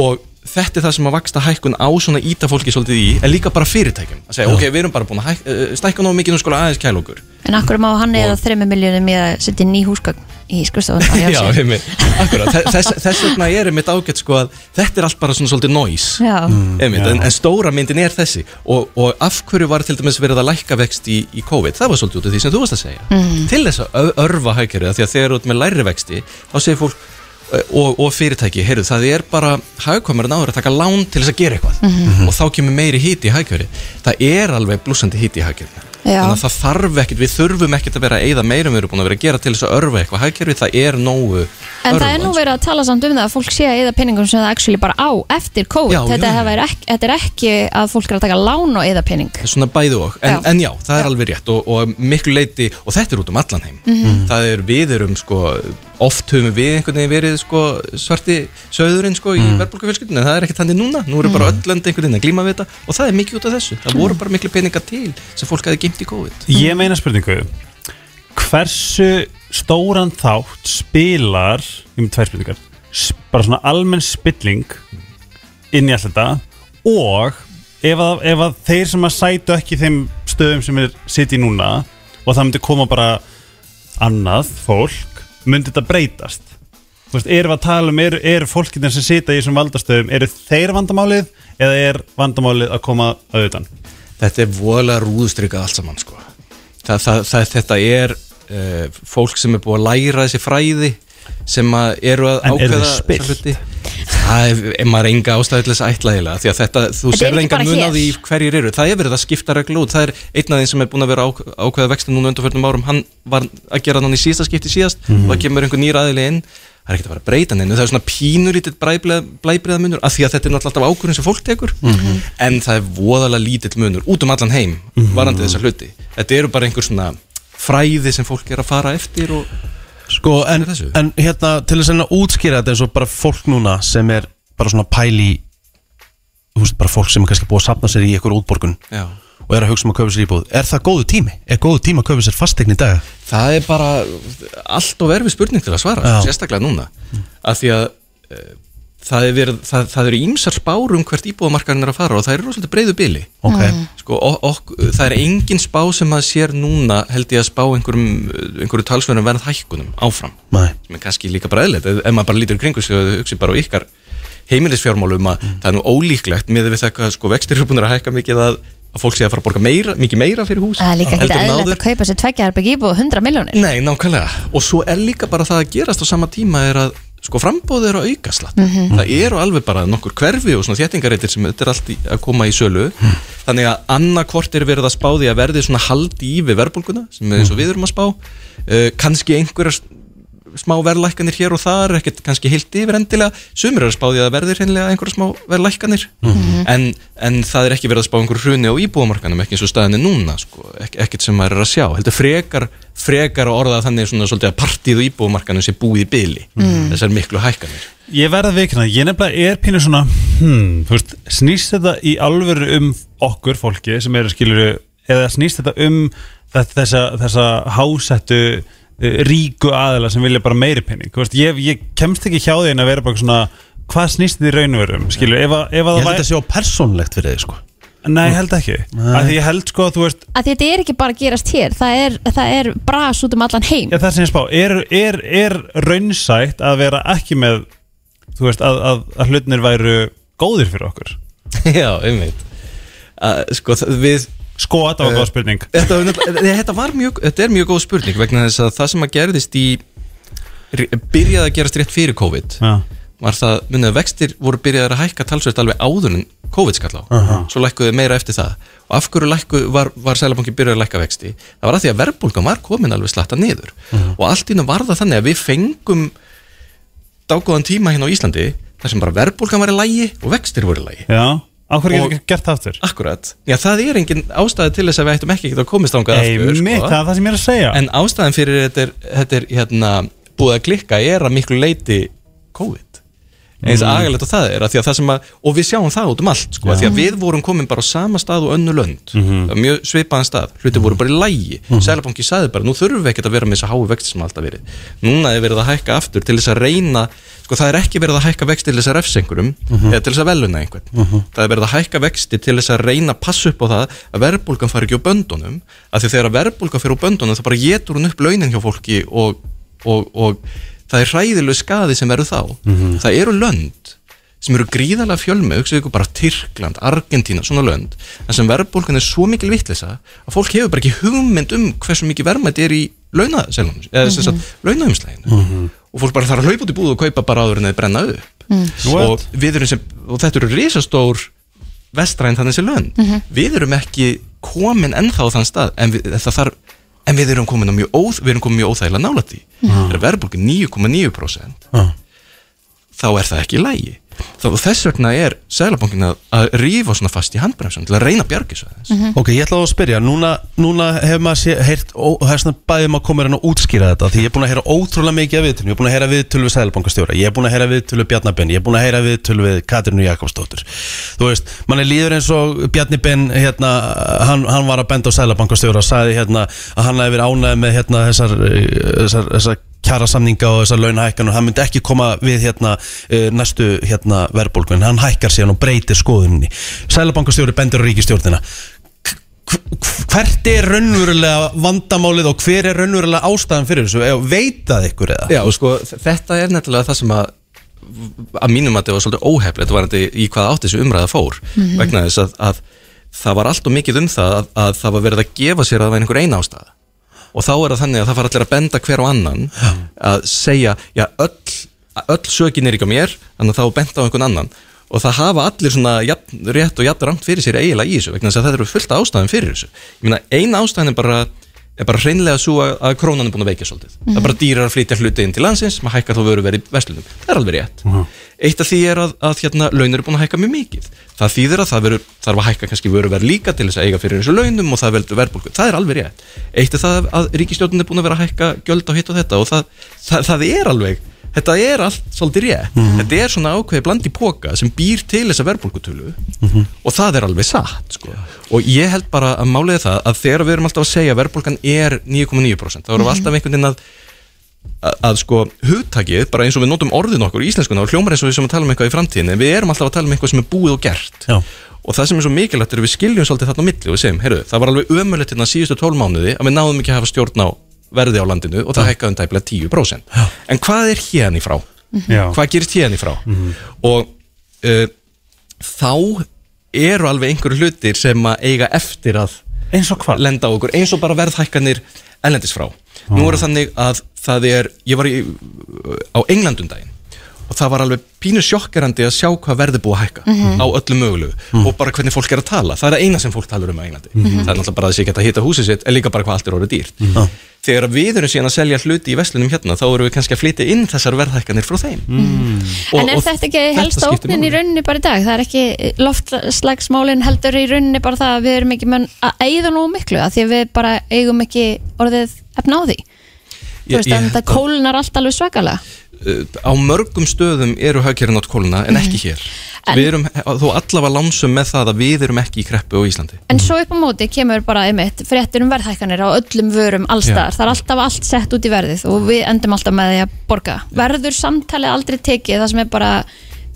og þetta er það sem að vaksta hækkun á svona íta fólki svolítið í, en líka bara fyrirtækjum að segja, Já. ok, við erum bara búin að hæk- eh, stækka nógu mikið nú skulum við aðeins kæla okkur En akkur má hann eða þremmu miljónum í að setja ný húsgögn í skurstofunum á Já, hjálpsið. einmitt, akkurat, þess, þess vegna er einmitt ágætt sko að þetta er allt bara svona svolítið noise Já. Mm, einmitt, já. en, en stóra myndin er þessi og, og af hverju var til dæmis verið að lækka vext í, í COVID, það var svolítið út af því sem þú varst að segja Mhm. til þess að ö- örfa hækjörið því að þegar þú ert með læri vexti þá segir fólk ö, og, og fyrirtæki, heyrðu, það er bara hagkomur en áður að taka lán til þess að gera eitthvað Mhm. og þá kemur meiri híti í hækjörið það er alveg blúsandi híti í hækjörið Já. þannig að það þarf ekkert, við þurfum ekkert að vera að eyða meira en við erum búin að vera að gera til þess að örfa eitthvað hagkerfi, það er nógu En það er nú verið að tala samt um það að fólk sé að eða peningum sem það actually bara á eftir COVID. Já, þetta, já, já. já. Ekki, þetta er ekki að fólk er að taka lán og eða pening. svona bæðu og, en Já. já, en já það er alveg rétt og, og miklu leiti, og þetta er út um allan heim Mhm. það er, við erum sko oft höfum við einhvern veginn verið sko svarti söðurinn sko í Mhm. verðbólkufjölskyldinu en það er ekki þannig núna, nú eru bara öll lönd einhvern veginn að glíma við þetta og það er mikið út af þessu, það voru bara miklu peninga til sem fólk hefði geimt í COVID Ég meina spurningu Hversu stóran þátt spilar Ég með tvær spurningar s- Bara svona almenn spilling Inn í allt þetta Og ef að, ef að þeir sem að sætu ekki í Þeim stöðum sem er sitt í núna Og það myndi koma bara Annað fólk Myndi þetta breytast Þú veist, erum við að tala um, eru, eru fólkinn sem sita í þessum valdastöðum, eru þeir vandamálið eða er vandamálið að koma að utan? Þetta er voðalega rúðstrykað allt saman sko. það, það, það, Þetta er uh, fólk sem er búið að læra þessi fræði sem að eru að En eru ákveða þau spillt? þessa hluti. Það er, er maður enga ástæðilegs ætlaðilega því að þetta, þú Þetta er sér ekki engan bara mun á hér. því hverjir eru það er verið að skipta reglu út, það er einn af þeim sem er búin að vera ák- ákveða vextin núna undanförnum árum hann var að gera hann í síðasta skipti síðast Mhm. og það kemur einhver nýr aðili inn það er ekkert að fara að breyta neinu, það er svona pínulítill blæbreiða munur, af því að þetta er náttúrulega alltaf ákvörðun sem fólk tekur Mhm. en það er voðalega lítill munur út um allan heim Mhm. varandi þessa hluti þetta eru bara einhver svona fræði sem fólk er að fara eftir og Sko, en, en hérna, til þess að útskýra þetta eins og bara fólk núna sem er bara svona pæli þú veist, bara fólk sem er kannski búið að sapna sér í einhver útborgun Já. og er að hugsa um að kaupa sér íbúð Er það góðu tími? Er góðu tími að kaupa sér fasteign í dag? það er bara allt og verfið spurning til að svara, Já. sérstaklega núna af því að eh, það, er verið, það, það eru ímsar spár um hvert íbúðamarkarinn er að fara og það eru rosalega breyðu bili Ok. Mm. sko, og, og, það er engin spá sem að sér núna held ég að spá einhverjum, einhverju talsverðum verð hækkunum áfram Nei. sem er kannski líka bara eðlilegt ef ef maður bara lítur í kringu sig og hugsi bara á ykkar heimilisfjármálum að Mm. það er nú ólíklegt með við þekka sko vextir eru búin að hækka mikið að, að fólk sé að fara að borga meira, mikið meira fyrir hús Það er líka ekki heldur en áður. eðlilegt að kaupa sér tveggjarberg íbúð og 100 miljónir. Nei, nákvæmlega Og svo er líka bara það að gerast á sama tíma er að sko frambóð eru að auka slatt Mm. Mhm. Það eru alveg bara nokkur hverfi og svona þéttingareitir sem þetta er allt í, að koma í sölu Þannig að annarkvort er verið að spá því að verði svona haldi í við verðbólguna sem er eins og við erum að spá uh, Kanski einhverjar s- smá verðlækkanir hér og þar ekkert kannski heilt yfir endilega Sumir eru að spá því að verði hreinlega einhverjar smá verðlækkanir Mhm. en, en það er ekki verið að spá einhverju hruni á íbúðamarkanum ekki eins og staðinni núna sko, ek, ekkert sem maður er að sjá heldur frekar, frekar að orða þannig svona svolítið að partíð á íbúðamarkanum sé búið í byli Mm. þessar miklu hækkanir Ég verð að vikna, ég nefnilega er pínu svona hmm, þú veist, snýst þetta í alvöru um okkur fólki sem eru skiluru eða snýst þetta um þetta, þessa, þessa hásettu eh, ríku aðila sem vilja bara meiri pening Þú veist, ég, ég kemst ekki hjá því en að vera bara svona hvað snýst þetta í raunverum skiluru, um, ef, að- ef Ég að held væri- þetta sé á persónlegt fyrir þig, sko Nei, ég held ekki Nei. Af því ég held sko, þú veist, Að þetta er ekki bara að gerast hér, það er, það er bras út um allan heim. Já, það sem ég spá, er, er, er raunsætt að vera ekki með þú veist, að, að, að hlutnir væru góðir fyrir okkur Já, einmitt að, sko, það- við Sko, þetta var góð spurning þetta, var nefnilega- eh, þetta, var mjög, þetta er mjög góð spurning vegna þess að það sem að gerðist í ri- byrjaði að gerast rétt fyrir COVID Já. var það, munið að vextir voru byrjaðir að hækka talsvert alveg áður en COVID skall á Aha. svo lækkuðu meira eftir það og af hverju lækku, var, var Sælabankin byrjaði að lækka vexti það var að því að verðbólgan var komin alveg slatta niður Mhm. og allt í hennu var það þannig að við fengum dágóðan tíma hérna á Íslandi þar sem bara verðbólgan var í lægi og vextir voru í lægi Já, á hverju Og- getur ekki gert það aftur? Akkurat, já það er engin ástæði til þess að við ættum ekki að geta komist ángað aftur sko. Einmitt, það er það sem ég er að segja En ástæðan fyrir þetta er, þetta er hérna, búið að klikka er að miklu leiti COVID eins mm. agalegt og það er að því að það sem að og við sjáum það út um allt sko, að því að Mhm. við vorum komin bara á sama stað og önnu lönd mm. mjög svipaðan stað, hluti voru bara í lægi mm -hmm. Sælabanki sagði bara, nú þurfum við ekkert að vera með þess að háu vexti sem alltaf verið núna er verið að hækka aftur til þess að reyna sko það er ekki verið að hækka vexti til þess að refsa einhverjum eða til þess að veluna einhvern Mhm. það er verið að hækka vexti til þess að reyna að passa upp á það að verðbólgan fari ekki úr böndunum af því að þegar verðbólgan fer úr böndunum þá bara getur hún upp launin hjá fólki og, og, og það er hræðileg skaði sem verður þá það eru lönd sem eru gríðalega fjölmið, hugsaðu ykkur bara Tyrkland, Argentína, svona lönd en sem verðbólgan er svo mikil vittlisa að fólk hefur bara ekki hugmynd um hversu mikið verðmætt er í launaselunum eða sem sagt launaumslæginu Mhm. og fólk bara þarf að hlaupa út í búð og kaupa bara áður en þeir brenna upp og, What? við erum sem, og þetta eru risastór vestræn þannig sem lönd við erum ekki komin ennþá á þann stað en við, það þarf en við erum komin á mjög óð, við erum komin mjög óþægilega nálætt í þegar verðbólgan 9,9% þá er það ekki í lægi þá þess vegna er sælabankin að, að rífa svona fast í handbremsun til að reyna að bjargi svo aðeins Ok, ég ætla að spyrja, núna, núna hefur maður sé, heyrt, ó, það er svona bæðið maður komið hérna að útskýra þetta því ég er búin að heyra ótrúlega mikið af viðtölum ég er búin að heyra viðtölu við Sæðalbankastjóra, ég er búin að heyra viðtölu við Bjarnar Ben, ég er búin að heyra viðtölu við Katrinu Jakobsdóttur þú veist, manni líður eins og Bjarni Ben, hérna, hann, hann var að benda á Sæðalbankastjóra og sagði hérna að hann hefði verið ánæði með hérna þessar, eh, þessar, þessar kjara og þessar launahækkan og hann myndi ekki koma við hérna eh, næstu hérna verðbólgun, hann hækkar síðan og breytir skoðunni. Sælabankastjóri bendur á ríkistjórnina hvert er raunverulega vandamálið og hver er raunverulega ástæðan fyrir þessu Eða veitað ykkur eða Já og sko þetta er nefnilega það sem að að mínum að þetta var svolítið óhefnilegt varandi í hvað átt þessu umræða fór vegna þess að, að það var allt og mikið um það að, að það var verið að gefa sér að það var einhver eina ástæða og þá er það þannig að það fara allir að benda hver á annan að segja, já öll öll sökin er ekki á mér þannig að þá benda á einhvern annan og það hafa allir svona jafn, rétt og jafn rangt fyrir sér eiginlega í þessu vegna þess að það eru fullt af ástæðum fyrir þessu ég meina eina ástæðan er bara er bara hreinlega svo að, að krónan er búin að veikja svolítið það er bara dýrar að flytja hluti inn til landsins maður hækkar þá vöru verið í verslunum, það er alveg rétt eitt af því er að, að hérna, laun eru búin að hækka mjög mikið, það þýðir að það veru, þarf að hækka kannski vöru verið líka til þess að eiga fyrir þessu launum og það veldur verðbólku, það er alveg rétt eitt er það að ríkistjórnin er búin að vera að hækka gjöld á hitt og þetta og það, það, það er alveg þetta er allt svolítið rétt þetta er svona ákveði bland í póka sem býr til þessa verðbólkutölu Mhm. og það er alveg satt sko. og ég held bara að máliði það að þegar við erum alltaf að segja að verðbólkan er 9,9% þá erum við alltaf einhvern veginn að að, að sko hugtakið, bara eins og við notum orðin okkur í íslenskuna og hljómar eins og við sem að tala um eitthvað í framtíðin en við erum alltaf að tala um eitthvað sem er búið og gert Já. og það sem er svo mikilvægt er að við skiljum svolítið þarna á milli og við segjum, heyrðu, það var alveg ömulegt hérna síðustu 12 mánuði að við náðum ekki að hafa stjórn á verði á landinu og það hækkaði um tæplega 10% en hvað er hérna í frá? Já. Hvað gerist hérna í frá? Og uh, þá eru alveg einhverju hlutir sem að eiga eftir að Eins og hvað? lenda á okkur eins og bara verðhækkanir ellendis frá nú er það þannig að það er ég var í, á Englandum daginn og það var alveg pínu sjokkerandi að sjá hvað verði búið að hækka á öllu mögulegu og bara hvernig fólk er að tala það er það eina sem fólk talar um á Englandi það er náttúrulega bara að sé ekki að hitta húsið sitt en líka bara hvað allt er orðið dýrt þegar við erum síðan að selja hluti í veslunum hérna þá erum við kannski að flytja inn þessar verðhækkanir frá þeim en er þetta ekki helsta skiptir óknin í máli. rauninni bara í dag? Það er ekki loftslagsmálin heldur í rauninni bara það að við erum ekki menn að eigða nógu miklu að því að við bara eigum ekki orðið efna á því. Þú Ég- veist, ég- en það kólnar allt alveg svakalega. uh, á mörgum stöðum eru hagkerinn átt kóluna en ekki hér Mhm. En- við erum þó allavega lánsum með það að við erum ekki í kreppu á Íslandi En svo upp á móti kemur bara einmitt fréttir um verðhækkanir á öllum vörum allstaðar. Það er alltaf allt sett út í verðið og við endum alltaf með því að borga. Verður samtalið aldrei tekið það sem er bara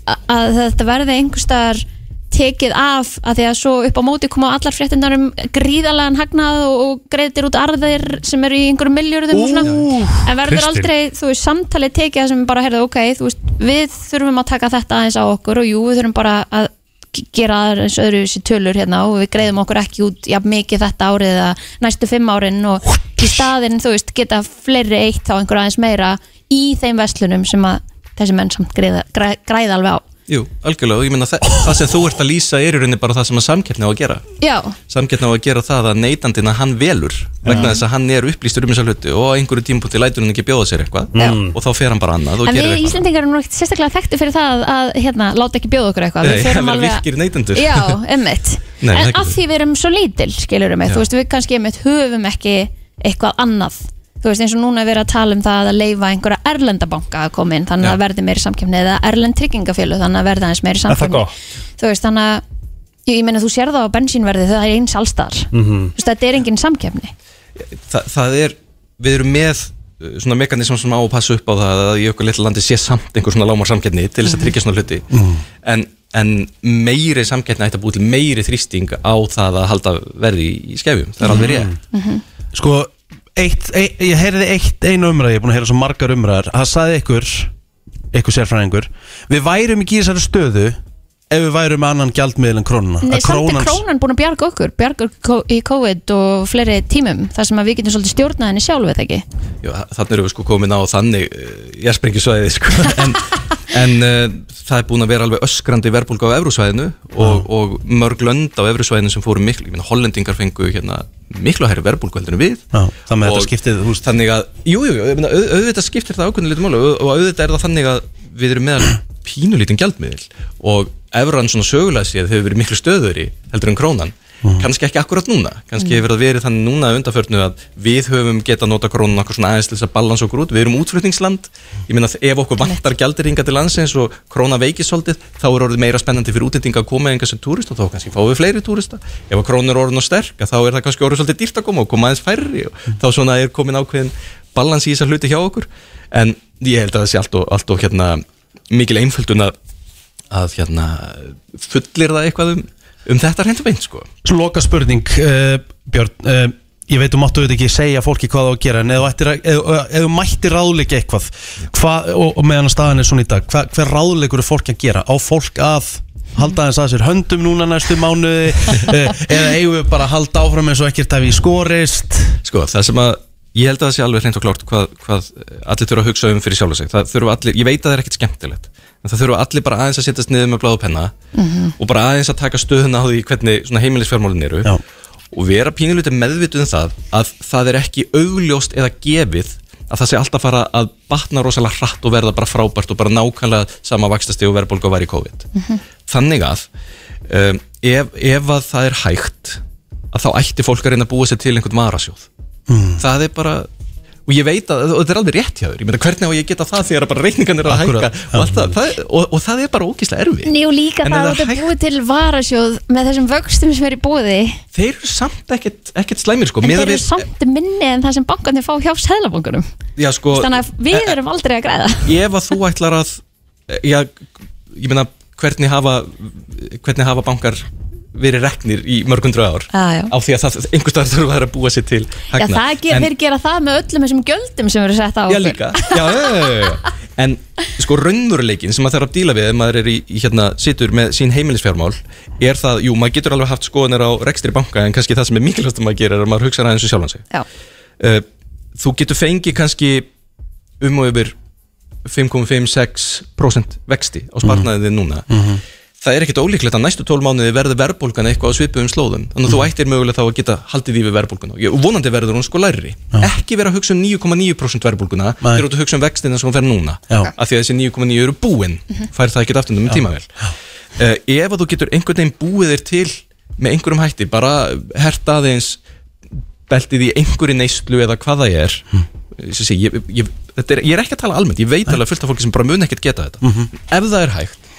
a- að þetta verði einhverstaðar tekið af að því að svo upp á móti koma allar fréttinnar um gríðarlegan hagnað og, og greiðir út arðir sem eru í einhverjum miljörðum og svona en verður Kristín. aldrei, þú veist, samtalið tekið það sem bara, heyrðu, ok, þú veist, við þurfum að taka þetta aðeins á okkur og jú, við þurfum bara að gera aðeins öðru sér tölur hérna og við greiðum okkur ekki út jafn mikið þetta árið eða næstu fimm árin og í staðinn þú veist geta fleiri eitt þá einhver aðeins meira í þeim veslunum sem að þessi menn samt greiða, græ, græða alveg á Jú, algjörlega, og ég meina þa Oh. það sem þú ert að lýsa er í rauninni bara það sem að samkeppni á að gera Já, samkeppni á að gera það að neytandina hann velur vegna þess að hann er upplýstur um þessa hluti og á einhverju tímpúti lætur hann ekki bjóða sér eitthvað Já. og þá fer hann bara annað og en gerir við eitthvað Íslendingar erum nú ekkert sérstaklega þekktu fyrir það að, að hérna, láta ekki bjóða okkur eitthvað Nei, Við förum að vera alveg að- virkir neytendur. Já, emmitt Nei, það En getur af við. því við erum svo lítil, skilurum við Já. Þú veist, við kannski emmitt höfum ekki eitthvað annað Þú veist, eins og núna er verið að tala um það að leifa einhverja erlendabanka að koma inn þannig að Já. verði meiri samkjöfni eða erlend tryggingafjölu þannig að verði aðeins meiri Er það samkjöfni gott? Þú veist, þannig að Ég, ég meina þú sér það á bensínverði þegar það er eins allstar mm -hmm. Þetta er engin samkjöfni Þa, það er, við erum með uh, svona mekanism sem á að passa upp á það að í okkur litla landi sé samt einhver svona lámar samkeppni til þess að tryggja svona hluti en, en meiri samkeppni ætti að búið til meiri þrýsting á það að halda verði í skefjum, það er Mhm. alveg rétt Mhm. Sko, eitt, e, ég heyrði eitt einu umræð, ég er búin að heyra svo margar umræðar Það saði ykkur, ykkur sérfræðingur Við værum ekki í þessari stöðu ef við værum með annan gjaldmiðl en krónuna Nei, Að samt er krónan- krónan búin að bjarga okkur bjarga okkur ko- í COVID og fleiri tímum þar sem að við getum svolítið stjórnað henni sjálf eða ekki Jú, þannig erum við sko komin á þannig ég sprengi svæðið sko en, en uh, það er búin að vera alveg öskrandi verðbólga á evrusvæðinu og, og mörg lönd á evrusvæðinu sem fóru miklu, ég meina hollendingar fengu hérna miklu hærri verðbólgu heldur en við Já, þannig að þetta Og skiptið, þú veist- þannig að, jú, jú, jú ég meina, auð, auðvitað skiptir það ákveðinu litur máli og og auðvitað er það þannig að við erum meðal pínulítinn gjaldmiðil og evran svona sögulega séð hefur verið miklu stöður í heldur en krónan kannski ekki akkurat núna, kannski hefur það verið þannig núna að undarförnu að við höfum getað nota krónan okkur svona aðeins til þess að balans okkur út, við erum útflutningsland ég meina að ef okkur vantar gjaldiringa til landsins og króna veikist svolítið, þá er orðið meira spennandi fyrir útlendinga að koma enga sem túrist og þá kannski fáum við fleiri túrista ef að krónan er orðin og sterk, að þá er það kannski orðið svolítið dýrt að koma og koma aðeins færri og þá svona er komin ákveðin balans í þessar hluti hjá okkur en ég held að það sé allt og, allt og hérna, mikil einföldun að, að hérna, fullir það eitthvað um, um þetta reyndu beint sko. Loka spurning, uh, Björn uh, Ég veit, þú máttu auðvitað ekki segja fólki hvað það á að gera En ef þú ættir að- ef- eh, ef- ef þú mættir ráðleika eitthvað hva, og, og meðan að staðan er svona í dag hva, Hver ráðleikur er fólki að gera? Á fólk að halda aðeins að sér höndum núna næstu mánuði uh, Eða eigum við bara að halda áfram eins og ekkert hafi í skorist Sko, það sem að ég held að það sé alveg hreint og klárt hvað, hvað allir þurfa að hugsa um fyrir sjálfa sig það þurfa allir, ég veit að það er ekkert skemmtilegt en það þurfa allir bara aðeins að setjast niður með bláðu penna Mhm. og bara aðeins að taka stöðuna á því hvernig svona heimilisfjármálin eru Já. og vera pínulítið meðvituð um það að það er ekki augljóst eða gefið að það sé alltaf fara að batna rosalega hratt og verða bara frábært og bara nákvæmlega sama vakstasti og verðbólga var í COVID þannig að um, ef, ef að það er hægt að þá ætti fólk að reyna að búa sér til einhvern varasjóð það er bara og ég veit að, og þetta er alveg rétt hjá þér ég meina hvernig á ég að geta það þegar bara reikningan er að Akkúrat. hækka og, allt það, það, er- og, og það er bara ókíslega erfið Jú, líka En það er að þetta hægt- búið til varasjóð með þessum vöxtum sem er í búði þeir eru samt ekkert, ekkert slæmir sko, en miðað þeir eru við- samt minni en það sem bankarnir fá hjá seðlabankunum já, sko, Þannig að við erum aldrei að græða ef að þú ætlar að e, já, ég meina hvernig hafa hvernig hafa bankar verið reknir í mörgundru ár Já, já. á því að það, einhver starf þurfa þær að búa sér til Já, hagnað. það ger, En- þeir gera það með öllum þessum gjöldum sem eru sett á Já, okkur. líka já, já, já, já, já. En sko raunveruleikin sem maður þarf að díla við ef maður er í, í hérna, situr með sín heimilisfjármál er það, jú, maður getur alveg haft skoðanir á rekstri banka en kannski það sem er mikilvægt að maður gerir er að maður hugsa aðeins um sjálfan sig Já. uh, Þú getur fengið kannski um og yfir 5,56% vexti á sparnaðið þinn núna Það er ekkit ólíklegt að næstu 12 mánuði verður verðbólgan eitthvað á svipuðum slóðum þannig að þú ættir mögulega þá að geta haldið í við verðbólguna og ég- vonandi verður hún sko læri ekki vera að hugsa um 9,9% verðbólguna Nei. þegar þú ert að hugsa um vextina sem hún fer núna Já. af því að þessi 9,9 eru búin fær það ekkit aftur um tímavel uh, ef að þú getur einhvern veginn búið þér til með einhverjum hætti, bara herta aðeins beltið í einhverju neyslu eða hvað það er Hmm. ég, sé, ég, ég, þetta er, ég er ekki að tala almennt ég veit alveg fullt af fólki sem bara mun ekkert geta þetta Mhm. ef það er hægt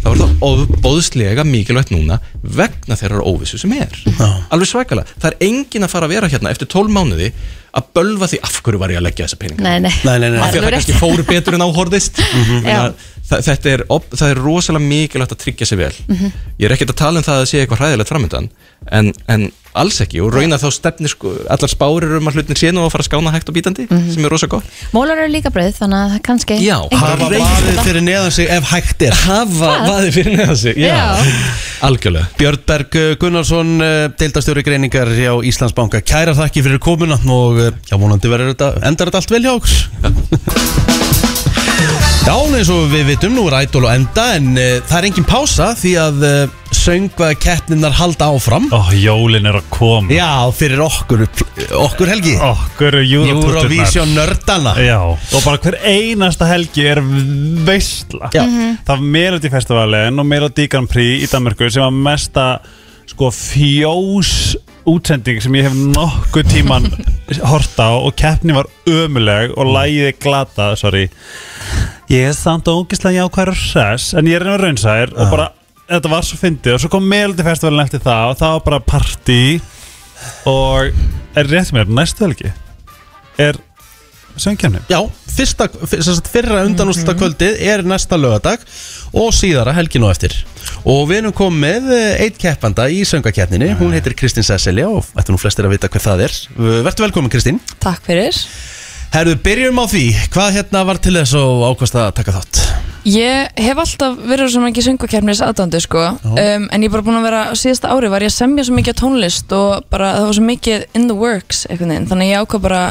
þá er það óbóðslega mikilvægt núna vegna þeirrar óvissu sem er alveg svakalega, það er engin að fara að vera hérna eftir 12 mánuði að bölva því af hverju var ég að leggja þessa peninga Nei, nei, Nei, nei, nei. Mhm. af því að það Alveg kannski rétt. fóru betur en áhorðist Þannig að Já. þa- þetta er, op- það er rosalega mikilvægt að tryggja sig vel ég er ekkert að tala um það að sé eitthvað hræðilegt framöndan en, en alls ekki og raunar þá stefnir sko, allar spárir um að hlutin sé nú að fara að skána hægt og bítandi Mhm. sem er rosalega gott Mólar eru líka brauð þannig að það kannski Já, einhver- hafa Hafa Reyna vaðið fyrir neðan sig ef hægt er hafa vaðið fyrir neðan sig Já. Algjörlega Björnberg eh, Gunnarsson, eh, deildastjóri greiningar hjá Íslandsbanka Kæra þakki fyrir komuna og eh, já, vonandi verður þetta, endar þetta allt vel hjá okkur Já, eins og við vitum, nú er ædol og enda en uh, það er engin pása því að uh, söngvakeppninnar halda áfram Ó, jólin er að koma Já, fyrir okkur, okkur helgi Okkur Europuturnar. Eurovision nördana Já, og bara hver einasta helgi er veistla Já. Mhm. Það er Melody Festivalin og Melody Grand Prix í Danmarku sem var mesta sko fjós útsending sem ég hef nokkuð tíman hort á og keppni var ömuleg og lægiði glata, sorry Ég er samt og ógislega jákvæður og hress en ég er einhver raunsæður og bara þetta var svo fyndið og svo kom Melody Festivalin eftir það og það var bara party og er rétt hjá mér, næstu helgi er söngjarnir Já, fyrsta, fyr- sem sagt, fyrra undanúslita kvöldið er næsta lögadag og síðara helgin og eftir og við erum komið eh, einn keppanda í söngakeppninni, hún heitir Kristín Sesselja og ættu nú flestir að vita hver það er Vertu velkomin Kristín Takk fyrir. Herðu, byrjum á því, hvað hérna var til þess og ákvæmst að taka þátt? Ég hef alltaf verið svo mikið söngvakeppnis aðdándu sko um, en ég er bara búin að vera, á síðasta ári var ég að semja svo mikið af tónlist og bara það var svo mikið in the works einhvern veginn þannig að ég ákvað bara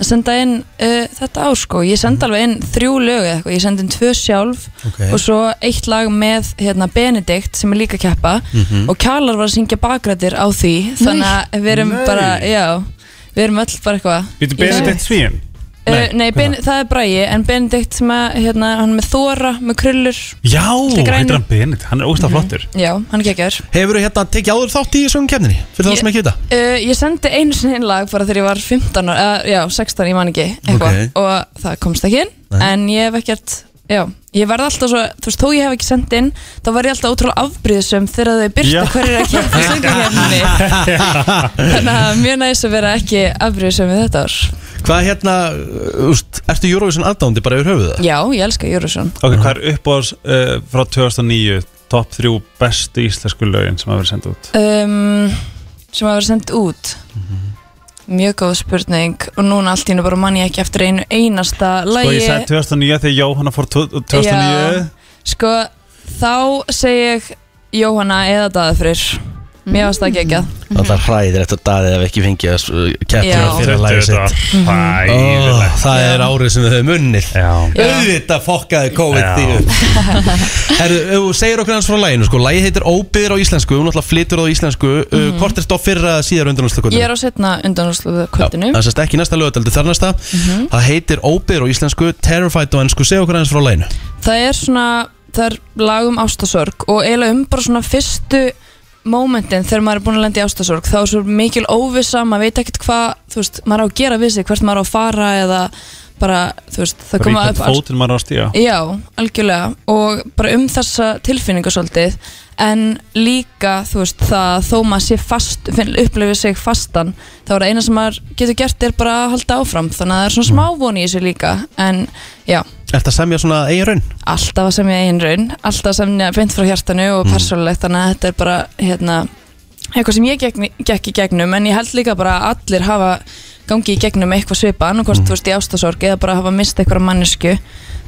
að senda inn uh, þetta ár sko, ég sendi alveg inn þrjú lög eða eitthvað, ég sendi inn tvö sjálf Ok. og svo eitt lag með hérna, Benedikt sem er líka að keppa Mhm. og Kjalar var að syngja bakrættir á því þannig að við erum Nei. bara, já við erum öll bara eitthvað Býtu í þessu. Benedikt Svín Nei, Eh, nei ben, það er Bræi, en Benedikt sem að, hérna, hann er með Þóra, með krullur Já, Allir grænir. heitir hann Benedikt, hann er óstað flottur Já, hann gekkjar Hefur þú hérna tekið áður þátt í söngakeppninni, fyrir Ég- þá sem ekki vita? uh, Ég sendi einu sinni einn lag bara þegar ég var 15 ára, uh, já, 16, ég man ekki eitthvað, Ok. og það komst ekki inn Nei. en ég hef ekkert, já ég verð alltaf svo, þú veist, þó ég hef ekki sendt inn þá var ég alltaf ótrúlega afbríðisum þegar þau byrta Já. hverjir að keppa hérna söngarhefni þannig að mjög næs að vera ekki afbríðisum við þetta ár Hvað hérna, uh, úst, ertu Eurovision aðdándi bara yfir höfuða? Já, ég elska Júrusson Ok, hvað er uppáðs uh, frá 2009 Top 3 bestu íslensku lögin sem hafa verið senda út um, sem hafa verið sendt út mjög góð spurning og núna allt í hennu bara manni ekki eftir einu einasta Sko lagi ég segi 2009 þegar Jóhanna fór tvo- 2009 sko þá segi ég Jóhanna eða Daðafrir mér varst það ekki Mm. Það er hræðir eftir daðið ef ekki fengið að uh, keppnina Mhm. Já. Mhm. fyrir að læra Þetta sitt var hræðilegt. Ó, Það er árið sem við höfum unnið Já. Auðvitað fokkaði COVID Já. því upp Herru, ef þú segir okkur hans frá læginu sko Lægi heitir Óbyður á íslensku Hún alltaf flytur það á íslensku mm -hmm. Mhm. Hvort er stóð fyrra eða síðar ég er undanúrstakotinu? á setna undan úrsluðu kvöldinu Það er sérst ekki næsta lögadaldi þar næsta Mhm. Það heitir Óbyður á íslensku Terrified á ennsku Segir okkur hans frá læginu það er svona það er lag um ástasorg og eiginlega um bara svona fyrstu momentin þegar maður er búin að lenda í ástasorg þá er svo mikil óvissa, maður veit ekkert hvað þú veist, maður á að gera við sig, hvert maður á að fara eða bara, þú veist, það koma Ríkjönd upp alls- fótinn maður á að stíga Já, algjörlega og bara um þessa tilfinningu svolítið en líka þú veist það þó maður sé fast finn- upplifir sig fastan þá er það eina sem maður getur gert er bara að halda áfram þannig að það er svona smá von í þessu líka en já, Er þetta semja svona eigin raun? alltaf að semja einn raun alltaf að semja beint frá hjartanu og Mm. persónulegt þannig að þetta er bara hérna, eitthvað sem ég gegn, gekk í gegnum en ég held líka bara að allir hafa gangi í gegnum eitthvað svipa Mm. annarkvort þú veist í ástasorg eða bara hafa mist eitthvað mannesku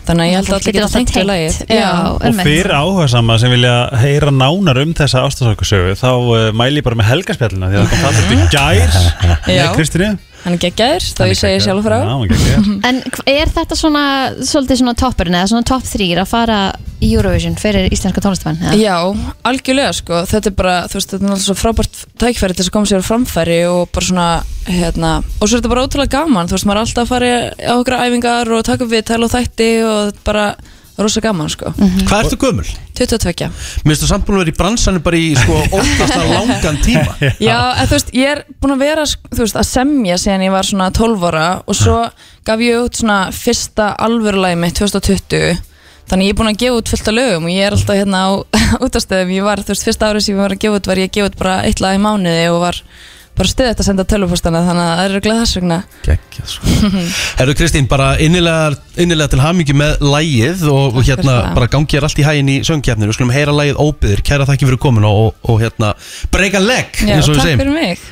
þannig að ég held að Fólk allir getur geta alltaf tengt við tengt. lagið Já, Og fyrir áhuga sama sem vilja heyra nánar um þessa ástasákusögu þá uh, mæli ég bara með helgaspjallina því að það kom það þetta í gær Já. með Kristínu hann er geggjaður þá ég segi sjálf frá Já, hún gekk ég. En hv- er þetta svona, svolítið svona toppurinn eða svona topp þrýr að fara í Eurovision fyrir íslenska tónlistamenn? eða? Já, algjörlega sko, þetta er bara, þú veist, þetta er náttúrulega svo frábært tækfæri til þess að koma sér á framfæri og bara svona, hérna, og svo er þetta bara ótrúlega gaman, þú veist, maður er alltaf að fara á okkur æfingar og taka við tæla og þætti og bara rosa gaman sko. Mhm. Hvað ertu gömul? 22. Mér finnst þú samt búin að vera í bransanum bara í sko óttastar langan tíma Já, en þú veist, ég er búin að vera sk- þú veist, að semja síðan ég var svona 12 ára og svo gaf ég út svona fyrsta alvörulægi mitt 2020 þannig ég er búin að gefa út fullt af lögum og ég er alltaf hérna á útastöðum ég var, þú veist, fyrsta árið sem ég var að gefa út var ég að gefa út bara eitt lag í mánuði og var bara stuðið að senda tölvupostana þannig að það er örugglega þess vegna Gekkja sko Herru Kristín, bara innilega, innilega til hamingi með lægið og, og hérna það. bara gangi þér allt í hæginn í söngjarnir og skulum heyra lægið óbyður, kæra þakki fyrir komin og, og, og hérna, break a leg Já, eins og við takk segjum fyrir mig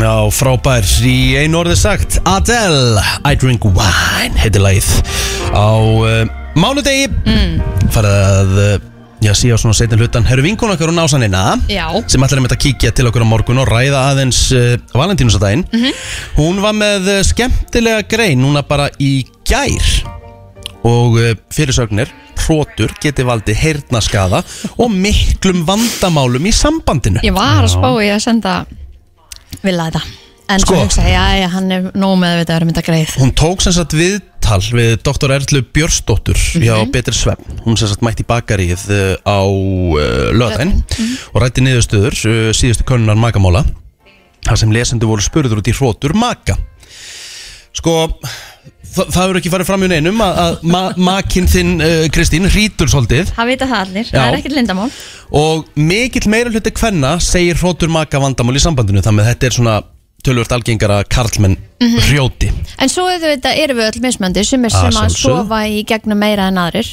Já, frábær, í einu orði sagt Adele, I drink wine heitir lægið á uh, mánudegi mm. eh, farið að uh, Já, síðan svona setjum hlutan Herru vinkun okkar og násanina Já. Sem allir er með að kíkja til okkur á morgun og ræða aðeins uh, Valentínusadaginn Mhm. Hún var með uh, skemmtilega grein Núna bara í gær Og uh, fyrirsögnir Hrótur geti valdið heyrnaskaða Og miklum vandamálum í sambandinu Ég var að spá í að senda Vil að þetta En Sko. svo hugsa, já, já, hann er nóg með að við þetta erum þetta greið Hún tók sem sagt viðtal við Dr. Erlu Björnsdóttur hjá Betri Svefn Hún sem sagt mætti í bakaríð uh, á uh, löðin og rætti niðurstöður uh, síðustu könnunar makamála þar sem lesendur voru spurður út í hrótur maka Sko, þa það hefur ekki farið fram í neinum að, að ma makinn þinn uh, Kristín hrýtur svolítið Það vita það allir, Já. það er ekkert lindamál og mikill meira hluti kvenna segir hrótur maka vandamál í sambandinu þannig að þetta er svona tölvört algengara karlmenn mm Mhm. hrjóti En svo auðvitað erum við öll mismöndi sem er Að sem að sjálfsögðu. sofa í gegnum meira en aðrir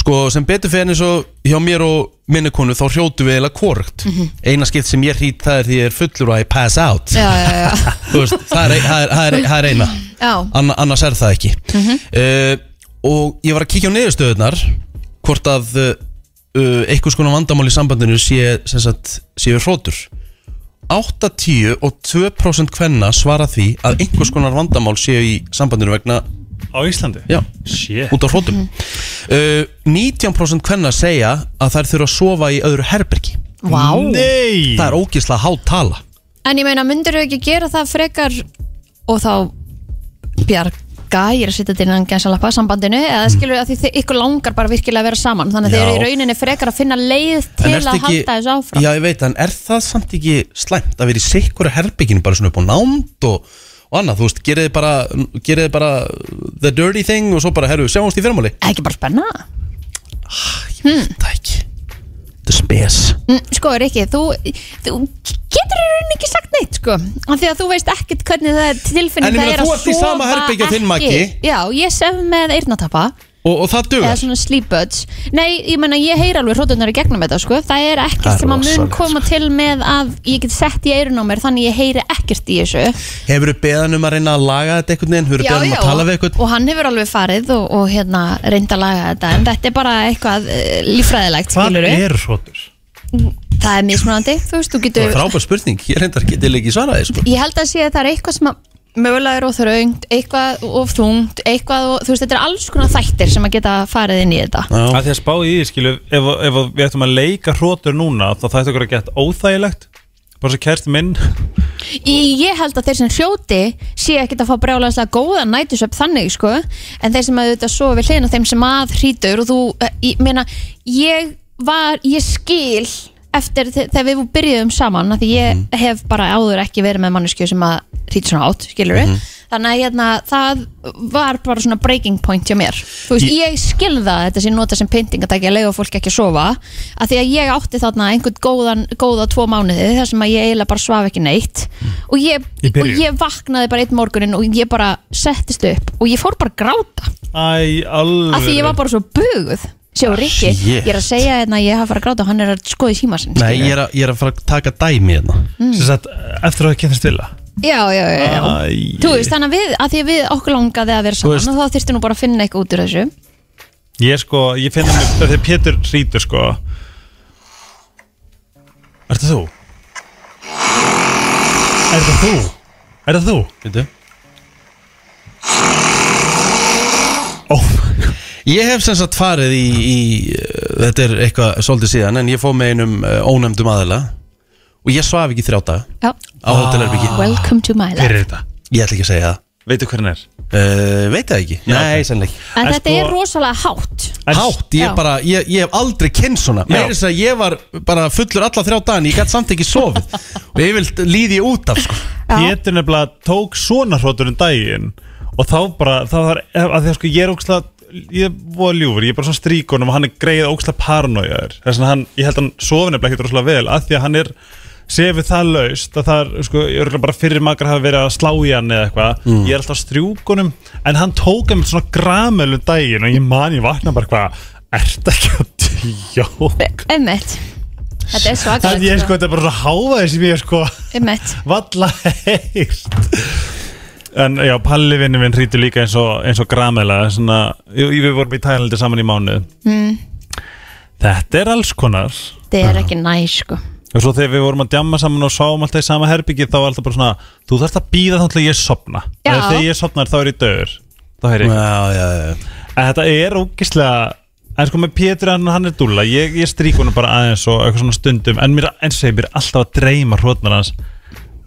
Sko sem betur fyrir eins og hjá mér og minni konu þá hrjótu við eiginlega korugt Mhm. Eina skipt sem ég hrýt það er því ég er fullur og I pass out Já, já, já, já. Þú veist, það, er, ein- það, er, það, er, það er eina já. Anna, Annars er það ekki Mhm. uh, Og ég var að kíkja á niðurstöðunar Hvort að uh, uh, einhvers konar vandamál í sambandinu sé, sem sagt, sé við hrótur 80 og 2% kvenna svara því að einhvers konar vandamál séu í sambandinu vegna Á Íslandi? Já, Shit. út á hrótum uh, 19% kvenna segja að þær þurfa að sofa í öðru herbergi Vá. Nei Það er ógislega há tala En ég meina, myndir þú ekki gera það frekar og þá bjarga, ég er að setja þetta innan gænsalappa sambandinu, eða skilur við að því þið, ykkur langar bara virkilega að vera saman, þannig að þið Mm. Já. eru í rauninni frekar að finna leið til En að ertu ekki- halda þessu áfram Já, ég veit, en er það samt ekki slæmt að vera í sikkuru herbygginu bara svona upp á nánd og, og annað, þú veist, gerið þið bara, gerið þið bara the dirty thing og svo bara, herru, sjáumst í fyrramáli Ekki bara spenna hmm. Það ekki Þetta er spes Mm, Sko, Rikki, þú, þú getur í rauninni ekki sagt neitt, sko af því að þú veist ekkert hvernig það er En tilfinning það ég meina, er að þú sofa ert í sama herbergi og þinn ekki. maki. Já, ég sef með eyrnatappa Og, og það dugar eða svona sleepbuds Nei, ég meina, ég heyr alveg hrótunar í gegnum þetta, sko það er Það er ekkert sem að mun rosalegt, sko. koma til með að ég get sett í eyrun á mér þannig ég heyri ekkert í þessu Hefur þið beðan um að reyna að laga þetta einhvern veginn, hefur þið beðan um að tala við einhvern og hann hefur alveg farið og, og hérna reynd að laga þetta en þetta er bara eitthvað uh, lífræðilegt Hvað skilurðu. er hrótur? Það er mismunandi, þú veist, þú Það er getur frábær spurning, ég reyndar getið ekki sko. svarað þessu ég held að sé að það er eitthvað sem að mögulega er óþröngt, eitthvað of þungt eitthvað, of- þú veist, þetta er alls konar þættir sem að geta farið inn í þetta Að því að spá í því, skilu, ef, ef við ættum að leika hrótur núna, þá það ætti okkur að geta óþægilegt bara svo kærst minn Í- Ég held að þeir sem hljóti sé ekkert að fá brjálæðislega góða nætusöp þannig sko en þeir sem að auðvitað sofa við hliðina á þeim sem að hrítur og þú, eh, ég meina ég var, ég skil eftir þe- þegar við byrjuðum saman af því ég hef bara áður ekki verið með manneskju sem að hrítur svona átt, skilur við Mhm. þannig að hérna, það var bara svona breaking point hjá mér þú veist, ég, skil það að þetta sem nota sem pynting að taka að leiða fólk ekki að sofa að því að ég átti þarna einhvern góðan, góða tvo mánuði þar sem að ég eiginlega bara svaf ekki neitt og ég, Í byrjun. og ég vaknaði bara einn morgunin og ég bara settist upp og ég fór bara að gráta Æ, alveg af því ég var bara svo buguð Ah, sjá Rikki, shit. ég er að segja hérna að ég hafa farið að gráta og hann er að skoða í síma sinni Nei, ég er, að, ég er að fara að taka dæmi hérna Mm. Sem sagt, eftir að það kynast vilja já, já, já, já. Æ, Þú veist, þannig að við, að því að við okkur langaði að vera Ah, Þú veist- saman og þá þyrfti nú bara að finna eitthvað út úr þessu Ég sko, ég finn að mér, þegar Pétur hrýtur sko Ertu þú? Ertu þú? Ertu þú? Veitu? Ég hef sem sagt farið í, í uh, þetta er eitthvað svolítið síðan en ég fóð með einum uh, ónefndum aðila og ég svaf ekki í þrjá daga Já. Ah. á hótelherbyggi Welcome to my life þetta? Ég ætla ekki að segja það Veitu hver hann er? sko, Uh, veit það ekki, nei, sannleik En þetta sko- er rosalega hátt Hátt, ég, Já. bara, ég, ég hef aldrei kynnt svona Mér er þess að ég var bara fullur alla þrjá dagin Ég gæti samt ekki sofið Og ég vil líði út af sko Pétur nefnilega tók svona hrótur um daginn og þá bara, það var að því að sko ég er óksla ég er voða ljúfur, ég er bara svona stríkunum og hann er greið óksla paranoiðar þess að hann, ég held að hann sofi nefnilega ekkert rosalega vel að því að hann er sefið það laust að það er, sko, ég er bara fyrir makar hafa verið að slá í hann eða eitthvað Mm. ég er alltaf á strjúkunum, en hann tók einmitt svona gramölu um daginn og ég man ég vakna bara hvað, ert ekki að djók Emmett Þetta er þannig ég svakalegt sko, þetta er bara háfaði sem ég sko Emmett Valla heyrt En já, Palli vinnu minn hrítur líka eins og, eins og gramela svona, jú, Við vorum í Tælandi saman í mánu mm. Þetta er alls konar þetta Ah. er ekki næ sko Og svo þegar við vorum að djamma saman og sáum alltaf í sama herbyggi þá var alltaf bara svona Þú þarft að býða þá til ég sopna Já. Þegar þegar ég sopnar þá er ég dögur Þá er ég já, já, já. En þetta er ógislega En sko með Pétur hann, hann er dúlla Ég, ég strík honum bara aðeins og eitthvað svona stundum En mér, eins og segir, mér er alltaf að dreyma hrótnar hans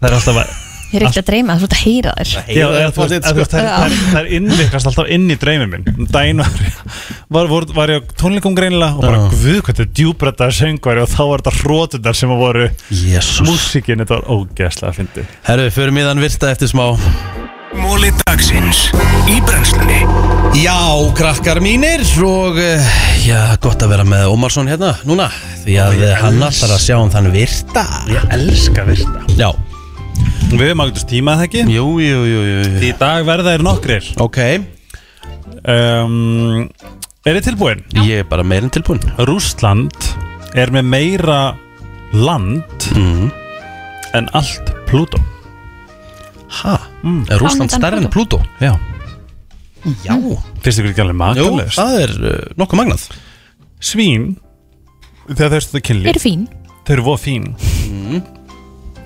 Það er alltaf að ég er ekkert að dreyma, þú ert að heyra þér Já, eða, þú veist, sko, eða, þú veist, þær, þær, þær innvikast alltaf inn í dreymið minn Um daginn var, var, var, var ég á tónleikum greinilega og bara guð hvað þetta djúbröttaði söngvari og þá var þetta hrótundar sem að voru Jesus. músikin, þetta var ógeðslega að fyndi Herru, förum í þann virta eftir smá Móli dagsins í brennslunni Já, krakkar mínir og eh, já, gott að vera með Ómarsson hérna núna því að Ó, ég hann els- alltaf að sjá um þann virta Ég elska virta Já Við höfum ágætast tíma það ekki? Jú, jú, jú, jú. Því í dag verða er nokkrir Ok um, Er þið tilbúin? Ég er bara meirinn tilbúin Rússland er með meira land Mhm. en allt Plútó Ha? Mm. Er Rússland stærri en Plútó? Já Mm-hmm. Já Fyrst ykkur ekki alveg Jú, makalist það er uh, nokkuð magnað Svín Þegar þau stundar kynlíf eru fín Þau eru voða fín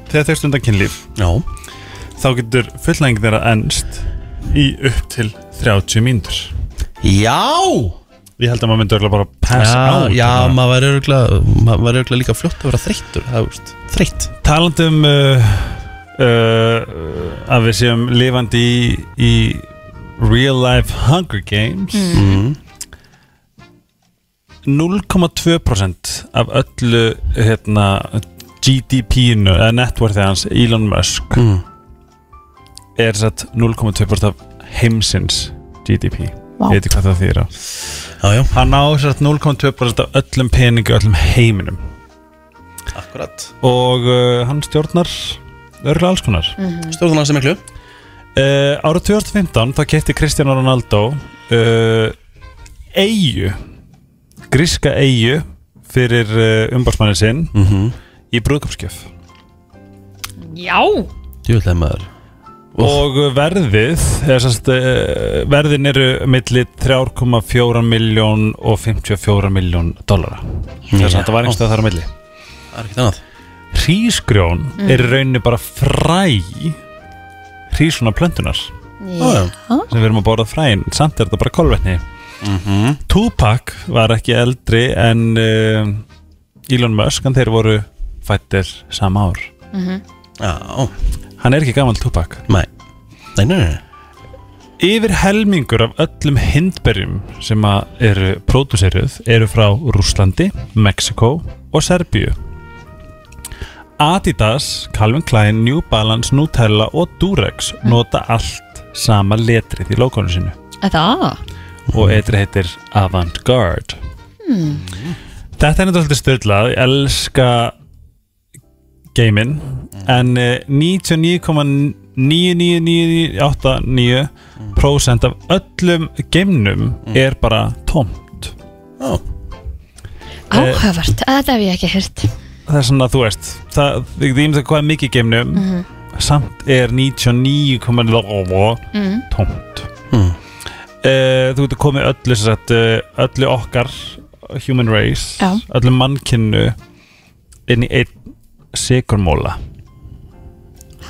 Þegar þau stundar kynlíf Mm. Já Þá getur fullnæging þeirra ennst Í upp til 30 mínútur Já Ég held að maður myndi örugglega bara pass out já, hérna. maður var örgulega maður var örgulega líka fljótt að vera þreyttur það, þú veist, þreytt Talandi um uh, uh, að við séum lifandi í, í real life Hunger Games 0,2% af öllu hérna, GDP-inu eða networthi hans Elon Musk Mm. er satt 0,2% af heimsins GDP Vá. wow. veitir hvað það þýra Já, já, hann á satt 0,2% af öllum peningu öllum heiminum akkurat og uh, hann stjórnar örgulega alls konar Stjórnum hans er miklu uh, Ára 2015 þá kefti Kristján Ronaldo uh, eigu gríska eigu fyrir uh, umbásmannin sinn Mhm. í brúðkapskjöf já, Djúlega maður og uh, verðið eða, sast, uh, verðin eru milli 3,4 miljón og 54 miljón dollara þess að Já. þetta var einhverstað þar á milli Það er ekkert annað hrísgrjón er í rauninni bara fræ hrísuna plöntunar Já, já. Ah, sem við erum að borða fræn samt er þetta bara kolvetni Mhm. Tupac var ekki eldri en uh, Elon Musk en þeir voru fættir sama ár já, já hann er ekki gamal Tupac Nei, nei, nei, nei yfir helmingur af öllum hindberjum sem að eru pródúseruð eru frá Rúslandi, Mexiko og Serbíu Adidas, Calvin Klein, New Balance, Nutella og Durex nota allt sama letrið í logoinu sínu það og eitri heitir Avantgarde Þetta er náttúrulega stöðlað, ég elska geiminn en eh, 99,99989% af öllum geimnum er bara tómt Já, Eh, áhugavert, þetta hef ég ekki hýrt það er svona þú veist það, því því að hvað er mikið í geimnum Mhm. samt er 99,9 mm. tómt Mm. Eh, þú getur komið öllu sem sagt, eh, öllu okkar human race, Já. öllu mannkinnu inn í einn sigurmóla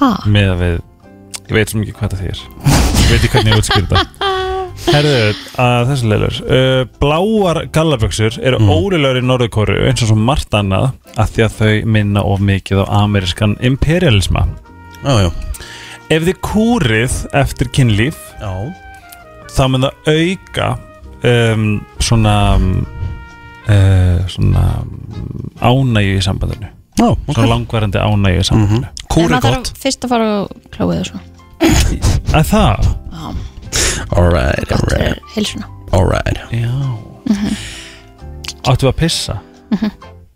ha, með að við ég veit sem ekki hvað það þýr ég veit ekki hvernig ég útskýr þetta Herðu, að þessi leilur uh, Bláar gallaböksur eru mm. órilegar í Norðurkóru eins og svo margt annað að því að þau minna of mikið á amerískan imperialisma já, já Ef þið kúrið eftir kynlíf Já, þá mun það auka um, svona um, uh, svona um, ánægju í sambandinu já, svona langvarandi ánægju í sambandinu en Kúr er maður gott þarf fyrst að fara og klóið og svo að það já, Alright, gott alright, fyrir heilsuna alright já Mhm. áttu að pissa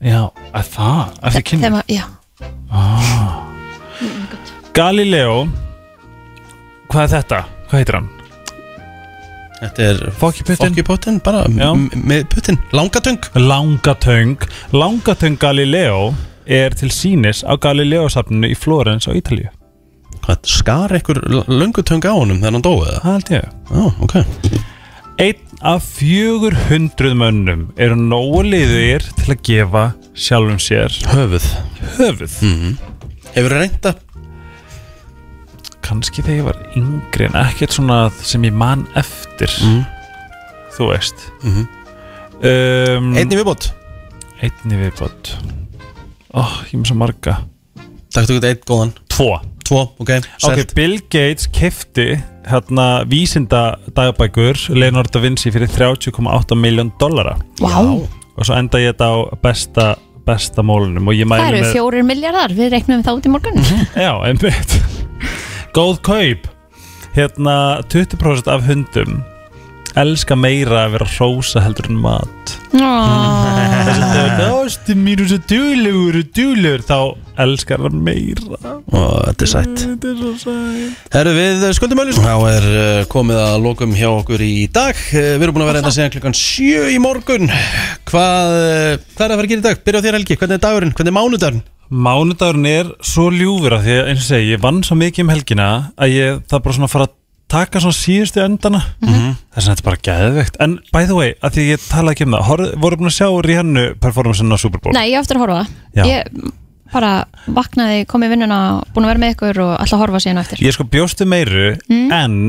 já að það eftir kynni Þegar maður- já, Galileo hvað er þetta hvað heitir hann Þetta er Fokki puttinn. Fokki putin, bara Já. m- m- með putin Langatöng Langatöng Langatöng Galileo er til sínis á Galileo-safninu í Flórens á Ítalíu Hvað, skar einhver l- löngutöng á honum þegar hann dóið það? það held ég Já, ok einn af 400 mönnum eru nógu liðir til að gefa sjálfum sér höfuð Mhm. höfuð mm -hmm. Hefur það reynda? Kanski þegar ég var yngri en ekkert svona sem ég man eftir Mhm. þú veist mm -hmm. um, Einni Mhm. viðbót Einni viðbót oh, Ég er með svo marga Takk þú eitthvað eitt góðan Tvo Tvo, ok, sælt Ok, Bill Gates kefti hérna vísinda dagbækur Leonardo da Vinci fyrir 30,8 miljón dollara Vá. Og svo enda ég þetta á besta, besta mólunum og ég mæli Það eru fjórir miljardar, við reiknum það út í morgun Já, einmitt Góð kaup Hérna, 20% af hundum elska meira að vera hrósa heldur en mat Ah. Þess að þau ástu mínu svo duglegur og duglegur þá elskar hann meira Og þetta er sætt Þetta er svo sætt Herru við eh, skuldum öllum Þá er uh, komið að lokum hjá okkur í dag Uh, Við erum búin að vera hérna síðan klukkan 7 í morgun Hvað, uh, hvað er að fara að gera í dag? Byrja á þér Helgi, hvernig er dagurinn? Hvernig er mánudagurinn? Mánudagurinn er svo ljúfur af því að eins og segi, ég vann svo mikið um helgina að ég, það er bara svona að fara að taka svona síðustu endana Mhm. þess að þetta er bara geðveikt en by the way, að því ég talaði ekki um það horf, voru búin að sjá Rihannu performanceinu á Super Bowl Nei, ég á eftir að horfa á Já. það Ég bara vaknaði, kom í vinnuna búin að vera með ykkur og alltaf horfa síðan á eftir ég sko bjóstu meiru en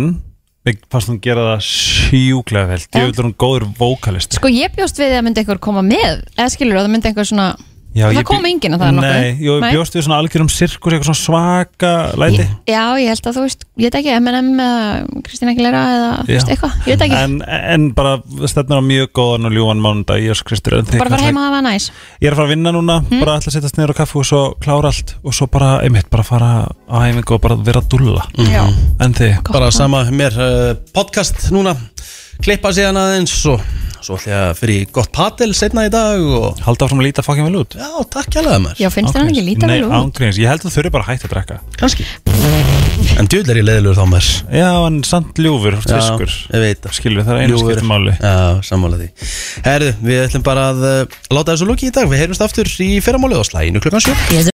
við fannst hún gera það sjúklega vel ég veit að hún góður vókalist Sko ég bjóst við að myndi einhver koma með eða skilur að það myndi einhver svona Já, það ég bjó- kom enginn að það er nokkuð. Nei, jú, ég Nei. bjóst við svona algjörum sirkus eitthvað svona svaka læti Já, ég held að þú veist, ég veit ekki M&M eða Kristina Aguilera eða þú veist, Já. eitthvað, ég veit ekki en, en bara stefnir á mjög góðan og ljúan mánudag ég og skristur bara fara heima að hafa Mm. næs Ég er að fara að vinna núna, bara ætla að setjast niður á kaffu og svo klára allt og svo bara, einmitt, bara fara á æfingu og bara vera að dulla Já. En þið, Bara sama mér uh, podcast núna Klippa síðan aðeins og svo ætla ég að fyrir gott patel setna í dag og halda áfram að líta fokkin vel út Já, takk hjá maður Já, finnst þér hann ekki líta Nei, vel út? ángríns, ég held að þau eru bara hægt að drekka Kanski En djúl er ég leiðilegur þá maður Já, en samt ljúfur, fiskur Já, ég veit það Skilur, það er einu Ljúfur. skiptum máli Já, sammála því eh, Herðu, við ætlum bara að uh, láta þessu lóki í dag Við heyrjumst aftur í fyrramáli og slæginu klukkan 7